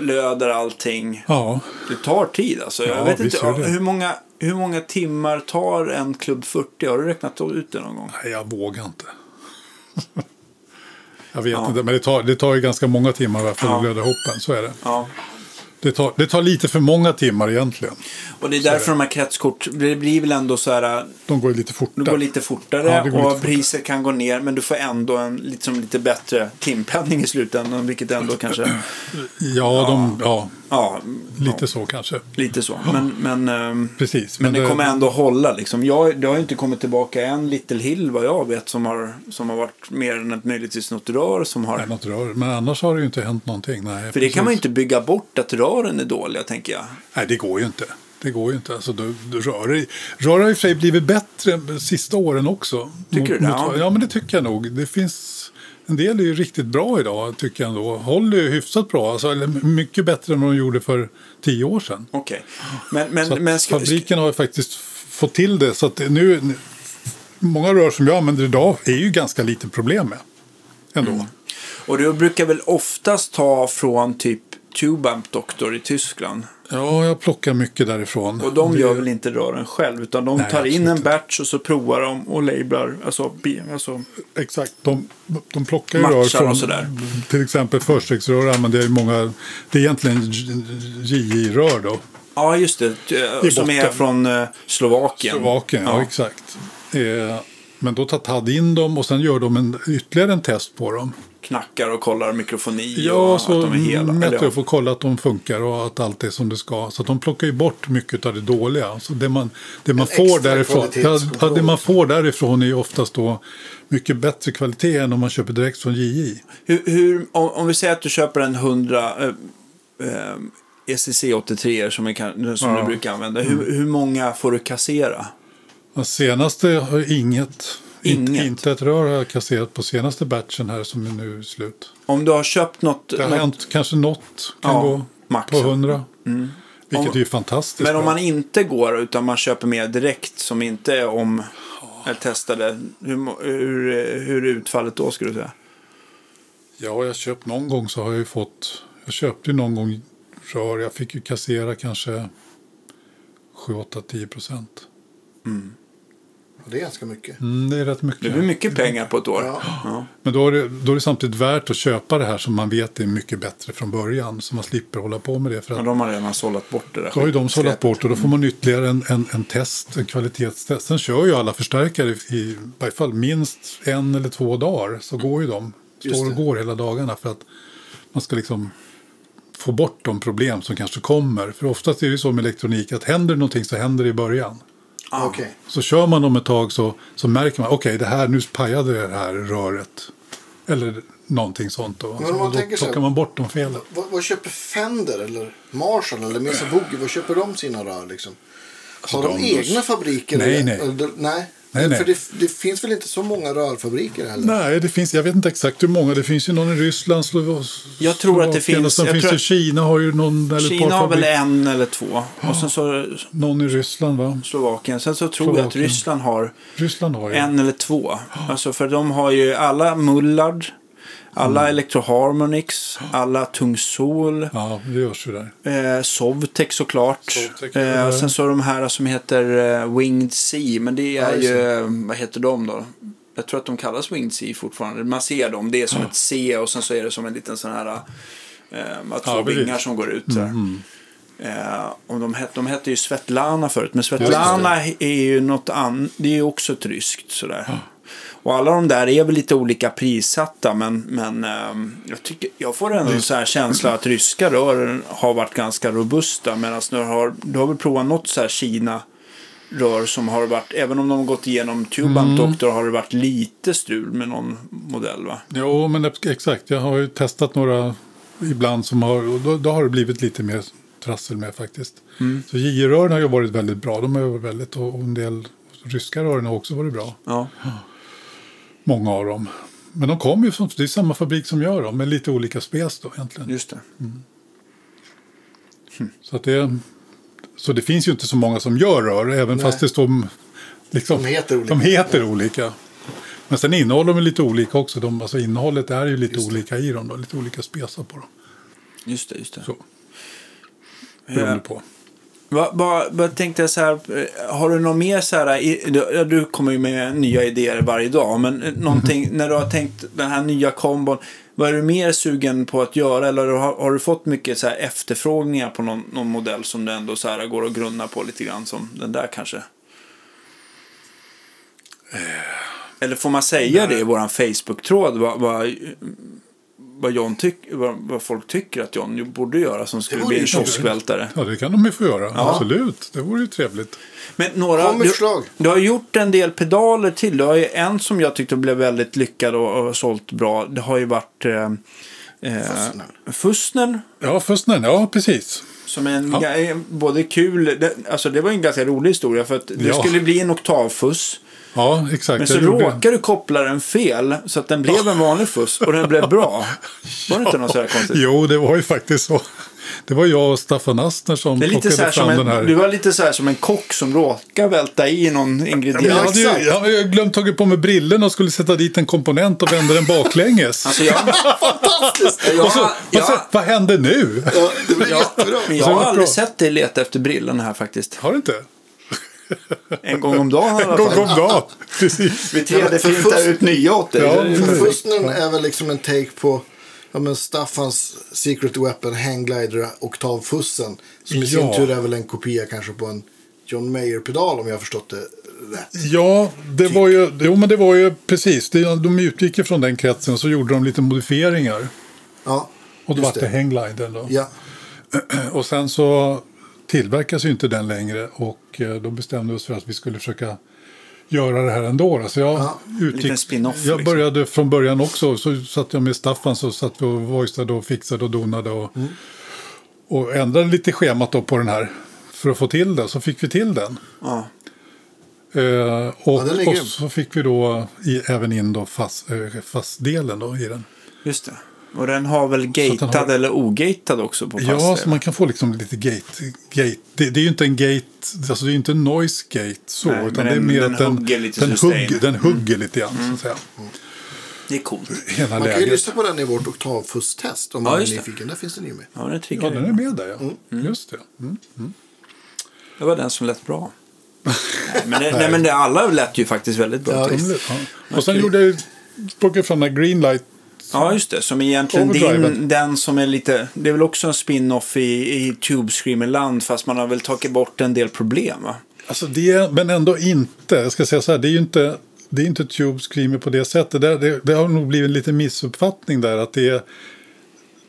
Speaker 2: löder allting.
Speaker 3: Ja,
Speaker 2: Det tar tid alltså. Jag
Speaker 3: Ja,
Speaker 2: vet
Speaker 3: visst
Speaker 2: inte
Speaker 3: gör det.
Speaker 2: hur många, hur många timmar tar en klubb 40? Har du räknat ut det någon gång?
Speaker 3: nej, jag vågar inte. jag vet inte, men det tar, det tar ju ganska många timmar i alla fall att glöda ihop den. Så är det.
Speaker 2: Ja.
Speaker 3: Det tar, det tar lite för många timmar egentligen.
Speaker 2: Och det är därför de här kretskort, det blir väl ändå så här,
Speaker 3: De går ju lite
Speaker 2: det
Speaker 3: fortare.
Speaker 2: går lite fortare
Speaker 3: Ja, det går
Speaker 2: och
Speaker 3: lite fortare.
Speaker 2: priset kan gå ner men du får ändå en liksom, lite bättre timpenning i slutändan vilket ändå kanske,
Speaker 3: Ja, de, ja
Speaker 2: ja,
Speaker 3: lite så kanske.
Speaker 2: lite så. Men, men, ehm,
Speaker 3: Precis.
Speaker 2: men, det
Speaker 3: det-
Speaker 2: kommer ändå hålla liksom. Jag, det har ju inte kommit tillbaka en Little Hill vad jag vet som har, som har varit mer än ett möjligtvis något rör som har
Speaker 3: Nej, något rör. Men annars har det ju inte hänt någonting. Nej,
Speaker 2: För det kan man ju inte bygga bort att rören är dåliga tänker jag.
Speaker 3: Nej, det går ju inte. Det går ju inte. Alltså, du, du rör, rör har i och för sig blivit bättre de sista åren också.
Speaker 2: Tycker du det?
Speaker 3: ja.
Speaker 2: Ja.
Speaker 3: ja, men det tycker jag nog. Det finns... En del är ju riktigt bra idag, tycker jag ändå. Håller ju hyfsat bra. Alltså, eller mycket bättre än vad de gjorde för tio år sedan.
Speaker 2: Okej. Men, men,
Speaker 3: Så att
Speaker 2: men ska, ska,
Speaker 3: fabriken har ju faktiskt f- fått till det. Så att det nu, nu- många rör som jag använder idag är ju ganska lite problem med. Ändå.
Speaker 2: Mm. och du brukar väl oftast ta från typ Tubamp Doctor i Tyskland.
Speaker 3: Ja, jag plockar mycket därifrån.
Speaker 2: Och de
Speaker 3: Det-
Speaker 2: gör väl inte rören själv utan de
Speaker 3: Nej,
Speaker 2: tar in
Speaker 3: absolut
Speaker 2: en
Speaker 3: inte.
Speaker 2: batch och så provar de och lablar. Alltså, be- alltså
Speaker 3: Exakt, de, de plockar ju
Speaker 2: Matchar
Speaker 3: rör
Speaker 2: och
Speaker 3: från
Speaker 2: sådär.
Speaker 3: till exempel förstegsrör använder jag ju många, det är egentligen JJ-rör då,
Speaker 2: ja just det. eh,
Speaker 3: I
Speaker 2: Som är
Speaker 3: botten.
Speaker 2: från eh, Slovakien.
Speaker 3: Slovakien, ja.
Speaker 2: Ja.
Speaker 3: exakt. Eh, men då tar Tad in dem och sen gör de en, ytterligare en test på dem.
Speaker 2: Knackar och kollar mikrofoni
Speaker 3: Ja,
Speaker 2: och
Speaker 3: så
Speaker 2: att de är hela.
Speaker 3: mäter
Speaker 2: Eller,
Speaker 3: jag
Speaker 2: ja.
Speaker 3: och får kolla att de funkar och att allt är som det ska. Så att de plockar ju bort mycket av det dåliga. Så det man, det man,
Speaker 4: En
Speaker 3: får,
Speaker 4: extra
Speaker 3: därifrån, ja,
Speaker 4: kvalitetskontroll.
Speaker 3: ja, det man får därifrån är ju oftast då mycket bättre kvalitet än om man köper direkt från JJ.
Speaker 2: Hur, hur, om, om vi säger att du köper en 100 eh, eh, ECC 83 som, är, kan- som du
Speaker 3: Ja.
Speaker 2: brukar använda. Hur, hur många får du kassera?
Speaker 3: Ja, Senaste har jag inget. Inte-
Speaker 2: Inget.
Speaker 3: Inte ett rör har jag kasserat på senaste batchen här som är nu slut.
Speaker 2: Om du har köpt något...
Speaker 3: Det har
Speaker 2: något
Speaker 3: hänt kanske något kan
Speaker 2: ja,
Speaker 3: gå.
Speaker 2: max.
Speaker 3: på 100. Vilket
Speaker 2: Om-
Speaker 3: är ju fantastiskt
Speaker 2: Men om
Speaker 3: bra.
Speaker 2: man inte går utan man köper mer direkt som inte är om eller testade. Hur, må- hur, hur är utfallet då skulle du säga?
Speaker 3: Ja, jag har köpt någon gång så har jag ju fått... Jag köpte ju någon gång rör. Jag fick ju kassera kanske 7, 8, 10 procent.
Speaker 1: Det är ganska mycket.
Speaker 3: Mm, det är rätt mycket.
Speaker 2: Det blir mycket pengar på ett år.
Speaker 1: Ja.
Speaker 2: Ja.
Speaker 3: Men då är, det, då är det samtidigt värt att köpa det här som man vet är mycket bättre från början. Så man slipper hålla på med det. För
Speaker 2: Men
Speaker 3: att
Speaker 2: de har redan sållat bort det där.
Speaker 3: då har ju de sållat
Speaker 2: skräpet.
Speaker 3: bort och då får man ytterligare en, en, en test, en kvalitetstest. Sen kör ju alla förstärkare i, i varje fall minst en eller två dagar. Så går ju de. Står och går hela dagarna för att man ska liksom få bort de problem som kanske kommer. För oftast är det ju så med elektronik att händer det någonting så händer det i början.
Speaker 2: Ja.
Speaker 1: Okej.
Speaker 3: Så kör man dem ett tag så, så märker man, okej det här, nu pajade det här röret. Eller någonting sånt. Då,
Speaker 1: om man
Speaker 3: då
Speaker 1: tänker så här-
Speaker 3: plockar man bort de felen.
Speaker 1: Vad, vad köper Fender eller Marshall eller Mesa Boogie? Vad köper de sina rör liksom? Har de,
Speaker 3: de-
Speaker 1: egna fabriker?
Speaker 3: Nej,
Speaker 1: eller?
Speaker 3: nej.
Speaker 1: Eller, nej.
Speaker 3: Nej, nej.
Speaker 1: För det, det finns väl inte så många rörfabriker heller?
Speaker 3: Nej, det finns, jag vet inte exakt hur många. Det finns ju någon i Ryssland, Slovakien
Speaker 2: Jag tror att det
Speaker 3: och
Speaker 2: finns-
Speaker 3: sen
Speaker 2: jag
Speaker 3: finns
Speaker 2: tror
Speaker 3: det
Speaker 2: att-
Speaker 3: Kina har ju någon, eller ett
Speaker 2: Kina
Speaker 3: par
Speaker 2: har väl
Speaker 3: fabrik,
Speaker 2: en eller två. Och sen så
Speaker 3: någon i Ryssland va?
Speaker 2: Slovakien. Sen så tror jag att
Speaker 3: Slovakien.
Speaker 2: Ryssland har
Speaker 3: Ryssland har ju.
Speaker 2: en eller två. Alltså för de har ju alla Mullard. Alla Electroharmonix, alla Tung Sol,
Speaker 3: Mm. Ja, det görs ju där.
Speaker 2: eh, Sovtech såklart.
Speaker 3: Sovtech,
Speaker 2: eh,
Speaker 3: ja.
Speaker 2: sen så har de här som heter eh, Winged Sea, men det är
Speaker 1: Ja, just
Speaker 2: ju, eh, vad heter de då? Jag tror att de kallas Winged Sea fortfarande. Man ser dem, det är som ett C och sen så är det som en liten sån här, eh, att två
Speaker 3: Ja, precis.
Speaker 2: vingar som går ut. Så här. Eh, och de, hette, de hette ju Svetlana förut, men Svetlana är ju något annat, det är ju också ett ryskt sådär. Och alla de där är väl lite olika prissatta, men, men ehm, jag, tycker, jag får ändå en så här känsla att ryska rör har varit ganska robusta, medan du har, du har väl provat något så här Kina rör som har varit, även om de har gått igenom Tuban Doctor har det varit lite strul med någon modell va?
Speaker 3: Jo, men det- exakt. Jag har ju testat några ibland som har, och då, då har det blivit lite mer trassel med faktiskt.
Speaker 2: Mm.
Speaker 3: Så JR-rören har ju varit väldigt bra. De har ju varit väldigt, och och en del ryska rören har också varit bra.
Speaker 2: Ja.
Speaker 3: Många av dem. Men de kommer ju från, det är samma fabrik som gör dem, men lite olika spec då egentligen.
Speaker 2: Just det.
Speaker 3: Så, att det, så det finns ju inte så många som gör rör, även fast det står... Liksom,
Speaker 1: De heter olika.
Speaker 3: de heter olika. Men sen innehåller de lite olika också. De, alltså innehållet är ju lite olika i dem, då, lite olika spesar på dem.
Speaker 2: Just det, just det.
Speaker 3: Så,
Speaker 2: Eh,
Speaker 3: beroende på.
Speaker 2: Vad va, va, tänkte jag så här, eh, har du något mer så här, i- du- ja, du kommer ju med nya idéer varje dag, men eh, någonting,
Speaker 1: Mm-hmm.
Speaker 2: när du har tänkt den här nya kombon, vad är du mer sugen på att göra eller har, har du fått mycket så här efterfrågningar på någon, någon modell som du ändå så här går och grunnar på lite grann som den där kanske?
Speaker 1: Eh.
Speaker 2: Eller får man säga det i våran Facebook-tråd vad, vad, vad, John tyck, vad, vad folk tycker att John borde göra som skulle
Speaker 1: vore
Speaker 2: bli en
Speaker 1: ju kul.
Speaker 2: kioskvältare?
Speaker 3: Ja, det kan de ju få göra. Absolut, det vore ju trevligt.
Speaker 2: Men några,
Speaker 1: Kom med
Speaker 2: du,
Speaker 1: förslag.
Speaker 2: du har gjort en del pedaler till. Du har ju en som jag tyckte blev väldigt lyckad och, och sålt bra. Det har ju varit eh,
Speaker 1: Fussner.
Speaker 2: Eh, Fussner,
Speaker 3: Ja, Fussnen, ja precis.
Speaker 2: som är en,
Speaker 3: Ja.
Speaker 2: ga- både kul, det, alltså det var ju en ganska rolig historia för att det
Speaker 3: Ja.
Speaker 2: skulle bli en oktavfuss.
Speaker 3: Ja, exakt.
Speaker 2: Men så
Speaker 3: Jag gjorde-
Speaker 2: råkade du koppla den fel så att den blev en vanlig fuss och den blev bra. Var det inte något sådär konstigt?
Speaker 3: Jo, det var ju faktiskt så. Det var jag och Staffan Astner som
Speaker 2: Det är lite
Speaker 3: plockade
Speaker 2: så här som
Speaker 3: fram den här.
Speaker 2: en, du var lite så här som en kock som råkar välta i någon
Speaker 3: Jag
Speaker 2: ingrediens.
Speaker 3: hade ju, jag hade ju glömt tagit på mig brillorna och skulle sätta dit en komponent och vända den baklänges.
Speaker 2: Alltså jag,
Speaker 1: Fantastiskt!
Speaker 2: jag,
Speaker 3: och så, och så,
Speaker 2: jag,
Speaker 3: Vad hände nu?
Speaker 1: Ja, det blir jättebra.
Speaker 2: Men jag
Speaker 3: Så
Speaker 2: har
Speaker 3: det var
Speaker 2: aldrig
Speaker 3: bra.
Speaker 2: sett dig leta efter brillen här faktiskt.
Speaker 3: Har du inte?
Speaker 2: En gång om dagen i alla
Speaker 3: Gång om
Speaker 2: fall.
Speaker 3: dagen. Precis.
Speaker 2: Vi
Speaker 1: För först-
Speaker 2: 3D-printar ut nya åt dig.
Speaker 3: Ja,
Speaker 2: Det är ju-
Speaker 3: precis.
Speaker 1: Fusten är väl liksom en take på ja, men Staffans Secret Weapon, Hangglider, Oktavfussen. Som i sin
Speaker 3: Ja.
Speaker 1: tur är väl en kopia kanske på en John Mayer-pedal om jag har förstått det rätt.
Speaker 3: Ja, det var ju, jo, men det var ju precis. Det- De utgick ju från den kretsen så gjorde de lite modifieringar.
Speaker 1: Ja,
Speaker 3: Och då
Speaker 1: just
Speaker 3: vart det hangglider då.
Speaker 1: Ja,
Speaker 3: Och sen så tillverkas ju inte den längre och eh, då bestämde vi oss för att vi skulle försöka göra det här ändå. då. Så jag
Speaker 1: Ja,
Speaker 3: utgick,
Speaker 2: liten spin-off,
Speaker 3: jag
Speaker 2: liksom.
Speaker 3: började från början också. Så satt jag med Staffan så satt vi och voiceade och fixade och donade och,
Speaker 1: Mm.
Speaker 3: och ändrade lite schemat då på den här för att få till det. Så fick vi till den.
Speaker 2: Ja.
Speaker 3: Eh, och,
Speaker 1: den är grym.
Speaker 3: och så fick vi då i, även in då fast, eh, fastdelen då i den.
Speaker 2: Just det. Och den har väl
Speaker 3: den
Speaker 2: gatad
Speaker 3: har-
Speaker 2: eller ogatad också på
Speaker 3: Ja,
Speaker 2: pass?
Speaker 3: så man kan få liksom lite gate. gate. Det, det är ju inte en gate, alltså det är ju inte en noise gate så,
Speaker 2: Nej,
Speaker 3: utan
Speaker 2: men
Speaker 3: det är
Speaker 2: den-
Speaker 3: mer
Speaker 2: den
Speaker 3: att den,
Speaker 2: hugger lite
Speaker 3: den,
Speaker 2: sustain. Mm.
Speaker 3: hugger, den hugger lite grann. Så att säga.
Speaker 2: det är coolt.
Speaker 3: Hela
Speaker 4: Man kan ju
Speaker 3: läget.
Speaker 4: lyssna på den i vårt oktavfusktest om
Speaker 2: Ja,
Speaker 4: man är
Speaker 2: just det.
Speaker 4: nyfiken. Där finns den ju med.
Speaker 2: Ja, den
Speaker 3: Ja,
Speaker 2: triggar
Speaker 3: den är med där ja. Just det. Mm.
Speaker 2: Det var den som lät bra. nej, men det, nej, men det, alla lät ju faktiskt väldigt bra.
Speaker 4: Ja,
Speaker 2: tycker jag.
Speaker 3: De, ja. Och sen gjorde jag, plockade jag fram den här greenlight.
Speaker 2: Ja, just det. Som egentligen din,
Speaker 3: Overdriven.
Speaker 2: den som är lite... Det är väl också en spin-off i, i Tube Screamer-land, fast man har väl tagit bort en del problem, va?
Speaker 3: Alltså det, är- men ändå inte. Jag ska säga så här, det är ju inte, det är inte Tube Screamer på det sättet. Det, det, det har nog blivit en liten missuppfattning där. Att det är,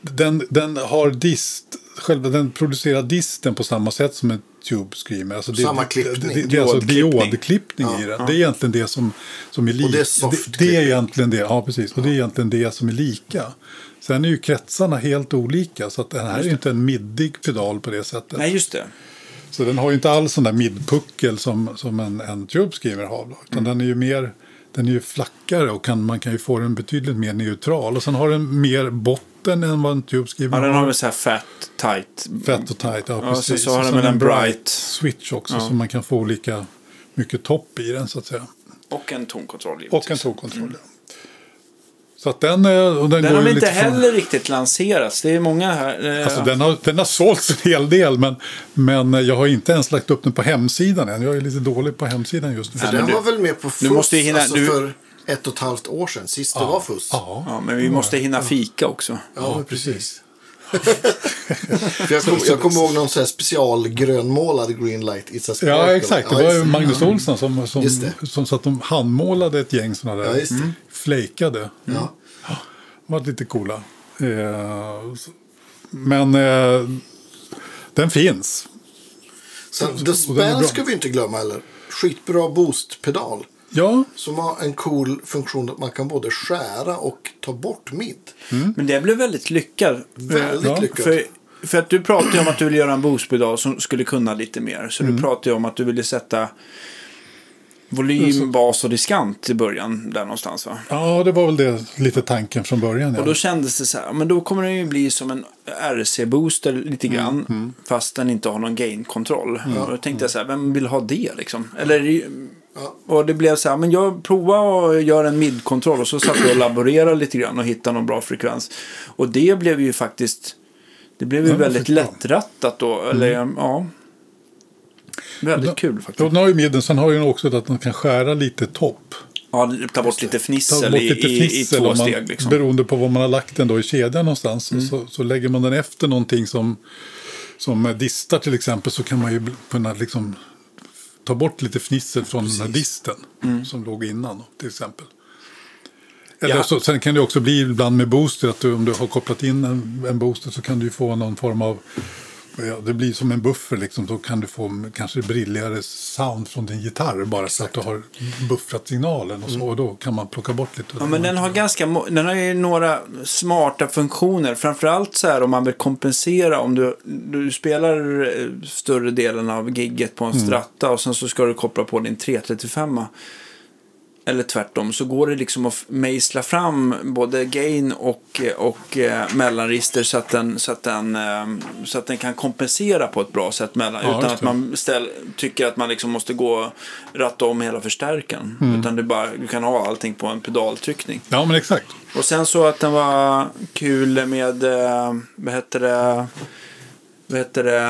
Speaker 3: den, den har dist, själva den producerar disten på samma sätt som en Tube Screamer. Alltså det,
Speaker 4: Samma
Speaker 3: det-
Speaker 4: klippning.
Speaker 3: Det, det, det är alltså
Speaker 2: Diodklippning.
Speaker 3: diodklippning i den. Det är egentligen det som, som är lika.
Speaker 4: Och det är
Speaker 3: det,
Speaker 4: soft
Speaker 3: det är egentligen det, ja precis. Och det är egentligen det som är lika. Sen är ju kretsarna helt olika. Så att den här är ju inte en middig pedal på det sättet.
Speaker 2: Nej, just det.
Speaker 3: Så den har ju inte alls sån där midpuckel som, som en, en tube skriver har. då,
Speaker 2: Mm.
Speaker 3: Utan den är ju mer den är ju flackare och kan, man kan ju få den betydligt mer neutral. Och sen har den mer botten än vad en tube skriver
Speaker 2: Ja, den
Speaker 3: har.
Speaker 2: har väl så här fat, tight.
Speaker 3: Fett och tight, ja,
Speaker 2: Ja,
Speaker 3: precis.
Speaker 2: sen så har
Speaker 3: Och
Speaker 2: den
Speaker 3: sen
Speaker 2: väl en bright-
Speaker 3: switch också så man kan få olika mycket topp i den så att säga.
Speaker 2: Och en tonkontroll, givetvis.
Speaker 3: Och en tonkontroll. ja. Så att den, är- och den,
Speaker 2: Den
Speaker 3: går
Speaker 2: har
Speaker 3: ju
Speaker 2: väl inte
Speaker 3: lite från-
Speaker 2: heller riktigt lanserats. Det är många här. eh,
Speaker 3: Alltså, den, har, den har sålts en hel del men, men jag har inte ens lagt upp den på hemsidan än. Jag är lite dålig på hemsidan just nu.
Speaker 4: För
Speaker 2: men
Speaker 4: den
Speaker 2: du-
Speaker 4: var väl med på fuss
Speaker 2: måste ju hinna-
Speaker 4: alltså
Speaker 2: du-
Speaker 4: för ett och ett halvt år sedan. Sist det var fuss.
Speaker 2: Ja, men vi måste hinna fika också.
Speaker 4: Ja, men precis. För jag kommer jag kommer ihåg någon så här specialgrönmålad greenlight. It's a sparkle.
Speaker 3: Ja, exakt. Det var ju
Speaker 4: just
Speaker 3: Magnus Olsson som, som,
Speaker 4: Just det.
Speaker 3: som satt och handmålade ett gäng sådana där.
Speaker 4: Ja, just det.
Speaker 3: Mm. Flejkade.
Speaker 4: Ja.
Speaker 3: De var lite coola. Eh, så- men eh, den finns.
Speaker 4: Sen, The
Speaker 3: Och den är
Speaker 4: Span
Speaker 3: bra.
Speaker 4: ska vi inte glömma heller. Skitbra boostpedal.
Speaker 3: Ja,
Speaker 4: Som har en cool funktion att man kan både skära och ta bort midd.
Speaker 2: Men det blev väldigt lyckat. Eh,
Speaker 4: Väldigt
Speaker 3: Ja.
Speaker 4: lyckat.
Speaker 2: För, för att du pratade ju om att du ville göra en boostpedal som skulle kunna lite mer. Så
Speaker 3: Mm.
Speaker 2: du pratade ju om att du ville sätta
Speaker 3: Mm.
Speaker 2: volym, bas och diskant i början där någonstans va?
Speaker 3: ja, det var väl det lite tanken från början. Ja.
Speaker 2: Och då kändes det så här, men då kommer den ju bli som en RC-booster lite
Speaker 3: Mm,
Speaker 2: grann. Fast den inte har någon gain-kontroll. Och då tänkte jag så här, vem vill ha det liksom? Eller, det är ju- Och det blev så här, men jag provar och gör en mid-kontroll. Och så satt jag och laborerade lite grann och hittade någon bra frekvens. Och det blev ju faktiskt, det blev ju
Speaker 3: Ja, det
Speaker 2: väldigt
Speaker 3: fick jag.
Speaker 2: lättrattat då. Eller ja. Väldigt kul
Speaker 3: Mm. Ja,
Speaker 2: faktiskt.
Speaker 3: den har ju midden, sen har ju den också att den kan skära lite topp.
Speaker 2: Ja, ta bort lite
Speaker 3: Ta
Speaker 2: fnissel,
Speaker 3: bort lite
Speaker 2: i, i, i
Speaker 3: fnissel
Speaker 2: två
Speaker 3: om man,
Speaker 2: steg liksom. Mm.
Speaker 3: beroende på var man har lagt den då i kedjan någonstans. Och Så, så lägger man den efter någonting som, som eh, distar till exempel så kan man ju bl- kunna liksom ta bort lite fnissel från den här disten som låg innan då, till exempel. Eller
Speaker 2: Mm. Ja.
Speaker 3: så, sen kan det också bli ibland med booster att du, om du har kopplat in en, en booster så kan du ju få någon form av Ja, det blir som en buffer liksom, då kan du få m- kanske brilligare sound från din gitarr bara så att du har buffrat signalen och så, och då kan man plocka bort lite.
Speaker 2: Mm. Ja, men den har ganska mo- den har ju några smarta funktioner. Framförallt så här om man vill kompensera om du, du spelar eh, större delen av gigget på en
Speaker 3: Mm.
Speaker 2: stratta och sen så ska du koppla på din 335 eller tvärtom så går det liksom att f- mejsla fram både gain och, och eh, mellanregister så att, den, så, att den, eh, så att den kan kompensera på ett bra sätt mellan,
Speaker 3: Ja,
Speaker 2: utan
Speaker 3: just
Speaker 2: att
Speaker 3: det.
Speaker 2: man ställ, tycker att man liksom måste gå och ratta om hela förstärkaren.
Speaker 3: Mm.
Speaker 2: Utan du, bara, du kan ha allting på en pedaltryckning.
Speaker 3: Ja, men exakt.
Speaker 2: Och sen så att den var kul med, eh, vad heter det, vad heter det,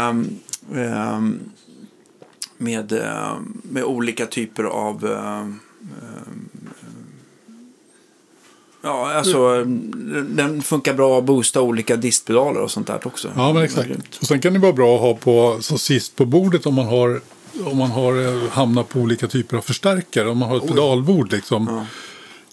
Speaker 2: eh, med, eh, med olika typer av, eh, eh, ja alltså den funkar bra att boosta olika distpedaler och sånt där också.
Speaker 3: Ja, men exakt.
Speaker 2: Grymt.
Speaker 3: Och sen kan det vara bra att ha på så sist på bordet om man har om man har eh, hamnat på olika typer av förstärkare, om man har ett pedalbord liksom.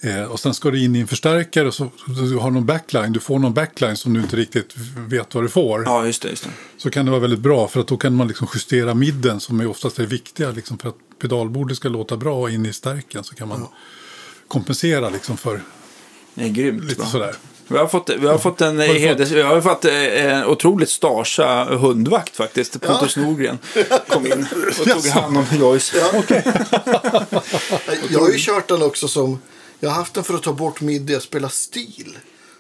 Speaker 3: Eh, och sen ska du in i en förstärkare och så du har någon backline, du får någon backline som du inte riktigt vet vad du får.
Speaker 2: Ja, just det, just det.
Speaker 3: så kan det vara väldigt bra för att då kan man liksom justera midden som är oftast är viktiga liksom för att pedalbordet ska låta bra in i stärken så kan man kompensera liksom för
Speaker 2: Det är grymt
Speaker 3: lite
Speaker 2: bra.
Speaker 3: sådär.
Speaker 2: Vi har fått, vi har fått en
Speaker 3: du fått?
Speaker 2: heders... Vi har fått eh, en otroligt starsa hundvakt faktiskt. Pontus Norgren kom in och tog hand om Joyce.
Speaker 1: Eh,
Speaker 4: Jag har ju kört den också som... Jag har haft den för att ta bort midd där jag spelar stil.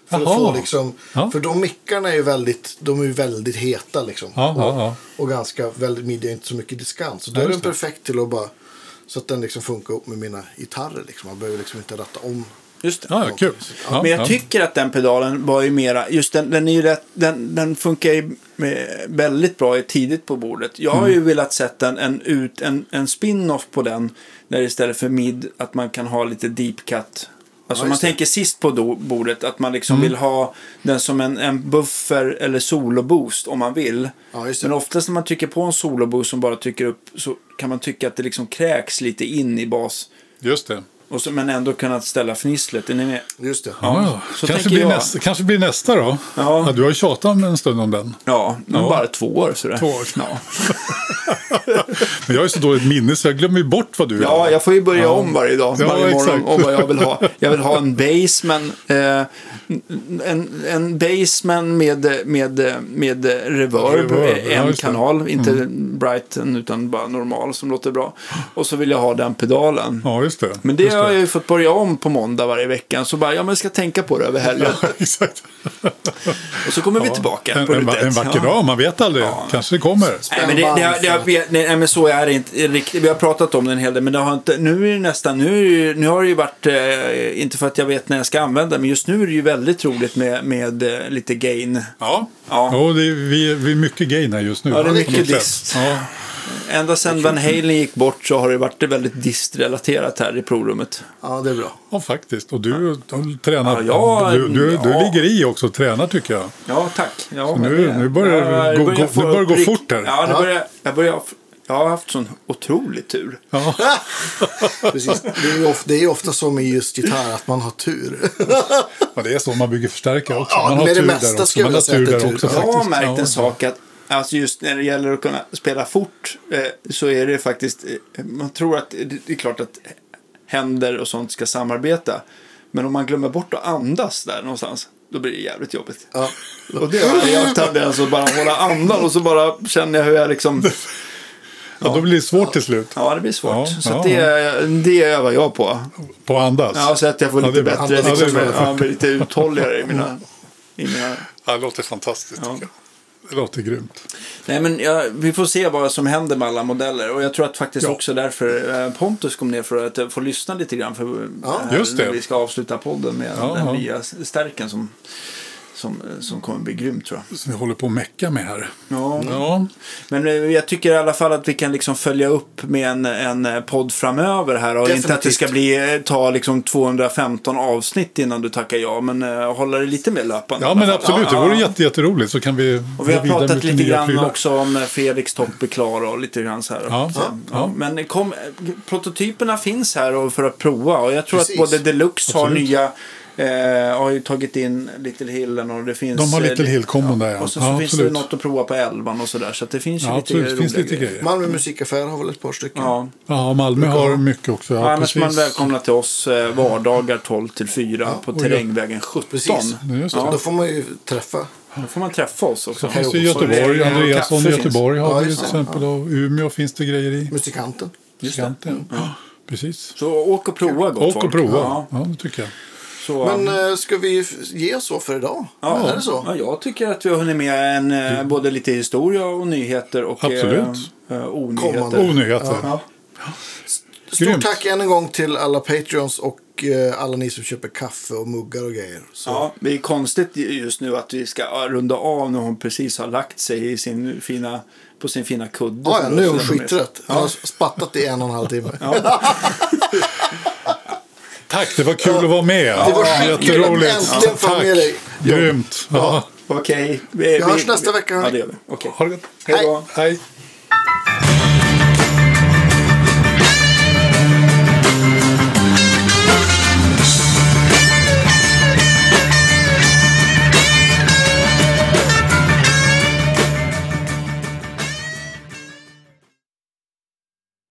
Speaker 1: För, att
Speaker 3: Jaha.
Speaker 1: få liksom,
Speaker 3: Ja.
Speaker 1: för de mickarna är ju väldigt, de är ju väldigt heta. Liksom.
Speaker 3: Ja, ja,
Speaker 1: och,
Speaker 3: ja.
Speaker 1: och ganska, väldigt midja är inte så mycket diskant. Så då är
Speaker 3: Ja,
Speaker 1: den
Speaker 3: just det.
Speaker 1: perfekt till att bara, så att den liksom funkar upp med mina gitarrer. Liksom. Man behöver liksom inte ratta om.
Speaker 2: Just det.
Speaker 3: Ja, ja, kul. Ja,
Speaker 2: Men jag
Speaker 3: ja.
Speaker 2: tycker att den pedalen var ju mera, just den, den är ju rätt, den, den funkar ju med- väldigt bra i- tidigt på bordet. Jag har ju
Speaker 1: Mm.
Speaker 2: velat sett en, en, ut, en, en spin-off på den, där istället för mid, att man kan ha lite deep cut. Alltså
Speaker 1: Ja,
Speaker 2: man
Speaker 1: just det. Mm.
Speaker 2: tänker sist på do, bordet, att man liksom vill ha den som en, en buffer eller soloboost om man vill.
Speaker 1: Ja, just det.
Speaker 2: Men oftast när man trycker på en soloboost som bara trycker upp så kan man tycka att det liksom kräks lite in i bas.
Speaker 3: Just det.
Speaker 2: Och så, men ändå kunna ställa fnisslet. Är ni med?
Speaker 1: Just det.
Speaker 3: Ja, ja.
Speaker 2: så
Speaker 3: kanske,
Speaker 2: tänker
Speaker 3: blir
Speaker 2: jag.
Speaker 3: nästa, kanske blir nästa då.
Speaker 2: Ja.
Speaker 3: du har ju tjatat om en stund om den.
Speaker 2: Ja, men bara två år. Sådär.
Speaker 3: Två år.
Speaker 2: Ja.
Speaker 3: Men jag har ju så dåligt minne så jag glömmer ju bort vad du
Speaker 2: ja,
Speaker 3: gör.
Speaker 2: jag får ju börja om varje dag,
Speaker 3: Ja,
Speaker 2: varje morgon
Speaker 3: exakt.
Speaker 2: om vad jag vill ha. Jag vill ha en baseman, eh, en, en baseman med, med, med reverb,
Speaker 3: Reverb,
Speaker 2: eh,
Speaker 3: ja,
Speaker 2: en
Speaker 3: just det. Mm.
Speaker 2: kanal, inte Brighton utan bara normal som låter bra. Och så vill jag ha den pedalen.
Speaker 3: Ja, just det.
Speaker 2: Men det
Speaker 3: just
Speaker 2: har jag ju fått börja om på måndag varje vecka. Så bara, ja men jag ska tänka på det över helgen.
Speaker 3: Exakt.
Speaker 2: Och så kommer vi tillbaka
Speaker 3: En,
Speaker 2: på
Speaker 3: en, va-
Speaker 2: rutet.
Speaker 3: en vacker
Speaker 2: Ja.
Speaker 3: dag, man vet aldrig. Kanske det kommer.
Speaker 2: Nej men, det, det, har- det, har- vi- nej, nej, men så är det inte riktigt. Vi har pratat om den en hel del, men det har inte, nu är det nästan, nu, är det ju- nu har det ju varit, eh, inte för att jag vet när jag ska använda, men just nu är det ju väldigt roligt med, med eh, lite gain.
Speaker 3: Ja,
Speaker 2: Ja.
Speaker 3: Jo, det är, vi, vi är mycket gain här just nu.
Speaker 2: Ja, det är
Speaker 3: på
Speaker 2: mycket
Speaker 3: något sätt.
Speaker 2: dist.
Speaker 3: Ja.
Speaker 2: Ända sedan Van Halen gick bort så har det varit väldigt distrelaterat här i provrummet.
Speaker 1: Ja, det är bra.
Speaker 3: ja, faktiskt. Och du du tränar.
Speaker 2: Ja, jag-
Speaker 3: du, du, du
Speaker 2: ja.
Speaker 3: ligger i också och tränar tycker jag.
Speaker 2: Ja, tack. Ja,
Speaker 3: nu-
Speaker 2: men det-
Speaker 3: nu börjar det
Speaker 2: Ja,
Speaker 3: gå-
Speaker 2: börjar
Speaker 3: gå-
Speaker 2: få
Speaker 3: det börjar
Speaker 2: upp
Speaker 3: gå
Speaker 2: rikt-
Speaker 3: fort här.
Speaker 2: Ja, nu börjar, jag, börjar, jag har haft sån otrolig tur.
Speaker 3: Ja.
Speaker 1: Precis. Det är ju ofta, det är ju ofta så med just gitarr att man har tur.
Speaker 3: Ja, det är så man bygger förstärkare också.
Speaker 1: Ja,
Speaker 3: man har
Speaker 1: med det
Speaker 3: tur
Speaker 1: mesta
Speaker 3: där också.
Speaker 1: skulle
Speaker 3: Man
Speaker 1: jag
Speaker 3: har
Speaker 1: säga
Speaker 3: tur
Speaker 1: att det är tur.
Speaker 3: där också
Speaker 1: Ja,
Speaker 2: Jag har
Speaker 3: faktiskt.
Speaker 2: märkt
Speaker 3: Ja.
Speaker 2: en sak att alltså just när det gäller att kunna spela fort eh, så är det faktiskt, eh, man tror att det det är klart att händer och sånt ska samarbeta. Men om man glömmer bort att andas där någonstans, då blir det jävligt jobbigt.
Speaker 1: Ja.
Speaker 2: Och det har jag haft tendens att bara hålla andan och så bara känner jag hur jag liksom,
Speaker 3: Ja, då blir det svårt till slut.
Speaker 2: ja det blir svårt.
Speaker 3: Ja,
Speaker 2: så att
Speaker 3: ja.
Speaker 2: det, det övar jag på.
Speaker 3: På att andas.
Speaker 2: Ja, så att jag får
Speaker 3: Ja,
Speaker 2: lite
Speaker 3: det är bra.
Speaker 2: bättre,
Speaker 3: Ja, det är
Speaker 2: liksom,
Speaker 3: bra.
Speaker 2: ja, blir lite uthålligare i mina, i mina
Speaker 3: Ja, det låter fantastiskt
Speaker 2: Ja.
Speaker 3: tycker jag. Det låter grymt.
Speaker 2: Nej, men ja, vi får se vad som händer med alla modeller. Och jag tror att faktiskt
Speaker 3: Ja.
Speaker 2: också därför eh, Pontus kom ner för att eh, få lyssna lite grann. För, eh, här
Speaker 3: just det.
Speaker 2: När vi ska avsluta podden med
Speaker 3: Ja,
Speaker 2: den
Speaker 3: ja.
Speaker 2: nya stärken som, som, eh, som kommer bli grym tror jag.
Speaker 3: Som vi håller på att mecka med här.
Speaker 2: Ja.
Speaker 3: Ja,
Speaker 2: Men eh, jag tycker i alla fall att vi kan liksom följa upp med en, en eh, podd framöver här. Och inte att det
Speaker 1: Definitivt.
Speaker 2: ska bli, eh, ta liksom 215 avsnitt innan du tackar ja. Men eh, hålla det lite mer löpande. i
Speaker 3: ja
Speaker 2: alla
Speaker 3: men
Speaker 2: fall.
Speaker 3: absolut. Det vore jätte, jätteroligt. Så kan vi
Speaker 2: Och vi har
Speaker 3: gå vidare
Speaker 2: pratat
Speaker 3: med
Speaker 2: lite
Speaker 3: nya
Speaker 2: grann
Speaker 3: prylar.
Speaker 2: också om när Felix Topp är klar och lite grann så här.
Speaker 3: Ja,
Speaker 2: Så,
Speaker 3: ja.
Speaker 2: Men kom, prototyperna finns här och för att prova och jag tror
Speaker 1: Precis.
Speaker 2: att både Deluxe har
Speaker 3: Absolut.
Speaker 2: nya Eh, har ju tagit in Little Hillen och det finns...
Speaker 3: De har
Speaker 2: eh,
Speaker 3: Little Hill-kombon där, ja.
Speaker 2: Och så,
Speaker 3: Ja,
Speaker 2: så finns det
Speaker 3: absolut.
Speaker 2: något att prova på 11 och sådär. Så att det finns ju
Speaker 3: Ja,
Speaker 2: lite
Speaker 3: absolut. Det finns
Speaker 2: roliga
Speaker 3: lite grejer.
Speaker 1: Malmö musikaffär har väl ett par stycken.
Speaker 2: Ja.
Speaker 3: Ja, Malmö har mycket också. Ja,
Speaker 2: Annars är man
Speaker 3: precis.
Speaker 2: välkomna till oss eh, vardagar 12 till 4 på
Speaker 3: och
Speaker 2: Terrängvägen 17.
Speaker 1: Precis.
Speaker 3: Ja, just det.
Speaker 1: Då får man ju träffa.
Speaker 2: Då får man träffa oss också.
Speaker 3: Så finns det i
Speaker 2: Och
Speaker 3: Göteborg.
Speaker 2: regler och
Speaker 3: Andreasson i
Speaker 2: kaffe finns.
Speaker 3: Göteborg
Speaker 1: Ja,
Speaker 3: har vi till
Speaker 1: just det.
Speaker 3: exempel. Och Umeå finns det grejer i.
Speaker 1: Musikanten.
Speaker 3: Giganten. Ja, precis.
Speaker 2: Så åk och prova gott
Speaker 3: Och
Speaker 2: folk.
Speaker 3: och prova.
Speaker 2: Ja,
Speaker 3: Ja. det tycker jag.
Speaker 2: så,
Speaker 1: Men eh, ska vi f- ge så för idag?
Speaker 2: Ja,
Speaker 1: Är det så?
Speaker 2: Ja, jag tycker att vi har hunnit med en, eh, både lite historia och nyheter och
Speaker 3: Mm. Absolut.
Speaker 2: Eh, eh,
Speaker 1: Kommande.
Speaker 2: onyheter.
Speaker 1: Oh,
Speaker 3: Onyheter.
Speaker 2: Ja.
Speaker 1: Stort
Speaker 3: Grymt.
Speaker 1: tack än en gång till alla Patreons och eh, alla ni som köper kaffe och muggar och grejer. Så.
Speaker 2: Ja, det är konstigt just nu att vi ska runda av när hon precis har lagt sig i sin fina, på sin fina kudde.
Speaker 1: Ja, ja, nu är hon
Speaker 2: Som
Speaker 1: skittrött. Jag har spattat i en och en halv timme.
Speaker 3: Tack, det var kul att vara med.
Speaker 1: Det var skitkul att
Speaker 3: Jätteroligt.
Speaker 1: äntligen få
Speaker 3: Tack.
Speaker 1: med dig.
Speaker 3: Grymt. Ja.
Speaker 2: Okej. vi-
Speaker 1: Vi hörs
Speaker 2: vi-
Speaker 1: nästa vecka,
Speaker 2: Ja,
Speaker 1: hörni.
Speaker 2: det gör vi. Okej.
Speaker 3: Ha det gott.
Speaker 2: Hej då.
Speaker 3: Hej.